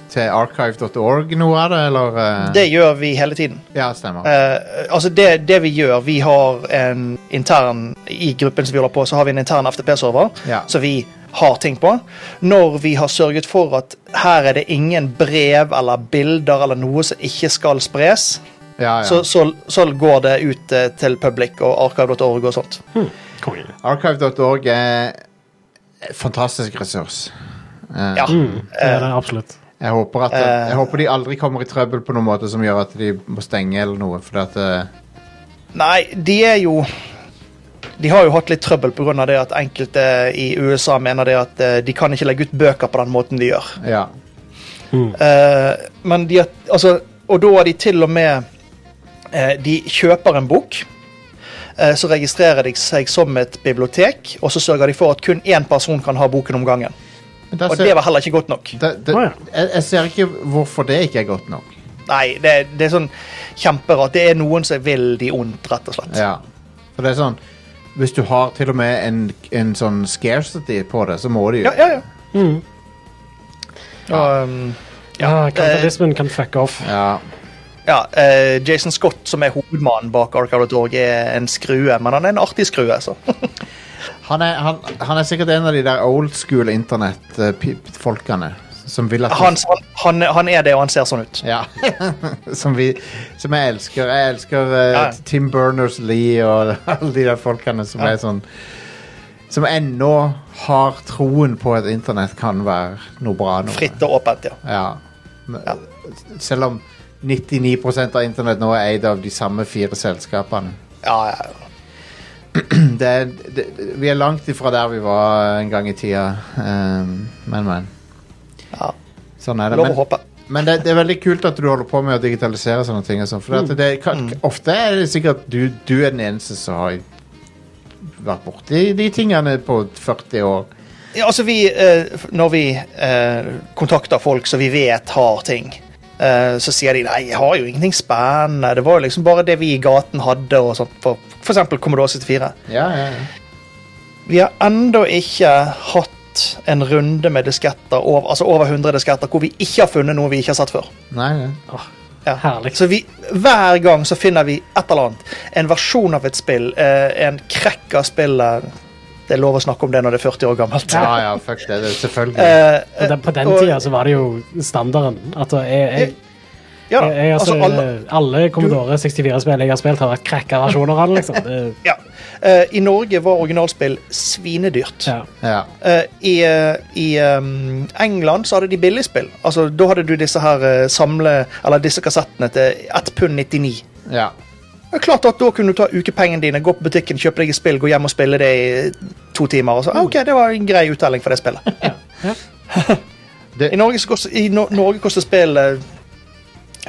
Speaker 1: til archive.org noe av det, eller? eh?
Speaker 3: Det gjør vi hele tiden.
Speaker 1: Ja, stemmer.
Speaker 3: Eh, altså det, det vi gjør, vi har en intern I gruppen som vi holder på, så har vi en intern FTP-server
Speaker 1: Ja.
Speaker 3: som vi har ting på. Når vi har sørget for at her er det ingen brev eller bilder eller noe som ikke skal spres,
Speaker 1: ja, ja.
Speaker 3: så, så, så går det ut eh, til public og archive.org og sånt.
Speaker 2: Konge.
Speaker 1: Archive.org er en fantastisk ressurs. Eh,
Speaker 3: Ja.
Speaker 2: Det er det absolutt.
Speaker 1: Jeg håper, at,
Speaker 3: Eh.
Speaker 1: jeg håper de aldri kommer i trøbbel på noen måte som gjør at de må stenge eller noe. Fordi at, eh,
Speaker 3: Nei, de er jo De har jo hatt litt trøbbel pga. det at enkelte i USA mener det at eh, de kan ikke legge ut bøker på den måten de gjør.
Speaker 1: ja.
Speaker 3: Eh, men de, har- altså, og da er de til og med eh, De kjøper en bok, eh, så registrerer de seg som et bibliotek, og så sørger de for at kun én person kan ha boken om gangen.
Speaker 1: Men der
Speaker 3: Og
Speaker 1: ser-
Speaker 3: det var heller ikke godt nok.
Speaker 1: da- da-
Speaker 2: Å, ja.
Speaker 1: jeg, jeg ser ikke hvorfor det ikke er godt nok.
Speaker 3: Nei, det, det er sånn kjemperart. Det er noen som vil de ondt, rett og slett.
Speaker 1: Ja. For det er sånn Hvis du har til og med en, en sånn scarcity på det, så må du jo
Speaker 3: Ja, ja, ja. Og, um,
Speaker 2: Ja, kapitalismen kan fuck off.
Speaker 1: Ja.
Speaker 3: ja, eh, Jason Scott, som er hovedmannen bak Arcade.org, er en skrue, men han er en artig skrue. altså.
Speaker 1: Han, er, han, han er sikkert en av de der old school internettfolkene som vil at
Speaker 3: Han, han, han, han er det, og han ser sånn ut.
Speaker 1: Ja. som, vi, som jeg elsker. Jeg elsker eh,
Speaker 3: Ja.
Speaker 1: Tim Berners-Lee og alle de der folkene som er sånn Som ennå har troen på at internett kan være noe bra. Noe.
Speaker 3: Fritt og åpent, ja.
Speaker 1: Ja. Men-
Speaker 3: Ja.
Speaker 1: Selv om 99 av internett nå er eid av de samme fire selskapene.
Speaker 3: ja, ja. Mm.
Speaker 1: Det, er- det, vi er langt ifra der vi var en gang i tida. Um, men, men.
Speaker 3: Ja.
Speaker 1: Sånn er det.
Speaker 3: Lov å
Speaker 1: Men-
Speaker 3: håpe.
Speaker 1: Men det, det er veldig kult at du holder på med å digitalisere sånne ting. Og sånn, for
Speaker 3: Mm.
Speaker 1: at det, kan, ofte er det sikkert du, du er den eneste som har vært borti de tingene på 40 år.
Speaker 3: Ja, altså vi, eh, f- når vi eh, kontakter folk som vi vet har ting, eh, så sier de nei, jeg har jo ingenting spennende. Det var jo liksom bare det vi i gaten hadde, og sånt, for, for eksempel Commodore 74.
Speaker 1: Ja, ja, ja.
Speaker 3: Vi har ennå ikke hatt en runde med disketter, over, altså over 100 disketter, hvor vi ikke har funnet noe vi ikke har sett før.
Speaker 1: Nei, nei.
Speaker 3: Ja.
Speaker 2: Herlig.
Speaker 3: Så vi, hver gang så finner vi et eller annet. En versjon av et spill, eh, en krekk av spillet. Det er lov å snakke om det når det er 40 år gammelt.
Speaker 1: ja, ja fuck det. det er selvfølgelig.
Speaker 3: Eh,
Speaker 2: Og den, på den
Speaker 3: og-
Speaker 2: tida så var det jo standarden. At jeg, jeg,
Speaker 3: Ja da.
Speaker 2: Jeg, jeg, altså,
Speaker 3: Altså, alle-
Speaker 2: alle Commodore 64-spill jeg har spilt, har vært cracka versjoner av den. Liksom. Det,
Speaker 3: Ja. Eh, I Norge var originalspill svinedyrt.
Speaker 2: ja.
Speaker 1: Ja.
Speaker 3: Eh, I, eh, i ehm, England så hadde de billigspill. Altså, da hadde du disse her eh, samle, eller disse kassettene til 1 pund 99.
Speaker 1: ja.
Speaker 3: Det er klart at Da kunne du ta ukepengene dine, gå på butikken, kjøpe deg et spill, gå hjem og spille det i to timer. Og så, ah, ok,
Speaker 2: Mm.
Speaker 3: Det var en grei uttelling for det spillet. I Norge, så koster, i no Norge koster spill eh,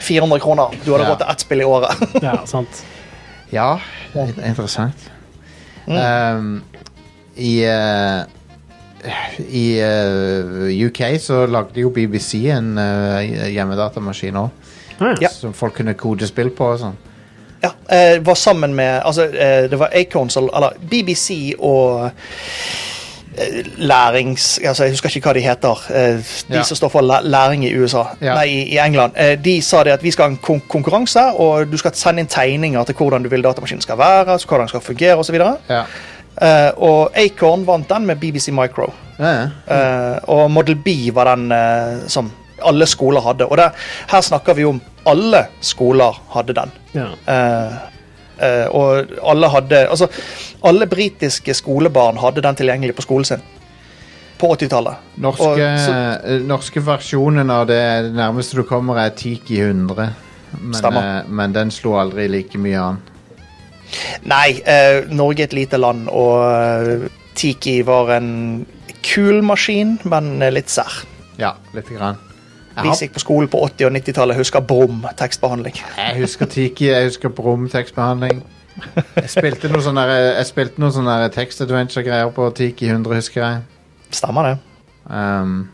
Speaker 3: 400 kroner. Du hadde
Speaker 1: Ja.
Speaker 3: råd til ett spill i året.
Speaker 2: ja, sant.
Speaker 1: Ja, det er interessant.
Speaker 3: Mm.
Speaker 1: Um, I eh, i eh, UK så lagde jo BBC en eh, hjemmedatamaskin òg,
Speaker 2: Ah,
Speaker 3: Ja.
Speaker 2: ja.
Speaker 1: som folk kunne kode spill på og sånn.
Speaker 3: ja, eh, var sammen med altså, eh, Det var Aconsol, eller BBC og eh, Lærings... Altså, jeg husker ikke hva de heter. Eh, de
Speaker 1: Ja.
Speaker 3: som står for læ- læring i USA.
Speaker 1: Ja.
Speaker 3: Nei, i, i England. Eh, de sa det at vi skal ha en kon konkurranse, og du skal sende inn tegninger til hvordan du vil datamaskinen skal være, så hvordan den skal fungere osv.
Speaker 1: Ja.
Speaker 3: Eh, og Acorn vant den med BBC Micro.
Speaker 1: Ja, ja.
Speaker 3: Eh, og Model B var den eh, som alle skoler hadde. Og det, her snakker vi om alle skoler hadde den.
Speaker 2: Ja.
Speaker 3: Eh, eh, og alle hadde Altså, alle britiske skolebarn hadde den tilgjengelig på skolen sin. På 80-tallet.
Speaker 1: Norske,
Speaker 3: Og så-
Speaker 1: eh, norske versjonen av det det nærmeste du kommer, er Tiki 100. Men,
Speaker 3: Stemmer.
Speaker 1: eh, men den slo aldri like mye an.
Speaker 3: Nei, eh, Norge er et lite land, og eh, Tiki var en kul maskin, men eh, litt sær.
Speaker 1: Ja, lite grann. Jeg,
Speaker 3: Vi som
Speaker 1: har,
Speaker 3: gikk på skolen på 80- og 90-tallet, husker brum tekstbehandling.
Speaker 1: jeg husker Tiki, jeg husker Brum-tekstbehandling. Jeg spilte noe sånn der- jeg spilte noen sånne tekst-adventure-greier på Tiki 100, husker jeg.
Speaker 3: Stemmer det?
Speaker 1: Um,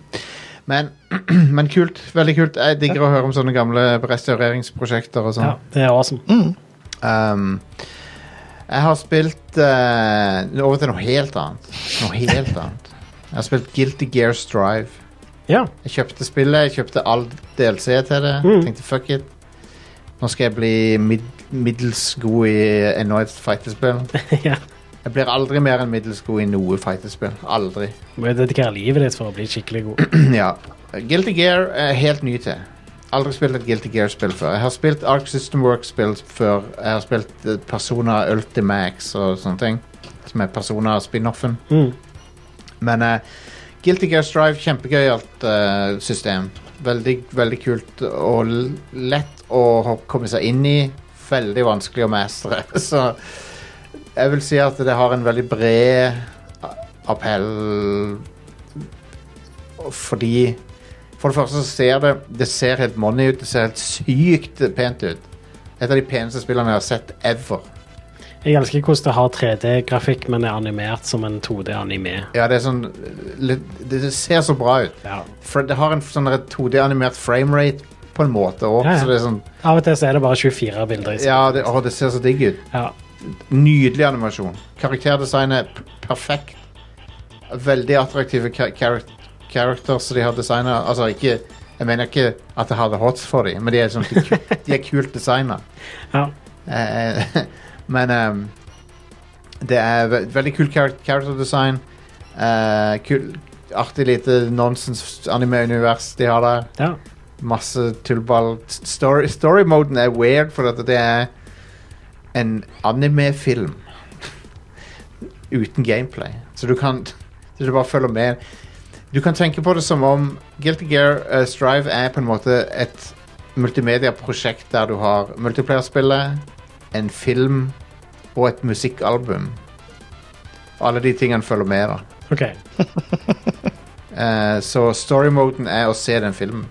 Speaker 1: men, men kult. Veldig kult. Jeg digger å høre om sånne gamle restaureringsprosjekter og sånn.
Speaker 2: ja, det er awesome.
Speaker 1: Um, jeg har spilt eh, Over til noe helt annet. Noe helt annet. Jeg har spilt Guilty Gear Strive.
Speaker 2: Ja.
Speaker 1: Jeg kjøpte spillet, jeg kjøpte all DLC til det. Tenkte fuck it. Nå skal jeg bli mid middels god i Annoyed fighterspill.
Speaker 2: ja.
Speaker 1: Jeg blir aldri mer enn middels god i noe fighterspill. Aldri.
Speaker 2: Du må jo dedikere livet ditt for å bli skikkelig god.
Speaker 1: ja. Guilty Gear er helt ny til. Aldri spilt et Guilty Gear-spill før. Jeg har spilt Ark System Works-spill før. Jeg har spilt eh, Persona Ultimax og sånne ting. Som er Persona-spin-offen.
Speaker 2: Mm.
Speaker 1: Men eh, Guilty Gear Strive, kjempegøyalt uh, system. Veldig, veldig kult og l- lett å ho- komme seg inn i. Veldig vanskelig å mestre. Så jeg vil si at det har en veldig bred a- appell fordi For det første så ser det Det ser helt money ut. Det ser helt sykt pent ut. Et av de peneste spillene jeg har sett ever.
Speaker 2: Jeg elsker hvordan det har 3D-grafikk, men er animert som en 2D-anime.
Speaker 1: Ja, det er sånn litt- Det det ser så bra ut.
Speaker 2: Ja.
Speaker 1: For det har en sånn 2D-animert framerate på en måte òg.
Speaker 2: Ja, ja.
Speaker 1: Så det er sånn
Speaker 2: Av og til så er det bare 24 bilder i seg.
Speaker 1: Ja, det, å, det ser så digg ut.
Speaker 2: Ja.
Speaker 1: Nydelig animasjon. Karakterdesignet er p- perfekt. Veldig attraktive ka- charac- characters de har designa. Altså, ikke Jeg mener ikke at jeg hadde hots for dem, men de er, sånn, de, er ku- de er kult designa.
Speaker 2: Ja.
Speaker 1: Eh, men ehm, det er ve veldig kul char character design. Eh, kul, artig lite nonsens-anime-univers de har der.
Speaker 2: ja.
Speaker 1: Masse tullball. S- Story, story-moden er weird, for at det er en anime-film uten gameplay. Så du kan så du bare følger med. Du kan tenke på det som om Guilty Gear eh, Strive er på en måte et multimedia-prosjekt der du har multiplayer-spillet, en film og et musikkalbum. Alle de tingene følger med, da.
Speaker 2: OK.
Speaker 1: Eh, så story-moden er å se den filmen.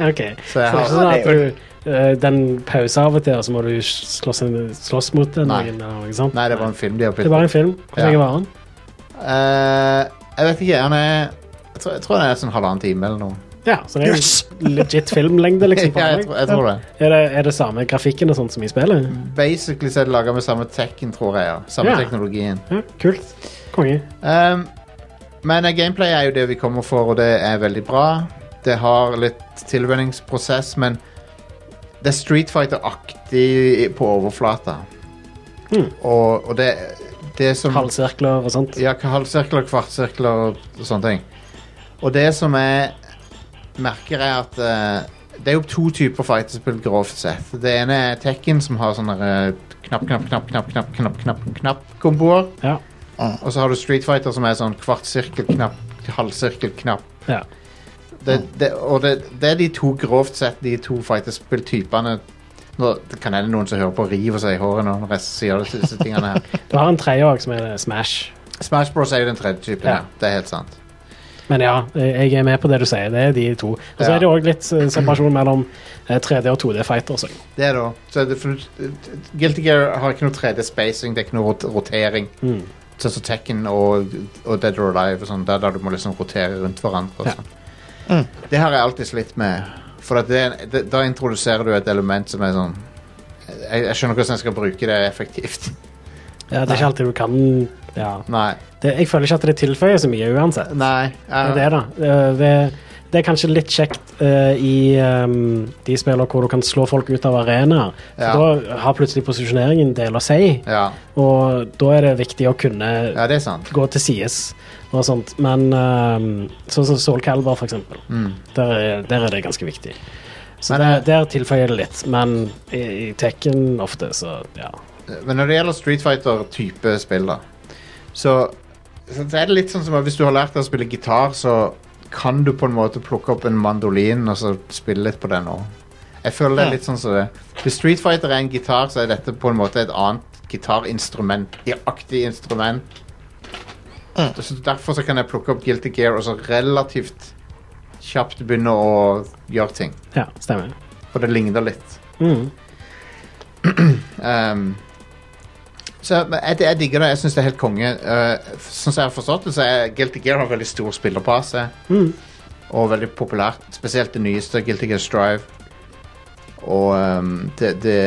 Speaker 2: ok.
Speaker 1: Så jeg
Speaker 2: Så det er
Speaker 1: har
Speaker 2: ikke sånn at du, eh, den pauser av og til, og så må du slåss, en- slåss mot den?
Speaker 1: Nei.
Speaker 2: Noen, eller noe sånt?
Speaker 1: Nei, det var en film de har
Speaker 2: Det
Speaker 1: puttet
Speaker 2: var en film. Hvor
Speaker 1: Ja.
Speaker 2: lenge var den?
Speaker 1: Eh, jeg vet ikke, han er jeg tror, jeg tror han er sånn halvannen time eller noe.
Speaker 2: Ja, så det er
Speaker 3: Yes!
Speaker 2: jo legit filmlengde, liksom. på
Speaker 1: ja, jeg,
Speaker 2: den.
Speaker 1: tror- jeg tror det.
Speaker 2: Er det, er det samme grafikken og sånt som i spillet?
Speaker 1: Basically så er det laga med samme tekken, tror jeg. Ja. Samme
Speaker 2: Ja.
Speaker 1: teknologien.
Speaker 2: Ja, kult. Konge.
Speaker 1: Ehm, men eh, gameplay er jo det vi kommer for, og det er veldig bra. Det har litt tilvenningsprosess, men det er Street Fighter-aktig på overflata.
Speaker 2: Mm.
Speaker 1: Og, og det, det som
Speaker 2: Halvsirkler og sånt.
Speaker 1: Ja, halvsirkler, kvartsirkler og sånne ting. Og det som jeg merker, er at eh, Det er jo to typer fighterspill, grovt sett. Det ene er Tekken, som har sånne eh, knapp, knapp, knapp, knapp, knapp, knapp, knapp, knapp-komboer.
Speaker 2: Ja.
Speaker 1: Og så har du Street Fighter, som er sånn kvart sirkel, knapp, halvsirkel, knapp.
Speaker 2: ja.
Speaker 1: det, det, og det, det er de to grovt sett de to fighterspill-typene Nå det kan hende noen som hører på river seg i håret når han rest- sier disse, disse tingene her.
Speaker 2: Du har en tredje òg, som er Smash.
Speaker 1: Smash Bros er jo den tredje typen.
Speaker 2: Ja.
Speaker 1: Ja. Det er helt sant.
Speaker 2: Men ja, jeg er med på det du sier. Det er de to. Og så
Speaker 1: Ja.
Speaker 2: er det òg litt eh, separasjon mellom eh, 3D og 2D-fighters.
Speaker 1: Det er da så er det, for, Guilty Gear har ikke noe 3D-spacing, det er ikke noe rot rotering.
Speaker 2: Mm.
Speaker 1: Sånn som Tekken og, og Dead or Alive, og sånn, der, der du må liksom rotere rundt hverandre. Og
Speaker 2: Ja.
Speaker 1: sånn. Det har jeg alltid slitt med. For at det, det, da introduserer du et element som er sånn Jeg, jeg skjønner ikke hvordan jeg skal bruke det effektivt.
Speaker 2: Ja, det er ikke alltid du kan ja.
Speaker 1: Nei.
Speaker 2: det, Jeg føler ikke at det tilføyer så mye uansett.
Speaker 1: Nei.
Speaker 2: Det
Speaker 1: jeg-
Speaker 2: er det, da. Eh, Det, det er kanskje litt kjekt eh, i ehm, de spillene hvor du kan slå folk ut av arenaer. For
Speaker 1: Ja.
Speaker 2: Da har plutselig posisjoneringen en del å si,
Speaker 1: Ja.
Speaker 2: og da er det viktig å kunne
Speaker 1: ja, det er sant.
Speaker 2: gå til sides og sånt. Men ehm, sånn som Soul Calibur, for eksempel,
Speaker 1: Mm.
Speaker 2: der, er, der er det ganske viktig. Så
Speaker 1: Men,
Speaker 2: der, der tilføyer det litt, men i, i Tekken ofte, så ja.
Speaker 1: Men når det gjelder Street Fighter-type spill, da, så, så er det litt sånn som at hvis du har lært deg å spille gitar, så kan du på en måte plukke opp en mandolin og så spille litt på den òg. Jeg føler det er litt sånn som det. Hvis Street Fighter er en gitar, så er dette på en måte et annet gitarinstrument. i Aktig instrument. Så derfor så kan jeg plukke opp Guilty Gear og så relativt kjapt begynne å gjøre ting.
Speaker 2: ja stemmer.
Speaker 1: For det ligner litt.
Speaker 2: Mm.
Speaker 1: Ehm, så men jeg, jeg digger det. Jeg syns det er helt konge. Eh, f- sånn som jeg har forstått det, så er Guilty Gear har veldig stor spillerpase.
Speaker 2: Mm.
Speaker 1: Og veldig populært. Spesielt det nyeste, Guilty Gear Strive. Og ehm, det, det,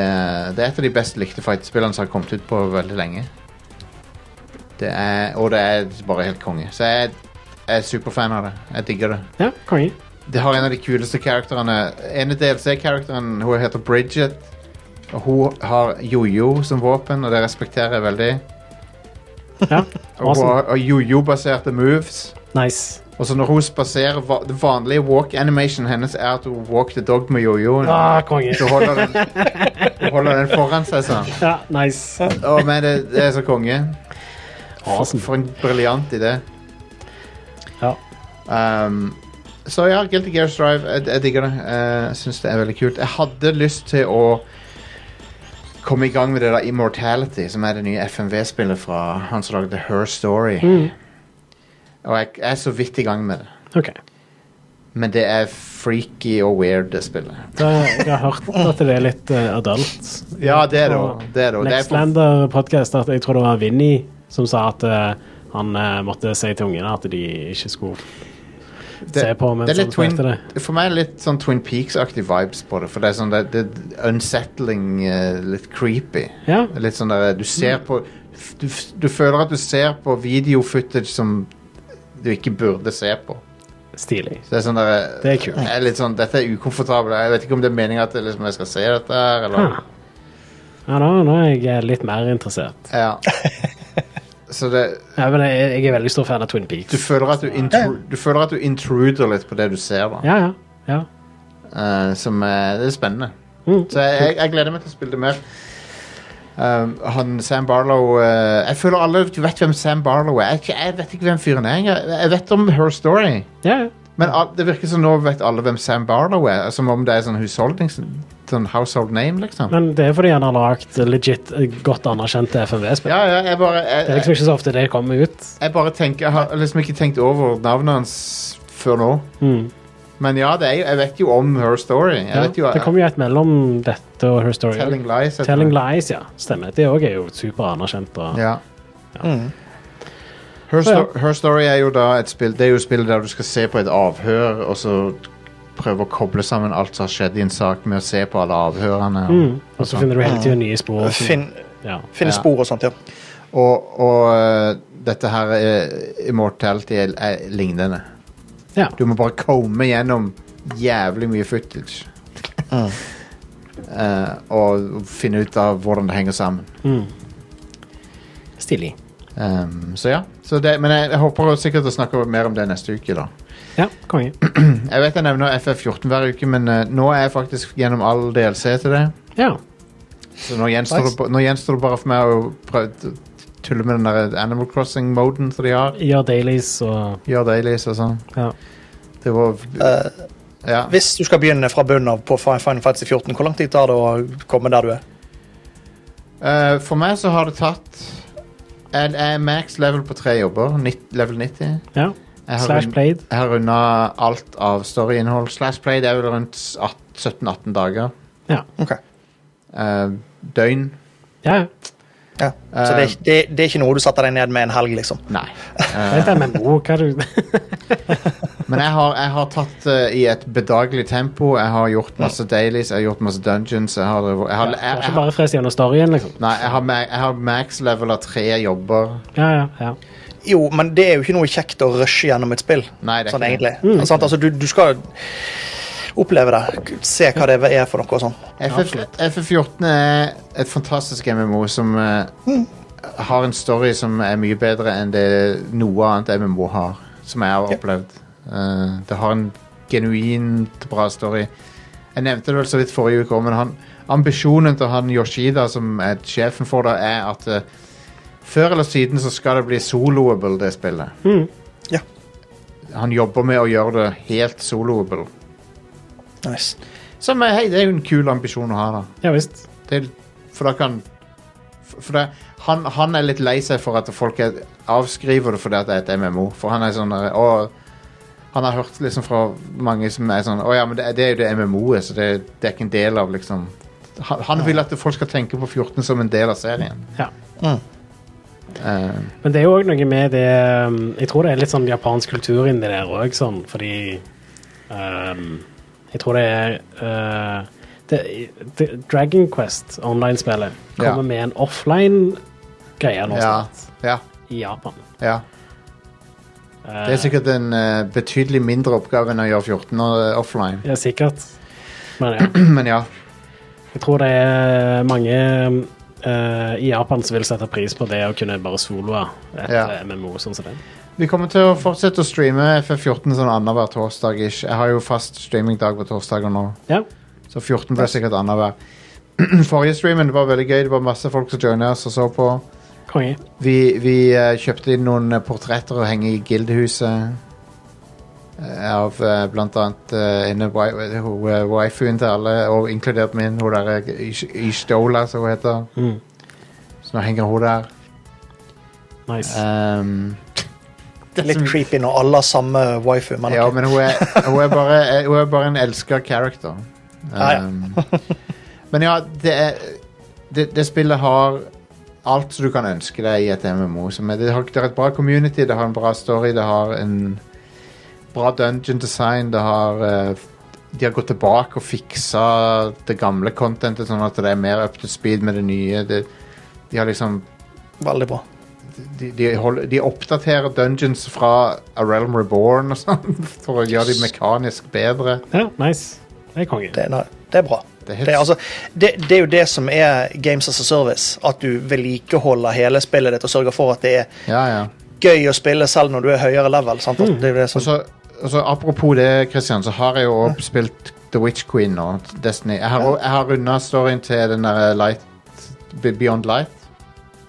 Speaker 1: det er et av de best likte fightspillene som har kommet ut på veldig lenge. Det er, og det er bare helt konge. Så jeg, jeg er superfan av det. Jeg digger det.
Speaker 2: Ja, konge.
Speaker 1: Det har en av de kuleste karakterene. En av DLC-karakteren, hun heter Bridget. Og hun har jojo som våpen, og det respekterer jeg veldig.
Speaker 2: Ja,
Speaker 1: Og hun
Speaker 2: awesome.
Speaker 1: har- og jojo-baserte moves.
Speaker 2: Nice.
Speaker 1: Og så når hun spaserer va- Det vanlige walk animation hennes er at hun walk the dog med jojoen.
Speaker 2: Ah, konge.
Speaker 1: Så holder den, hun holder den foran seg sånn.
Speaker 2: Ja, nice.
Speaker 1: Å, men det, det er så konge.
Speaker 2: Awesome.
Speaker 1: For en briljant idé.
Speaker 2: Ja.
Speaker 1: Um, så ja, Guilty Gear Strive, jeg, jeg digger det. Eh, Jeg synes det er veldig kult. Jeg hadde lyst til å komme i gang med det der Immortality, som er det nye FMV-spillet fra han som lagde Her Story.
Speaker 2: Mm.
Speaker 1: Og jeg, jeg er så vidt i gang med det.
Speaker 2: Ok.
Speaker 1: Men det er freaky og weird, det spillet.
Speaker 2: Da, jeg har hørt at det er litt eh, adult.
Speaker 1: Ja, det er det
Speaker 2: På
Speaker 1: også, det. Er det, også. det er på,
Speaker 2: Nextlander podcast at jeg tror det var Vinny som sa at eh, han eh, måtte si til ungene at de ikke skulle se på mens
Speaker 1: det er
Speaker 2: han
Speaker 1: litt twin,
Speaker 2: spilte det.
Speaker 1: For meg er det litt sånn Twin Peaks-aktig vibes på det. For det er sånn det, det er unsettling, eh, litt creepy.
Speaker 2: Ja.
Speaker 1: Litt sånn der, du ser på du, f- du føler at du ser på videofootage som du ikke burde se på.
Speaker 2: Stilig.
Speaker 1: Så det er sånn der,
Speaker 2: Det er kult.
Speaker 1: jeg er litt sånn, Dette er ukomfortabelt. Jeg vet ikke om det er meningen at jeg liksom, jeg skal se dette her, eller
Speaker 2: Huh. Ja, nå, nå er jeg eh, litt mer interessert.
Speaker 1: ja. Så det
Speaker 2: Ja, men jeg, jeg er veldig stor fan av Twin Peaks.
Speaker 1: du føler, at du, intru, du føler at du intruder litt på det du ser, da.
Speaker 2: Ja, ja. ja.
Speaker 1: Eh, som er, det er spennende.
Speaker 2: Mm.
Speaker 1: Så jeg, jeg, jeg gleder meg til å spille det mer. Um, han Sam Barlow eh, Jeg føler alle vet hvem Sam Barlow er. Jeg, jeg vet ikke hvem fyren er. engang. Jeg vet om Her Story.
Speaker 2: ja, ja.
Speaker 1: Men al- det virker som nå vet alle hvem Sam Barlow er. Som om det er sånn husholdnings... Sånn household name, liksom.
Speaker 2: Men det er fordi han har lagd legit eh, godt anerkjente FMV-spill.
Speaker 1: Ja, ja, jeg bare
Speaker 2: Det er
Speaker 1: jeg,
Speaker 2: liksom ikke så ofte det kommer ut.
Speaker 1: jeg bare tenker Jeg har liksom ikke tenkt over navnet hans før nå.
Speaker 2: Mm.
Speaker 1: Men ja, det er, jo- jeg vet jo om Her Story. Jeg
Speaker 2: Ja.
Speaker 1: vet jo
Speaker 2: det kom jo et mellom dette og Her Story.
Speaker 1: Telling Lies. heter
Speaker 2: Telling
Speaker 1: det.
Speaker 2: Lies, ja. Stemmer. Det òg er jo superanerkjent. Og...
Speaker 1: Ja. Her,
Speaker 2: Så ja.
Speaker 1: Sto- Her Story er jo da et spill Det er jo spillet der du skal se på et avhør, og så prøve å koble sammen alt som har skjedd i en sak, med å se på alle avhørene. Og,
Speaker 2: Mm. Og så finner du hele tida nye spor. som-
Speaker 3: Finn,
Speaker 2: Ja.
Speaker 3: finne
Speaker 1: Ja.
Speaker 3: spor og sånt, ja.
Speaker 1: og, og øh, dette her eh, Immortality er, er lignende.
Speaker 2: Ja.
Speaker 1: Du må bare komme gjennom jævlig mye footage. Eh, og finne ut av hvordan det henger sammen.
Speaker 2: Stilig.
Speaker 1: Ehm, så ja. Så det, men jeg, jeg håper sikkert å snakke mer om det neste uke, da.
Speaker 2: Ja, konge.
Speaker 1: Jeg vet jeg nevner FF14 hver uke, men eh, nå er jeg faktisk gjennom all DLC til det.
Speaker 2: Ja.
Speaker 1: Så nå gjenstår,
Speaker 3: Nice.
Speaker 1: det, ba- nå gjenstår det bare for meg å prøve å tulle med den der Animal Crossing-moden som de har.
Speaker 2: Gjør dailies og
Speaker 1: Gjør dailies og sånn.
Speaker 2: ja.
Speaker 1: Det var Ja.
Speaker 3: Hvis du skal begynne fra bunnen av på Fi- Final Fantasy 14, hvor lang tid tar det å komme der du er?
Speaker 1: Eh, for meg så har det tatt Jeg jeg er max level på tre jobber. Nitt- level 90.
Speaker 2: ja.
Speaker 1: Jeg har,
Speaker 2: Slash
Speaker 1: rund,
Speaker 2: played.
Speaker 1: jeg har runda alt av storyinnhold. Slash Play det er vel rundt 18 17-18 dager.
Speaker 2: Ja.
Speaker 3: Ok.
Speaker 1: Eh, døgn.
Speaker 2: ja.
Speaker 3: Ja.
Speaker 1: Eh.
Speaker 3: Så det, det, det er ikke noe du satte deg ned med en helg, liksom?
Speaker 1: Nei.
Speaker 2: Vent, jeg mener, oh, hva er det du
Speaker 1: Men jeg har, jeg har tatt eh, i et bedagelig tempo. Jeg har gjort masse dailies, jeg har gjort masse dungeons. Jeg har, jeg har,
Speaker 2: Det er
Speaker 1: jeg,
Speaker 2: ikke
Speaker 1: jeg,
Speaker 2: bare frest gjennom storyen, liksom.
Speaker 1: nei, jeg har, ma- jeg har max level av tre jobber.
Speaker 2: Ja, ja, ja.
Speaker 3: Jo, men det er jo ikke noe kjekt å rushe gjennom et spill.
Speaker 1: Nei, det er
Speaker 3: sånn
Speaker 1: ikke
Speaker 3: egentlig.
Speaker 1: det.
Speaker 3: Altså, sant? altså, du, du skal oppleve det. Se hva det er for noe og sånn.
Speaker 1: FF, FF14 er et fantastisk MMO som eh, har en story som er mye bedre enn det noe annet MMO har, som jeg har opplevd. Eh, det har en genuint bra story. Jeg nevnte det vel så vidt forrige uke, også, men han, ambisjonen til han Yoshida, som er sjefen for det, er at eh, før eller siden så skal det bli soloable, det spillet.
Speaker 3: Ja.
Speaker 1: Han jobber med å gjøre det helt soloable.
Speaker 3: Nice.
Speaker 1: Som er, hei, det er jo en kul ambisjon å ha, da.
Speaker 2: Ja visst.
Speaker 1: Det, for da kan For for det, han, han er litt lei seg for at folk er, avskriver det fordi at det er et MMO. For han er sånn der, å, Han har hørt liksom fra mange som er sånn Å ja, men det, er- det er jo det MMO-et, så det, det er ikke en del av liksom Han, han vil at folk skal tenke på 14 som en del av serien.
Speaker 2: Ja.
Speaker 1: Eh,
Speaker 2: Men det er jo òg noe med det um, Jeg tror det er litt sånn japansk kultur inni der òg, sånn, fordi um, Jeg tror det er uh, det, det, Dragon Quest, online-spillet,
Speaker 1: Ja.
Speaker 2: kommer med en offline-greie nå
Speaker 1: ja,
Speaker 2: snart
Speaker 1: ja,
Speaker 2: i Japan.
Speaker 1: ja. Det er sikkert en eh, betydelig mindre oppgave enn å gjøre 14 offline.
Speaker 2: Ja, sikkert. Men ja.
Speaker 1: Men ja.
Speaker 2: Jeg tror det er mange eh, i Japan som vil sette pris på det å kunne bare soloe et
Speaker 1: Ja.
Speaker 2: eh, MMO sånn som det.
Speaker 1: Vi kommer til å fortsette å streame FF14 sånn annenhver torsdag. ish. Jeg har jo fast streamingdag på torsdager nå,
Speaker 2: Ja.
Speaker 1: så 14 blir sikkert annenhver. Forrige streamen det var veldig gøy. Det var masse folk som joina oss og så på.
Speaker 2: Konge.
Speaker 1: Vi, vi eh, kjøpte inn noen eh, portretter å henge i Gildehuset. eh, Av eh, blant annet eh, ene wi- eh, ho- eh, waifuen til alle, og inkludert min. Hun der eh, Ish- Ishtola, som hun heter.
Speaker 2: Mm.
Speaker 1: Så nå henger hun der.
Speaker 2: Nice.
Speaker 1: Ehm,
Speaker 3: Litt creepy når alle har samme wifi. Men
Speaker 1: Ja,
Speaker 3: ok.
Speaker 1: men hun er, hun er, bare, eh, hun er bare en elska character.
Speaker 3: Ja, ja.
Speaker 1: Um, men ja, det, er, det, det spillet har alt som du kan ønske deg i et MMO. Som er, det, har, det har et bra community, det har en bra story, det har en bra dungeon design, det har eh, De har gått tilbake og fiksa det gamle contentet, sånn at det er mer up to speed med det nye. Det, de har liksom
Speaker 3: Veldig bra.
Speaker 1: de, de, holder, de oppdaterer dungeons fra A Realm Reborn og sånn, for å gjøre de mekanisk bedre.
Speaker 2: Ja, nice. Det er konge.
Speaker 3: Det, nei, det er bra.
Speaker 1: Det er
Speaker 3: Det
Speaker 1: helt-
Speaker 3: er, altså, det, det er jo det som er Games as a Service. At du vedlikeholder hele spillet ditt og sørger for at det er
Speaker 1: Ja, ja.
Speaker 3: gøy å spille selv når du er høyere level. Sant? Altså, Det er jo det
Speaker 1: Og
Speaker 3: som,
Speaker 1: så, og så apropos det, Christian, så har jeg jo også spilt The Witch Queen nå, Destiny. Jeg har, jeg har runda storyen til den der Light, Be- Beyond Light. Mm.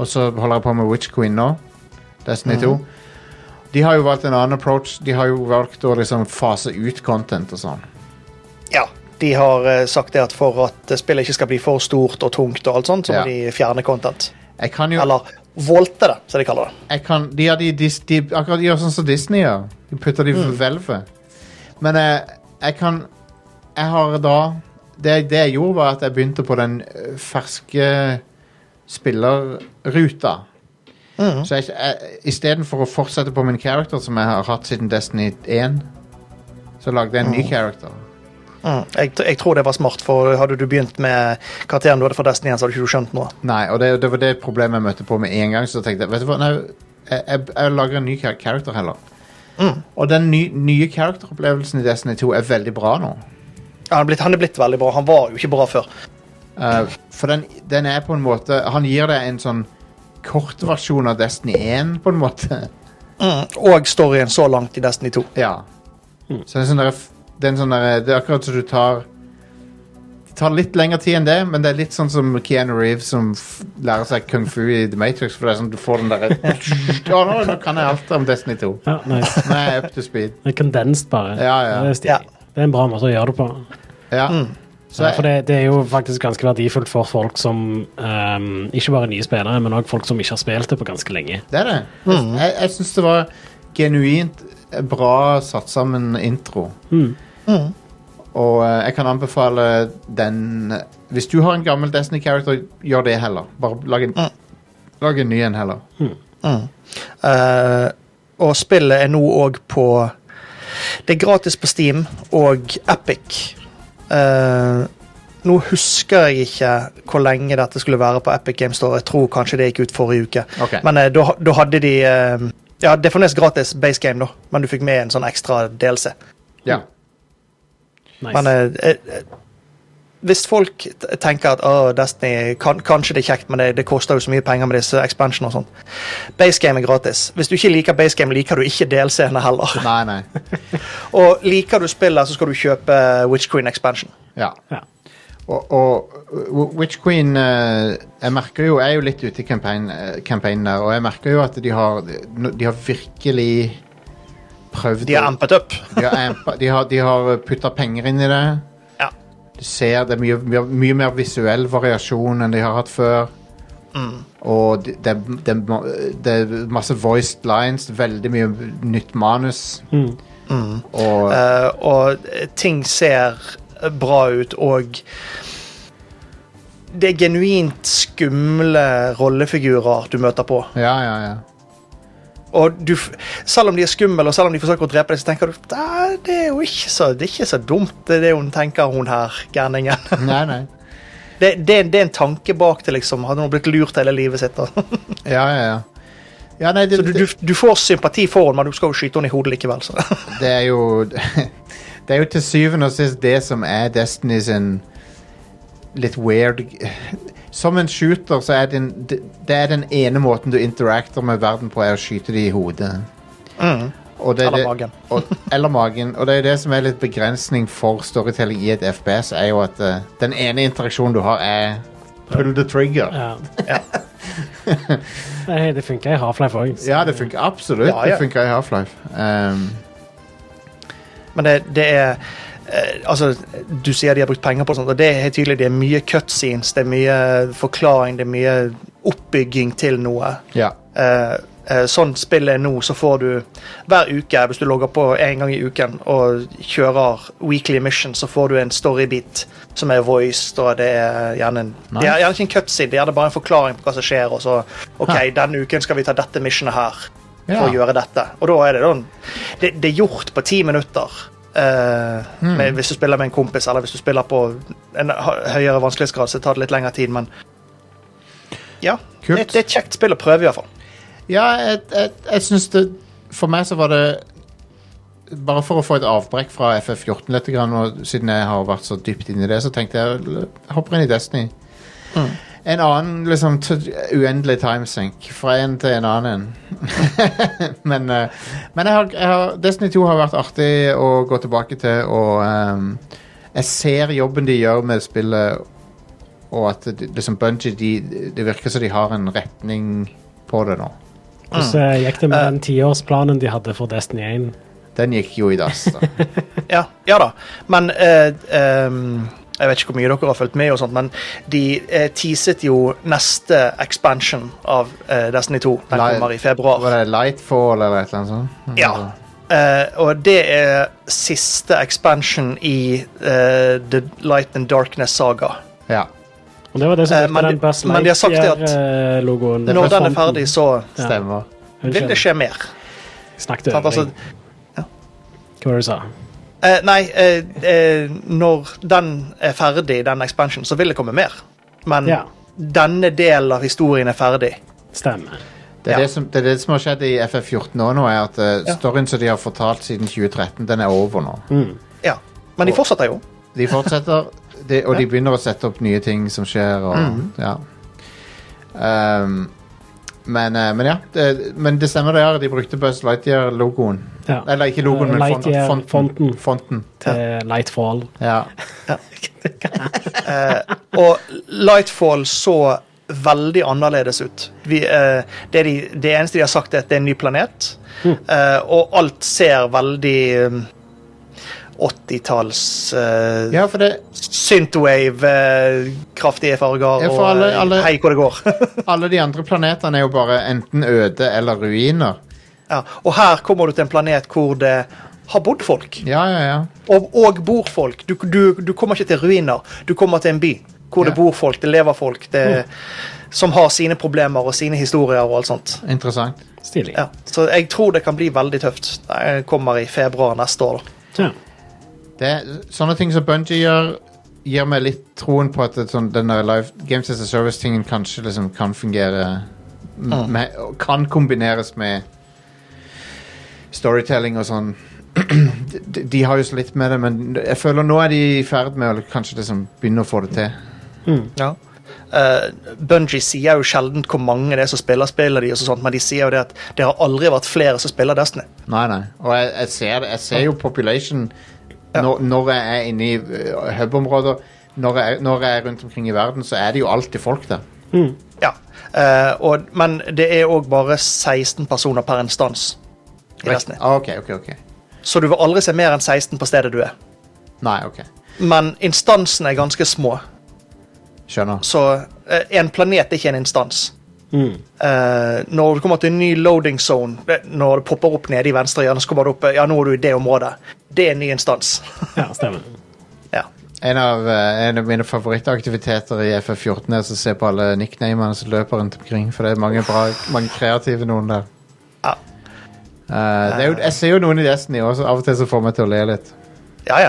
Speaker 1: Og så holder jeg på med Witch Queen nå, Destiny 2. De har jo valgt en annen approach. De har jo valgt å liksom fase ut content og sånn.
Speaker 3: ja, de har eh, sagt det at for at eh, spillet ikke skal bli for stort og tungt, og alt sånt, så må
Speaker 1: Ja.
Speaker 3: de fjerne content.
Speaker 1: Jeg kan jo
Speaker 3: Eller volte det, som de kaller det.
Speaker 1: jeg kan, de, har de, dis- de, akkurat de gjør sånn som Disney gjør. De putter de på hvelvet. Men eh, jeg kan Jeg har da det, det jeg gjorde, var at jeg begynte på den eh, ferske spillerruta. Så jeg, jeg, istedenfor å fortsette på min character, som jeg har hatt siden Destiny 1, så lagde jeg en ny character.
Speaker 3: Mm. Jeg, jeg tror det var smart, for hadde du begynt med karakteren du hadde fra Destiny 1, så hadde ikke du skjønt noe.
Speaker 1: Nei, og det, det var det problemet jeg møtte på med en gang. Så tenkte jeg vet du hva, nei, jeg, jeg, jeg lager en ny kar character heller. Og den ny, nye characteropplevelsen i Destiny 2 er veldig bra nå.
Speaker 3: Han er, blitt, han er blitt veldig bra. Han var jo ikke bra før.
Speaker 1: Eh, for den, den er på en måte Han gir deg en sånn kort versjon av Destiny 1, på en måte.
Speaker 3: Og storyen så langt i Destiny 2.
Speaker 1: Ja. Så det er, sånn der, det, er en sånn der, det er akkurat som du tar Det tar litt lengre tid enn det, men det er litt sånn som Keanu Reeves som f lærer seg kung fu i The Matrix. For det er sånn du får den derre «Å, nå, nå kan jeg alt om Destiny 2.
Speaker 2: Ja, nice.
Speaker 1: Nå er jeg up to speed.
Speaker 2: Det er Condensed, bare.
Speaker 1: Ja, ja.
Speaker 2: Det, er stilig. det er en bra måte å gjøre det på.
Speaker 1: Ja. Så
Speaker 2: Mm. Ja, for
Speaker 1: jeg,
Speaker 2: det, det er jo faktisk ganske verdifullt for folk som ehm, Ikke bare nye spillere, men òg folk som ikke har spilt det på ganske lenge.
Speaker 1: det er det. Jeg,
Speaker 2: Mm.
Speaker 1: jeg, jeg syns det var genuint bra satt sammen intro.
Speaker 3: Mm.
Speaker 1: Og eh, jeg kan anbefale den eh, Hvis du har en gammel Destiny-character, gjør det heller. Bare lag en,
Speaker 2: Mm.
Speaker 1: lag en ny en heller.
Speaker 3: Eh, og spillet er nå òg på Det er gratis på Steam og Epic. Eh, nå husker jeg ikke hvor lenge dette skulle være på Epic Games Store. Jeg tror kanskje det gikk ut forrige uke.
Speaker 1: Ok.
Speaker 3: Men eh, da da hadde de eh, Ja, det er fremdeles gratis base game, da, men du fikk med en sånn ekstra DLC.
Speaker 1: Ja.
Speaker 2: Mm. Nice.
Speaker 3: Men eh, eh, eh, hvis folk t- tenker at «Åh, Destiny kan, kanskje det er kjekt, men det, det koster jo så mye penger med disse expansion og sånt. Basegame er gratis. Hvis du ikke liker basegame, liker du ikke DLC-ene heller.
Speaker 1: Nei, nei.
Speaker 3: Og liker du spillet, så skal du kjøpe eh, Witch Queen expansion.
Speaker 1: Ja.
Speaker 2: ja.
Speaker 1: Og, og uh, Witch Queen eh, Jeg merker jo, jeg er jo litt ute i campaign- eh, campaignen der, og jeg merker jo at de har De har virkelig prøvd
Speaker 3: De er
Speaker 1: å-
Speaker 3: ampet opp.
Speaker 1: de har, ampa- de har, de har putta penger inn i det.
Speaker 3: Ja.
Speaker 1: Du ser det er mye, mye, mye mer visuell variasjon enn de har hatt før.
Speaker 3: Mm.
Speaker 1: Og det, det, det, det er masse voiced lines, veldig mye nytt manus. Og
Speaker 3: Eh, og eh, ting ser bra ut, og det er genuint skumle rollefigurer du møter på.
Speaker 1: Ja, ja, ja.
Speaker 3: Og du, f- selv om de er skumle, og selv om de forsøker å drepe deg, så tenker du "Nei, det er jo ikke så, det er ikke så dumt, det er det hun tenker, hun her gærningen.
Speaker 1: Nei, nei.
Speaker 3: Det, det, er en- det er en tanke bak det, liksom. Hadde hun blitt lurt hele livet sitt? da?
Speaker 1: Ja, ja, ja. ja nei, det,
Speaker 3: Så du, du, du får sympati for henne, men du skal jo skyte henne i hodet likevel. Så.
Speaker 1: det er jo Det er jo til syvende og sist det som er Destiny sin litt weird Som en shooter så er den, det, det er den ene måten du interacter med verden på, er å skyte dem i hodet. Og det er
Speaker 3: Mm. Eller
Speaker 1: det-
Speaker 3: magen.
Speaker 1: og, eller magen. Og det er det som er litt begrensning for storytelling i et FPS, er jo at eh, den ene interaksjonen du har, er pull the trigger.
Speaker 2: Ja. Nei, det funker i Half-Life òg.
Speaker 1: Ja, det funker absolutt.
Speaker 3: Ja, ja.
Speaker 1: Det funker i Half-Life. Um,
Speaker 3: Men det, det er eh, Altså, du sier de har brukt penger på sånt, og det er helt tydelig det er mye cutscenes, det er mye forklaring, det er mye oppbygging til noe.
Speaker 1: ja.
Speaker 3: Eh, eh, sånn spillet er nå, så får du hver uke, hvis du logger på en gang i uken og kjører weekly mission, så får du en storybit som er voiced, og det er gjerne, en, det er gjerne ikke en cutscene, det er gjerne bare en forklaring på hva som skjer, og så OK,
Speaker 1: Ha.
Speaker 3: denne uken skal vi ta dette missionet her for
Speaker 1: Ja.
Speaker 3: å gjøre dette. Og da er det da en- Det, det er gjort på ti minutter. eh,
Speaker 1: Hmm.
Speaker 3: med, hvis du spiller med en kompis, eller hvis du spiller på en hø- høyere vanskelighetsgrad, så tar det litt lengre tid, men ja.
Speaker 1: Kult.
Speaker 3: Det, det er et kjekt spill å prøve, iallfall.
Speaker 1: Ja, jeg, jeg, jeg syns det For meg så var det Bare for å få et avbrekk fra FF14 litt, grann, og siden jeg har vært så dypt inn i det, så tenkte jeg l- hopper inn i Destiny. En annen liksom t uendelig timesink. Fra en til en annen. men eh, men jeg har, jeg har, Destiny 2 har vært artig å gå tilbake til, og ehm, jeg ser jobben de gjør med spillet, og at det, liksom Bungie, de, det virker som de har en retning på det nå.
Speaker 2: Hvordan
Speaker 3: Mm.
Speaker 2: eh, gikk det med den tiårsplanen de hadde for Destiny 1?
Speaker 1: Den gikk jo i dass. da.
Speaker 3: Ja, ja da. Men eh, ehm, Jeg vet ikke hvor mye dere har fulgt med, og sånt, men de eh, teaset jo neste expansion av eh, Destiny 2. Den
Speaker 1: Light-
Speaker 3: kommer i februar.
Speaker 1: Var det Lightfall eller et eller annet sånt?
Speaker 3: Ja. Eh, og det er siste expansion i eh, The Light and Darkness-saga.
Speaker 1: Ja.
Speaker 2: Og det var det som
Speaker 3: Eh,
Speaker 2: gikk
Speaker 3: men
Speaker 2: med
Speaker 3: de-
Speaker 2: den Buzz
Speaker 3: men de har sagt det at-
Speaker 2: Lightyear-logoen.
Speaker 3: Når den er ferdig, så
Speaker 1: Stemmer.
Speaker 3: vil det skje mer.
Speaker 2: Snakket
Speaker 3: Sant,
Speaker 2: over
Speaker 3: altså,
Speaker 2: deg. Hva var det du sa?
Speaker 3: eh, nei, eh, eh, når den er ferdig, den expansion, så vil det komme mer. Men
Speaker 2: Ja.
Speaker 3: denne delen av historien er ferdig.
Speaker 2: Stemmer.
Speaker 1: Det, er
Speaker 3: Ja.
Speaker 1: det, som, det er det som har skjedd i FF14 år nå, er at eh, storyen som de har fortalt siden 2013, den er over nå.
Speaker 3: Mm. Ja. Men de fortsetter jo.
Speaker 1: De fortsetter, de, og de
Speaker 3: Mm.
Speaker 1: begynner å sette opp nye ting som skjer. Og, ja. um, Men, eh, men ja, det, men det stemmer det. her, De brukte Buzz Lightyear-logoen.
Speaker 2: Ja.
Speaker 1: Eller ikke logoen,
Speaker 2: Eh,
Speaker 1: men font,
Speaker 2: Lightyear-
Speaker 1: fonten.
Speaker 2: fonten.
Speaker 1: Fonten.
Speaker 2: til Lightfall.
Speaker 1: Ja.
Speaker 3: Og Lightfall så veldig annerledes ut. Vi, eh, det, de, det eneste de har sagt, er at det er en ny planet.
Speaker 1: Hm.
Speaker 3: Eh, og alt ser veldig eh, 80-talls eh,
Speaker 1: ja, for det
Speaker 3: Synthwave, eh, kraftige farger
Speaker 1: Ja, for
Speaker 3: og
Speaker 1: alle-
Speaker 3: eh,
Speaker 1: alle-
Speaker 3: hei hvor det går.
Speaker 1: Alle de andre planetene er jo bare enten øde eller ruiner.
Speaker 3: ja. Og her kommer du til en planet hvor det har bodd folk.
Speaker 1: Ja, ja, ja.
Speaker 3: Og, og bor folk. Du, du, du kommer ikke til ruiner. Du kommer til en by hvor
Speaker 1: Ja.
Speaker 3: det bor folk, det lever folk, det, som har sine problemer og sine historier og alt sånt.
Speaker 1: Interessant.
Speaker 2: Stilig.
Speaker 3: Ja. Så jeg tror det kan bli veldig tøft. Det kommer i februar neste år. da.
Speaker 2: Ja.
Speaker 1: Det, sånne ting som Bungie gjør, gir meg litt troen på at det, sånn, den der live, Games as a Service-tingen kanskje liksom kan fungere m- med, og Kan kombineres med storytelling og sånn. De, de har jo slitt med det, men jeg føler nå er de i ferd med å kanskje liksom begynne å få det til.
Speaker 3: Ja. Eh, Bungie sier jo sjelden hvor mange det er som spiller spillet de og sånt, men de sier jo det at det har aldri vært flere som spiller Destiny.
Speaker 1: Nei, nei. Og jeg, jeg, ser, det- jeg ser jo population når, når jeg er inne i øh, hub-områder. Når, jeg- når jeg er rundt omkring i verden, så er det jo alltid folk der.
Speaker 3: Ja. Eh, og, men det er òg bare 16 personer per instans i Destiny.
Speaker 1: Ah, ok, ok, ok.
Speaker 3: Så du vil aldri se mer enn 16 på stedet du er.
Speaker 1: Nei, ok.
Speaker 3: Men instansene er ganske små,
Speaker 1: Skjønner.
Speaker 3: så eh, en planet er ikke en instans. Eh, når du kommer til en ny loading zone, det- når det popper opp nede i venstre hjørne, så kommer det opp eh, ja, nå er du i det området. Det er en ny instans.
Speaker 2: ja, stemmer.
Speaker 3: ja.
Speaker 1: En av, eh, en av mine favorittaktiviteter i FF14 er å se på alle nicknamene som løper rundt omkring, for det er mange, bra, mange kreative noen der.
Speaker 3: Ja.
Speaker 1: Eh, det er jo, jeg ser jo noen i Destiny også, av og til så får meg til å le litt.
Speaker 3: ja, ja.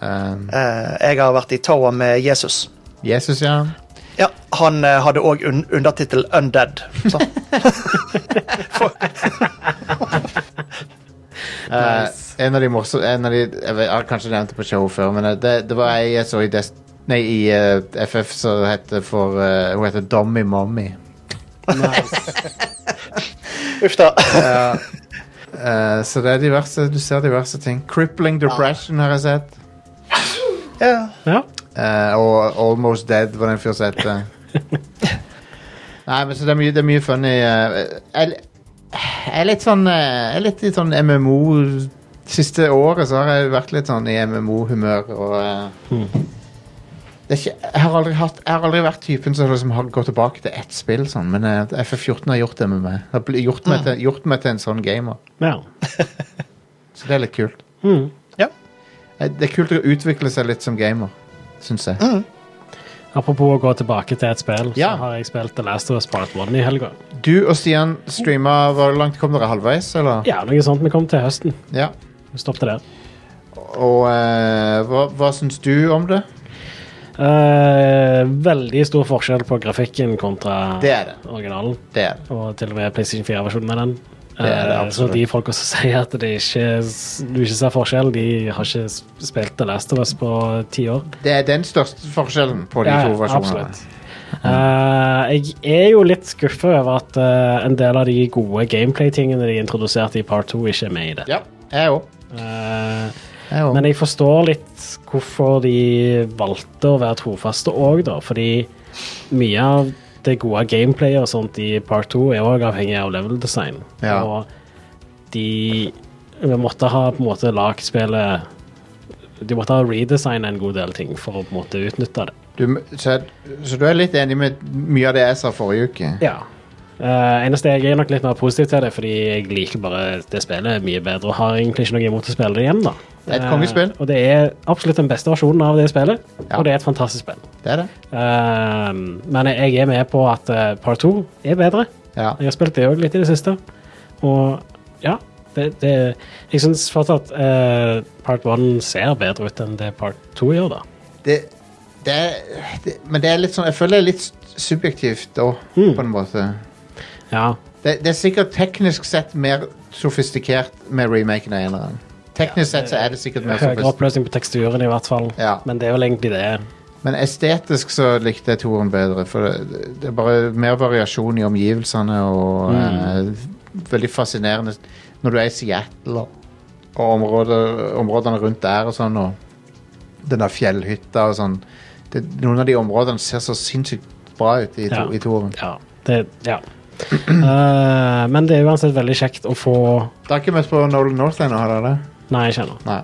Speaker 1: Eh,
Speaker 3: Eh, jeg har vært i tower med Jesus.
Speaker 1: Jesus, ja.
Speaker 3: Ja, Han eh, hadde òg un undertittel 'Undead'. Så.
Speaker 1: Eh, En av de morsomme en av de, jeg, vet, jeg har kanskje nevnt det på show før, men eh, det, det var ei jeg så i, Dest nei, i eh, FF som heter for eh, Hun heter Dommy Mommy.
Speaker 3: Uff da.
Speaker 1: Eh, så det er diverse, du ser diverse ting. Crippling Depression har jeg sett.
Speaker 3: ja.
Speaker 2: Ja.
Speaker 1: Eh, og Almost Dead var den fyr som het det. Nei, men så det er mye, det er mye funny eh, jeg, jeg er litt sånn eh, Jeg er litt i sånn MMO Siste året så har jeg vært litt sånn i MMO-humør og eh, det er ikke, jeg, har aldri hatt, jeg har aldri vært typen som liksom har gått tilbake til ett spill, sånn, men eh, FF14 har gjort det med meg. Har bli- gjort, meg til, gjort meg til en sånn gamer.
Speaker 2: Ja.
Speaker 1: Så det er litt kult.
Speaker 2: Mm.
Speaker 3: Ja.
Speaker 1: Eh, Det er kult å utvikle seg litt som gamer, syns jeg.
Speaker 2: Mm. Apropos å gå tilbake til et spill,
Speaker 1: Ja.
Speaker 2: så har jeg spilt The Last of Us Part 1 i helga.
Speaker 1: Du og Stian streama Hvor langt kom dere? Halvveis, eller?
Speaker 2: Ja, noe sånt vi kom til høsten.
Speaker 1: Ja.
Speaker 2: Vi stoppte der.
Speaker 1: Og eh, hva, hva syns du om det?
Speaker 2: Eh, veldig stor forskjell på grafikken kontra
Speaker 1: Det er det.
Speaker 2: originalen.
Speaker 1: Det er det.
Speaker 2: Og til og med PlayStation 4-versjonen av den.
Speaker 1: Det er det,
Speaker 2: Eh, så
Speaker 1: absolutt.
Speaker 2: de folka som sier at det ikke, du ikke ser forskjell, de har ikke spilt The Last of Us på ti år.
Speaker 1: Det er den største forskjellen på de to versjonene.
Speaker 2: absolutt. Eh, jeg er jo litt skuffa over at eh, en del av de gode gameplay-tingene de introduserte i Part 2, ikke er med i det.
Speaker 1: Ja, jeg òg.
Speaker 2: Eh, men jeg forstår litt hvorfor de valgte å være trofaste òg, da. Fordi mye av det gode gameplayet og sånt i part 2 er òg avhengig av level design.
Speaker 1: Ja.
Speaker 2: Og de vi måtte ha på en måte lagd spillet De måtte ha redesigna en god del ting for å på en måte utnytte det.
Speaker 1: Du, så, så du er litt enig med mye av det jeg sa forrige uke?
Speaker 2: Ja. Eh, eneste jeg er nok litt mer positiv til det, fordi jeg liker bare det spillet mye bedre og har egentlig ikke noe imot å spille det igjen. da.
Speaker 1: Det er et
Speaker 2: Eh,
Speaker 1: kongespill.
Speaker 2: og det er absolutt den beste versjonen av det spillet,
Speaker 1: Ja.
Speaker 2: og det er et fantastisk spill.
Speaker 1: Det er det.
Speaker 2: Eh, men jeg er med på at eh, Part 2 er bedre.
Speaker 1: Ja.
Speaker 2: Jeg har spilt det òg litt i det siste. Og ja, det, det Jeg syns fortsatt eh, Part 1 ser bedre ut enn det Part 2 gjør, da.
Speaker 1: det, det, er- det Men det er litt sånn Jeg føler det er litt s- subjektivt òg,
Speaker 2: Mm.
Speaker 1: på en måte.
Speaker 2: Ja.
Speaker 1: Det, det er sikkert teknisk sett mer sofistikert med remaken av eneren. Teknisk sett så er det sikkert mer
Speaker 2: Høyere
Speaker 1: sofistikert.
Speaker 2: oppløsning på teksturen, i hvert fall.
Speaker 1: Ja.
Speaker 2: Men det er vel egentlig det.
Speaker 1: Men estetisk så likte jeg toeren bedre, for det, det er bare mer variasjon i omgivelsene og eh, veldig fascinerende når du er i Seattle og, og områder, områdene rundt der og sånn, og den der fjellhytta og sånn. Det, noen av de områdene ser så sinnssykt bra ut i, to, i toeren.
Speaker 2: Ja. Det, ja. Eh, men det er uansett veldig kjekt å få
Speaker 1: Det har ikke møtt på Nolan North ennå, har dere det?
Speaker 2: Nei, jeg kjenner.
Speaker 1: Nei.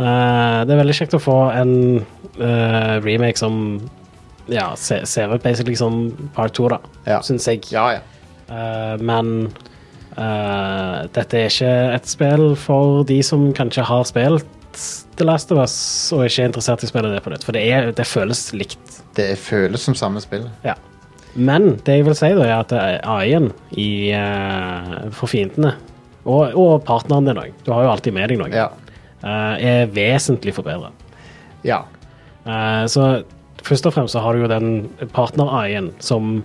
Speaker 2: Eh, det er veldig kjekt å få en eh, remake som ja, se- ser ut basically som part 2, da,
Speaker 1: Ja.
Speaker 2: syns jeg.
Speaker 1: Ja, ja.
Speaker 2: Eh, men eh, dette er ikke et spill for de som kanskje har spilt The Last of Us og ikke er interessert i å spille det på nytt, for det, er, det føles likt.
Speaker 1: Det føles som samme spill.
Speaker 2: Ja. Men det jeg vil si, da, er at AI-en i, eh, for fiendene, og, og partneren din òg, du har jo alltid med deg noen,
Speaker 1: Ja.
Speaker 2: eh, er vesentlig forbedret.
Speaker 1: Ja.
Speaker 2: Eh, så først og fremst så har du jo den partner-AI-en som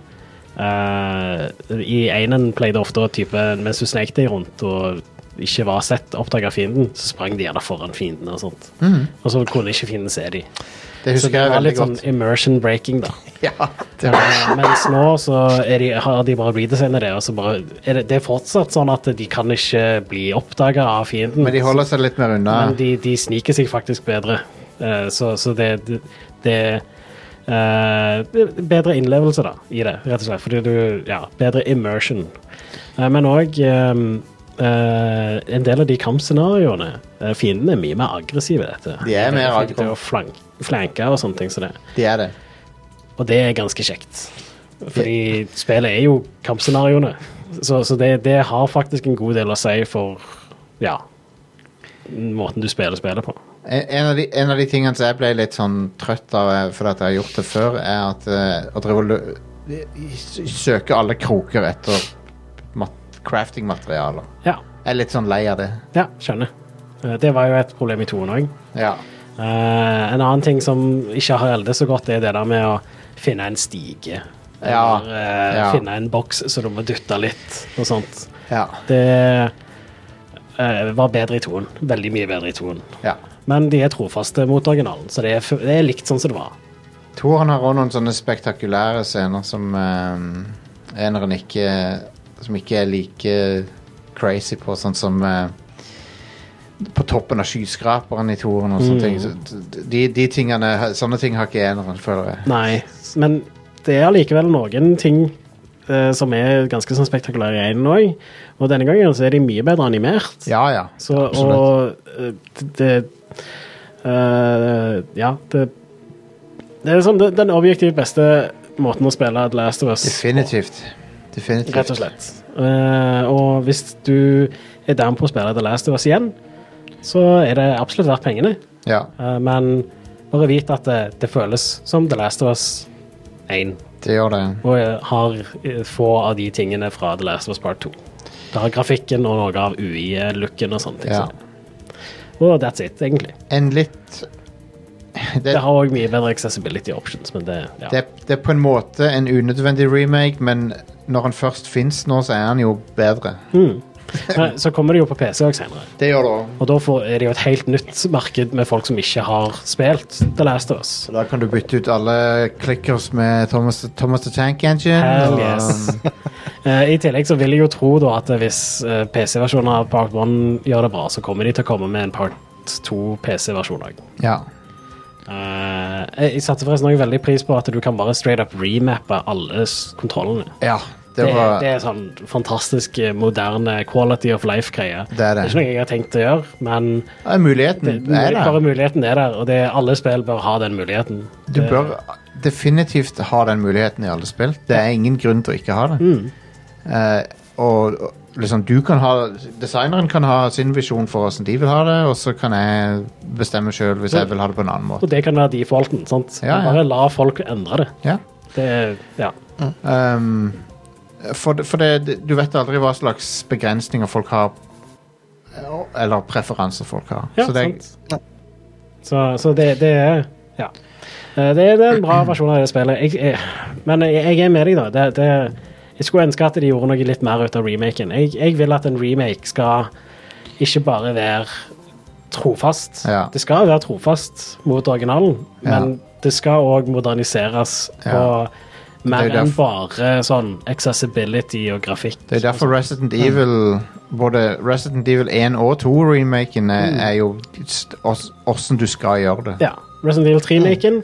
Speaker 2: eh, I enen pleide ofte å type mens du snek deg rundt og ikke var sett, oppdaga fienden, så sprang de gjerne foran fienden og sånt. Og så kunne ikke fienden se dem.
Speaker 1: Det
Speaker 2: Så
Speaker 1: Mm. husker
Speaker 2: det
Speaker 1: jeg
Speaker 2: var
Speaker 1: veldig
Speaker 2: litt sånn
Speaker 1: godt.
Speaker 2: immersion breaking, da.
Speaker 1: Ja, det var
Speaker 2: Eh, Mens nå så er de, har de bare redesignet det, og så bare er det, det er fortsatt sånn at de kan ikke bli oppdaga av fienden.
Speaker 1: Men de holder seg litt mer unna.
Speaker 2: Men de, de sniker seg faktisk bedre. Eh, så, så det det- det er bedre innlevelse da, i det, rett og slett. Fordi du Ja, bedre immersion. Eh, men òg en del av de kampscenarioene eh, Fiendene er mye mer aggressive i dette.
Speaker 1: De er mer
Speaker 2: Det å flank, flanke og sånne ting som det.
Speaker 1: De er det.
Speaker 2: Og det er ganske kjekt. Fordi spillet er jo kampscenarioene. Så, så det, det har faktisk en god del å si for ja, måten du spiller spillet på.
Speaker 1: En en av, de, en av de tingene som jeg ble litt sånn trøtt av eh, fordi at jeg har gjort det før, er at eh, å drive og lø- s- søke alle kroker etter mat crafting-materialer.
Speaker 2: Ja,
Speaker 1: Jeg er litt sånn lei av det.
Speaker 2: ja skjønner. Eh, Det var jo et problem i toen òg.
Speaker 1: Ja.
Speaker 2: en annen ting som ikke har eldet så godt, er det der med å finne en stige.
Speaker 1: Ja,
Speaker 2: Eller eh,
Speaker 1: ja.
Speaker 2: finne en boks så du må dytte litt og sånt.
Speaker 1: Ja.
Speaker 2: Det eh, var bedre i toen. Veldig mye bedre i toen.
Speaker 1: ja.
Speaker 2: Men de er trofaste mot originalen, så det er, f- det er likt sånn som det var.
Speaker 1: Toren har også noen sånne spektakulære scener som eh, eneren ikke Som ikke er like crazy på, sånn som eh, på toppen av skyskraperen i toren og sånne
Speaker 2: Mm.
Speaker 1: ting. Så d- De, de tingene, sånne ting har ikke eneren, føler jeg.
Speaker 2: Nei, men det er allikevel noen ting eh, som er ganske sånn spektakulære i enen òg. Og denne gangen så er de mye bedre animert.
Speaker 1: Ja, ja.
Speaker 2: Så,
Speaker 1: absolutt.
Speaker 2: og eh, det eh, Ja, det Det er sånn, det, den objektivt beste måten å spille The Last of Us
Speaker 1: Definitivt. Definitivt.
Speaker 2: Rett og slett. Eh, og hvis du er down på å spille The Last of Us igjen, så er det absolutt verdt pengene.
Speaker 1: Ja,
Speaker 2: Eh, men bare vit at det, det føles som The Last of Us 1.
Speaker 1: det gjør det.
Speaker 2: Og eh, har eh, få av de tingene fra The Last of Us Part 2. Det har grafikken og noe av UI-looken og sånne ting.
Speaker 1: Ja.
Speaker 2: Og that's it, egentlig.
Speaker 1: En litt det,
Speaker 2: Det har òg mye bedre accessibility options, men det, ja.
Speaker 1: det, det er på en måte en unødvendig remake, men når han først fins nå, så er han jo bedre.
Speaker 2: Mm. Men Eh, Så kommer det jo på PC òg senere.
Speaker 1: Det gjør det òg.
Speaker 2: Og da får, er det jo et helt nytt marked med folk som ikke har spilt The Last of Us.
Speaker 1: Da kan du bytte ut alle clickers med Thomas, Thomas the Tank Engine.
Speaker 2: Hell
Speaker 1: og-
Speaker 2: yes. Eh, I tillegg så vil jeg jo tro da at hvis eh, PC-versjonen av Part 1 gjør det bra, så kommer de til å komme med en Part 2 PC-versjon òg.
Speaker 1: ja.
Speaker 2: Eh, jeg jeg satte forresten også veldig pris på at du kan bare straight up remappe alle s- kontrollene.
Speaker 1: ja. Det
Speaker 2: Det,
Speaker 1: var
Speaker 2: er- det er sånn fantastisk eh, moderne quality of life-greie.
Speaker 1: Det er det.
Speaker 2: ikke noe jeg har tenkt å gjøre, men
Speaker 1: Ja, Muligheten
Speaker 2: det,
Speaker 1: er
Speaker 2: bare
Speaker 1: der.
Speaker 2: muligheten er der, og det, alle spill bør ha den muligheten.
Speaker 1: Du bør definitivt ha den muligheten i alle spill. Det er ingen grunn til å ikke ha det.
Speaker 2: Mm.
Speaker 1: Eh, og og liksom du kan ha Designeren kan ha sin visjon for hvordan de vil ha det, og så kan jeg bestemme sjøl hvis jeg vil ha det på en annen måte.
Speaker 2: Og det kan være defaulten. sant?
Speaker 1: Ja, ja.
Speaker 2: Bare la folk endre det.
Speaker 1: Ja.
Speaker 2: Det er, ja.
Speaker 1: Um, for det, for det, du vet aldri hva slags begrensninger folk har, eller preferanser folk har.
Speaker 2: Ja,
Speaker 1: så det,
Speaker 2: sant. Så, så det, det er Ja. Eh, Det, det er en bra versjon av det spillet. Jeg, jeg, men jeg, jeg er med deg, da. Det, det, jeg skulle ønske at de gjorde noe litt mer ut av remaken. Jeg, jeg vil at en remake skal ikke bare være trofast.
Speaker 1: Ja.
Speaker 2: Det skal være trofast mot originalen, men det skal òg moderniseres på
Speaker 1: Ja.
Speaker 2: mer
Speaker 1: Det er
Speaker 2: enn
Speaker 1: derf-
Speaker 2: bare sånn accessibility og grafikk.
Speaker 1: Det er derfor Resident Evil Både Resident Evil 1 og 2-remaken er, er jo st- ås- åssen du skal gjøre det.
Speaker 2: Mm. Ja. Resident Evil 3-maken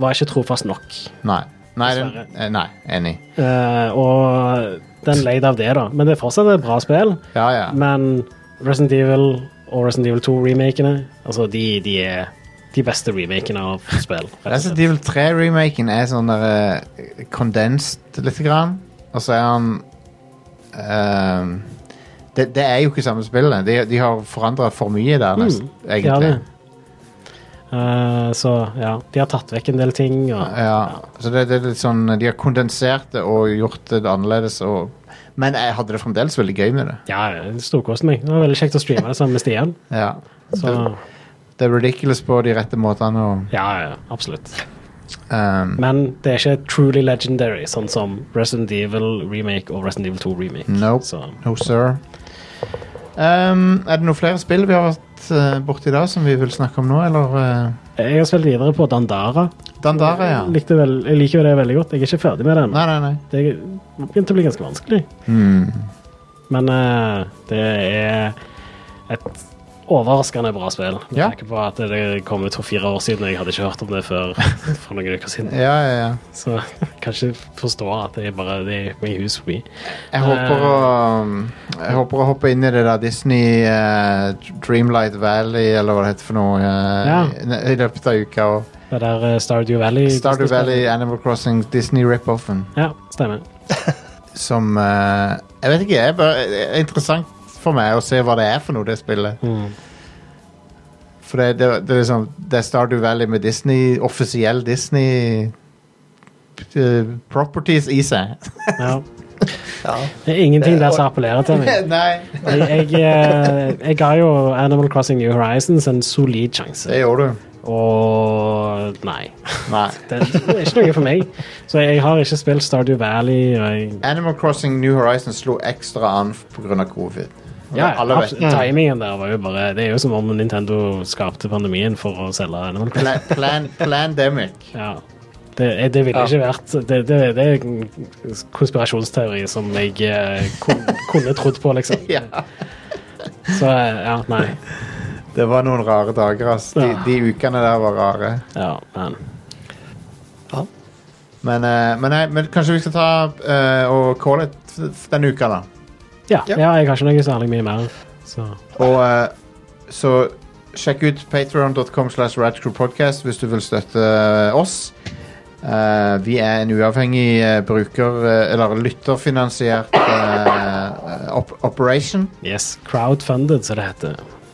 Speaker 2: var ikke trofast nok.
Speaker 1: Nei. Nei, den,
Speaker 2: Dessverre.
Speaker 1: eh, nei, enig.
Speaker 2: Eh, og den leid av det, da. Men det er fortsatt et bra spill.
Speaker 1: Ja, ja.
Speaker 2: Men Resident Evil og Resident Evil 2-remakene Altså, de, de er de beste remakene av spill. rett og
Speaker 1: Resident
Speaker 2: slett.
Speaker 1: Evil 3-remaken er sånn der eh, kondenst lite grann. Og så er han ehm, det, det er jo ikke samme spillet. De, de har forandra for mye der, nesten.
Speaker 2: Mm. Ja,
Speaker 1: Egentlig.
Speaker 2: det. Eh, så ja, de har tatt vekk en del ting. Og,
Speaker 1: Ja, så det, det er litt sånn De har kondensert det og gjort det annerledes. Og, men jeg hadde det fremdeles veldig gøy med det.
Speaker 2: ja, det storkoste meg. Det var veldig kjekt å streame det sammen med Stian.
Speaker 1: Ja.
Speaker 2: Så
Speaker 1: Det er ridiculous på de rette måtene. Og,
Speaker 2: ja, ja, absolutt.
Speaker 1: ehm,
Speaker 2: Men det er ikke truly legendary, sånn som Resident Evil remake og Resident Evil 2 remake.
Speaker 1: Nope.
Speaker 2: Så,
Speaker 1: no, sir. Ehm, er det noen flere spill vi har vært eh, borti da, som vi vil snakke om nå, eller eh?
Speaker 2: jeg har spilt videre på Dandara.
Speaker 1: Dandara, ja.
Speaker 2: Jeg, likte vel, jeg liker jo det veldig godt. Jeg er ikke ferdig med det ennå.
Speaker 1: Nei, nei, nei.
Speaker 2: Det begynte å bli ganske vanskelig.
Speaker 1: Mm.
Speaker 2: Men eh, det er et overraskende bra spill. Med
Speaker 1: Ja.
Speaker 2: tanke på at det kom ut for fire år siden, og jeg hadde ikke hørt om det før for noen uker siden.
Speaker 1: Ja, ja, ja.
Speaker 2: Så kanskje forstår at det er bare det er meg hus forbi.
Speaker 1: Jeg
Speaker 2: Eh.
Speaker 1: håper å ehm, Jeg håper å hoppe inn i det der Disney eh, Dreamlight Valley, eller hva det heter for noe, eh,
Speaker 2: Ja.
Speaker 1: i- i løpet av uka. Og
Speaker 2: Det der eh, Stardew Valley.
Speaker 1: Stardew
Speaker 2: Disney-spillet.
Speaker 1: Valley, Animal Crossing, Disney rip-offen.
Speaker 2: Ja, stemmer.
Speaker 1: Som eh, Jeg vet ikke, jeg bare, det er interessant for meg å se hva det er for noe, det spillet.
Speaker 2: Mm.
Speaker 1: For det, det, det, er liksom, det er Stardew Valley med Disney, offisiell Disney eh, properties i seg.
Speaker 2: Ja.
Speaker 3: Ja.
Speaker 2: Det er ingenting der som appellerer til meg.
Speaker 1: Nei,
Speaker 2: Jeg, jeg, eh, jeg ga jo Animal Crossing New Horizons en solid sjanse,
Speaker 1: det gjorde du.
Speaker 2: og nei.
Speaker 1: Nei.
Speaker 2: Det det er ikke noe for meg. Så jeg har ikke spilt Stardew Valley. Og jeg,
Speaker 1: Animal Crossing New Horizons slo ekstra an pga. covid.
Speaker 2: ja,
Speaker 1: alle vet Mm.
Speaker 2: absolutt. timingen der var jo bare Det er jo som om Nintendo skapte pandemien for å selge Animal Crossing.
Speaker 1: Pla plan plandemic.
Speaker 2: Ja. Det, eh, det ville ikke vært det, det, det er en konspirasjonsteori som jeg eh, kun, kunne trodd på, liksom.
Speaker 1: Ja.
Speaker 2: Så eh, ja, nei.
Speaker 1: Det var noen rare dager, ass. De,
Speaker 2: Ja.
Speaker 1: de ukene der var rare.
Speaker 2: Ja, men
Speaker 3: Ja.
Speaker 1: Men, eh, men, nei, men kanskje vi skal ta eh, og calle it f- f- denne uka, da.
Speaker 2: ja,
Speaker 3: Ja.
Speaker 2: ja, jeg har ikke noe særlig mye mer. Så
Speaker 1: Og eh, så sjekk ut patreon.com slash radcrewpodcast hvis du vil støtte oss. Eh, vi er en uavhengig eh, bruker, eh, eller lytterfinansiert eh, op operation.
Speaker 2: yes, crowdfunded, som det heter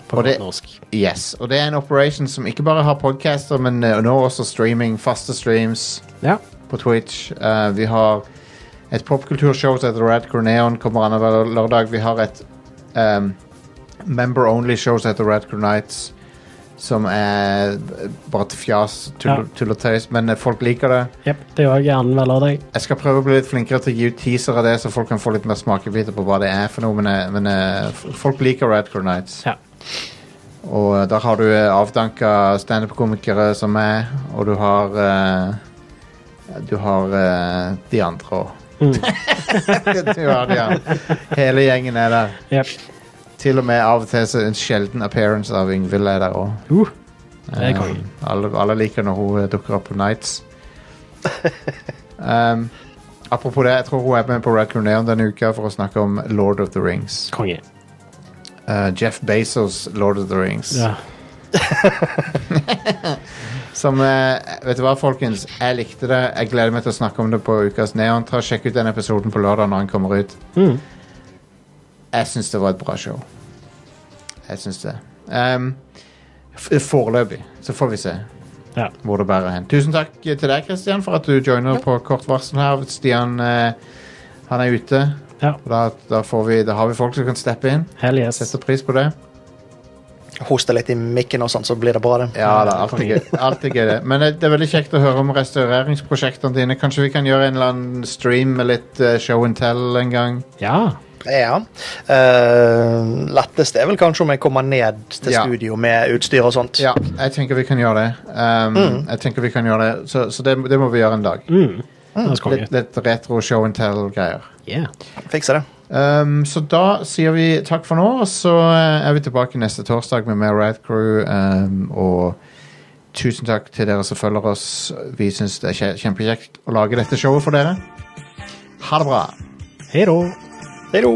Speaker 2: på
Speaker 1: Og
Speaker 2: godt
Speaker 1: det-
Speaker 2: norsk.
Speaker 1: Yes, og det er en operation som ikke bare har podcaster, men eh, nå også streaming, faste streams
Speaker 2: Ja.
Speaker 1: på Twitch. Eh, vi har et popkulturshow som heter Rad Corneon, kommer annenhver lørdag. Vi har et ehm, member-only-show som heter Rad Nights, som er b- bare et fjas, tull
Speaker 2: Ja.
Speaker 1: tull og tøys, men eh, folk liker det.
Speaker 2: Jep, det er òg annenhver lørdag.
Speaker 1: Jeg skal prøve å bli litt flinkere til å gi ut teaser av det, så folk kan få litt mer smakebiter på hva det er for noe, men, eh, men eh, f- folk liker Rad Nights.
Speaker 2: Ja.
Speaker 1: Og eh, der har du eh, avdanka standup-komikere som meg, og du har eh, Du har eh, de andre òg.
Speaker 2: Mm.
Speaker 1: du har de andre. Hele gjengen er der.
Speaker 2: Jep.
Speaker 1: Til og med av og til så en sjelden appearance av Yngvild er der òg.
Speaker 2: Uh, det er kongen.
Speaker 1: alle, alle liker når hun eh, dukker opp på Nights. Um, apropos det, jeg tror hun er med på Red Corneon denne uka for å snakke om Lord of the Rings.
Speaker 2: Konge.
Speaker 1: Eh, Jeff Bezos' Lord of the Rings.
Speaker 2: Ja.
Speaker 1: Som, eh, vet du hva, folkens? Jeg likte det. Jeg gleder meg til å snakke om det på Ukas Neon. Ta og Sjekk ut den episoden på lørdag når den kommer ut. Jeg syns det var et bra show. Jeg syns det. Um, f- Foreløpig. Så får vi se
Speaker 2: ja.
Speaker 1: hvor det bærer hen. Tusen takk eh, til deg, Kristian, for at du joiner på kort varsel her. Stian eh, han er ute.
Speaker 2: ja.
Speaker 1: Og Da, da, får vi, da har vi folk som kan steppe inn.
Speaker 2: Hell yes.
Speaker 1: Setter pris på det.
Speaker 3: Hoste litt i mikken, og sånn, så blir det bra, det.
Speaker 1: Ja, det er alltid gøy. Alltid gøy det. Men eh, det det er veldig kjekt å høre om restaureringsprosjektene dine. Kanskje vi kan gjøre en eller annen stream med litt eh, show and tell en gang?
Speaker 2: Ja.
Speaker 3: Ja. Eh, lettest er vel kanskje om jeg kommer ned til
Speaker 1: Ja.
Speaker 3: studio med utstyr og sånt.
Speaker 1: Ja, jeg tenker vi kan gjøre det. Um, Jeg tenker vi kan gjøre det, Så, så det, det må vi gjøre en dag.
Speaker 2: Det er konge.
Speaker 1: Litt, litt retro show and tell-greier.
Speaker 2: Yeah.
Speaker 3: Fikser det.
Speaker 1: Um, så da sier vi takk for nå, og så eh, er vi tilbake neste torsdag med mer Rad Crew. Um, og tusen takk til dere som følger oss. Vi syns det er kje- kjempekjekt å lage dette showet for dere. Ha det bra.
Speaker 2: Hei da.
Speaker 3: Hei då!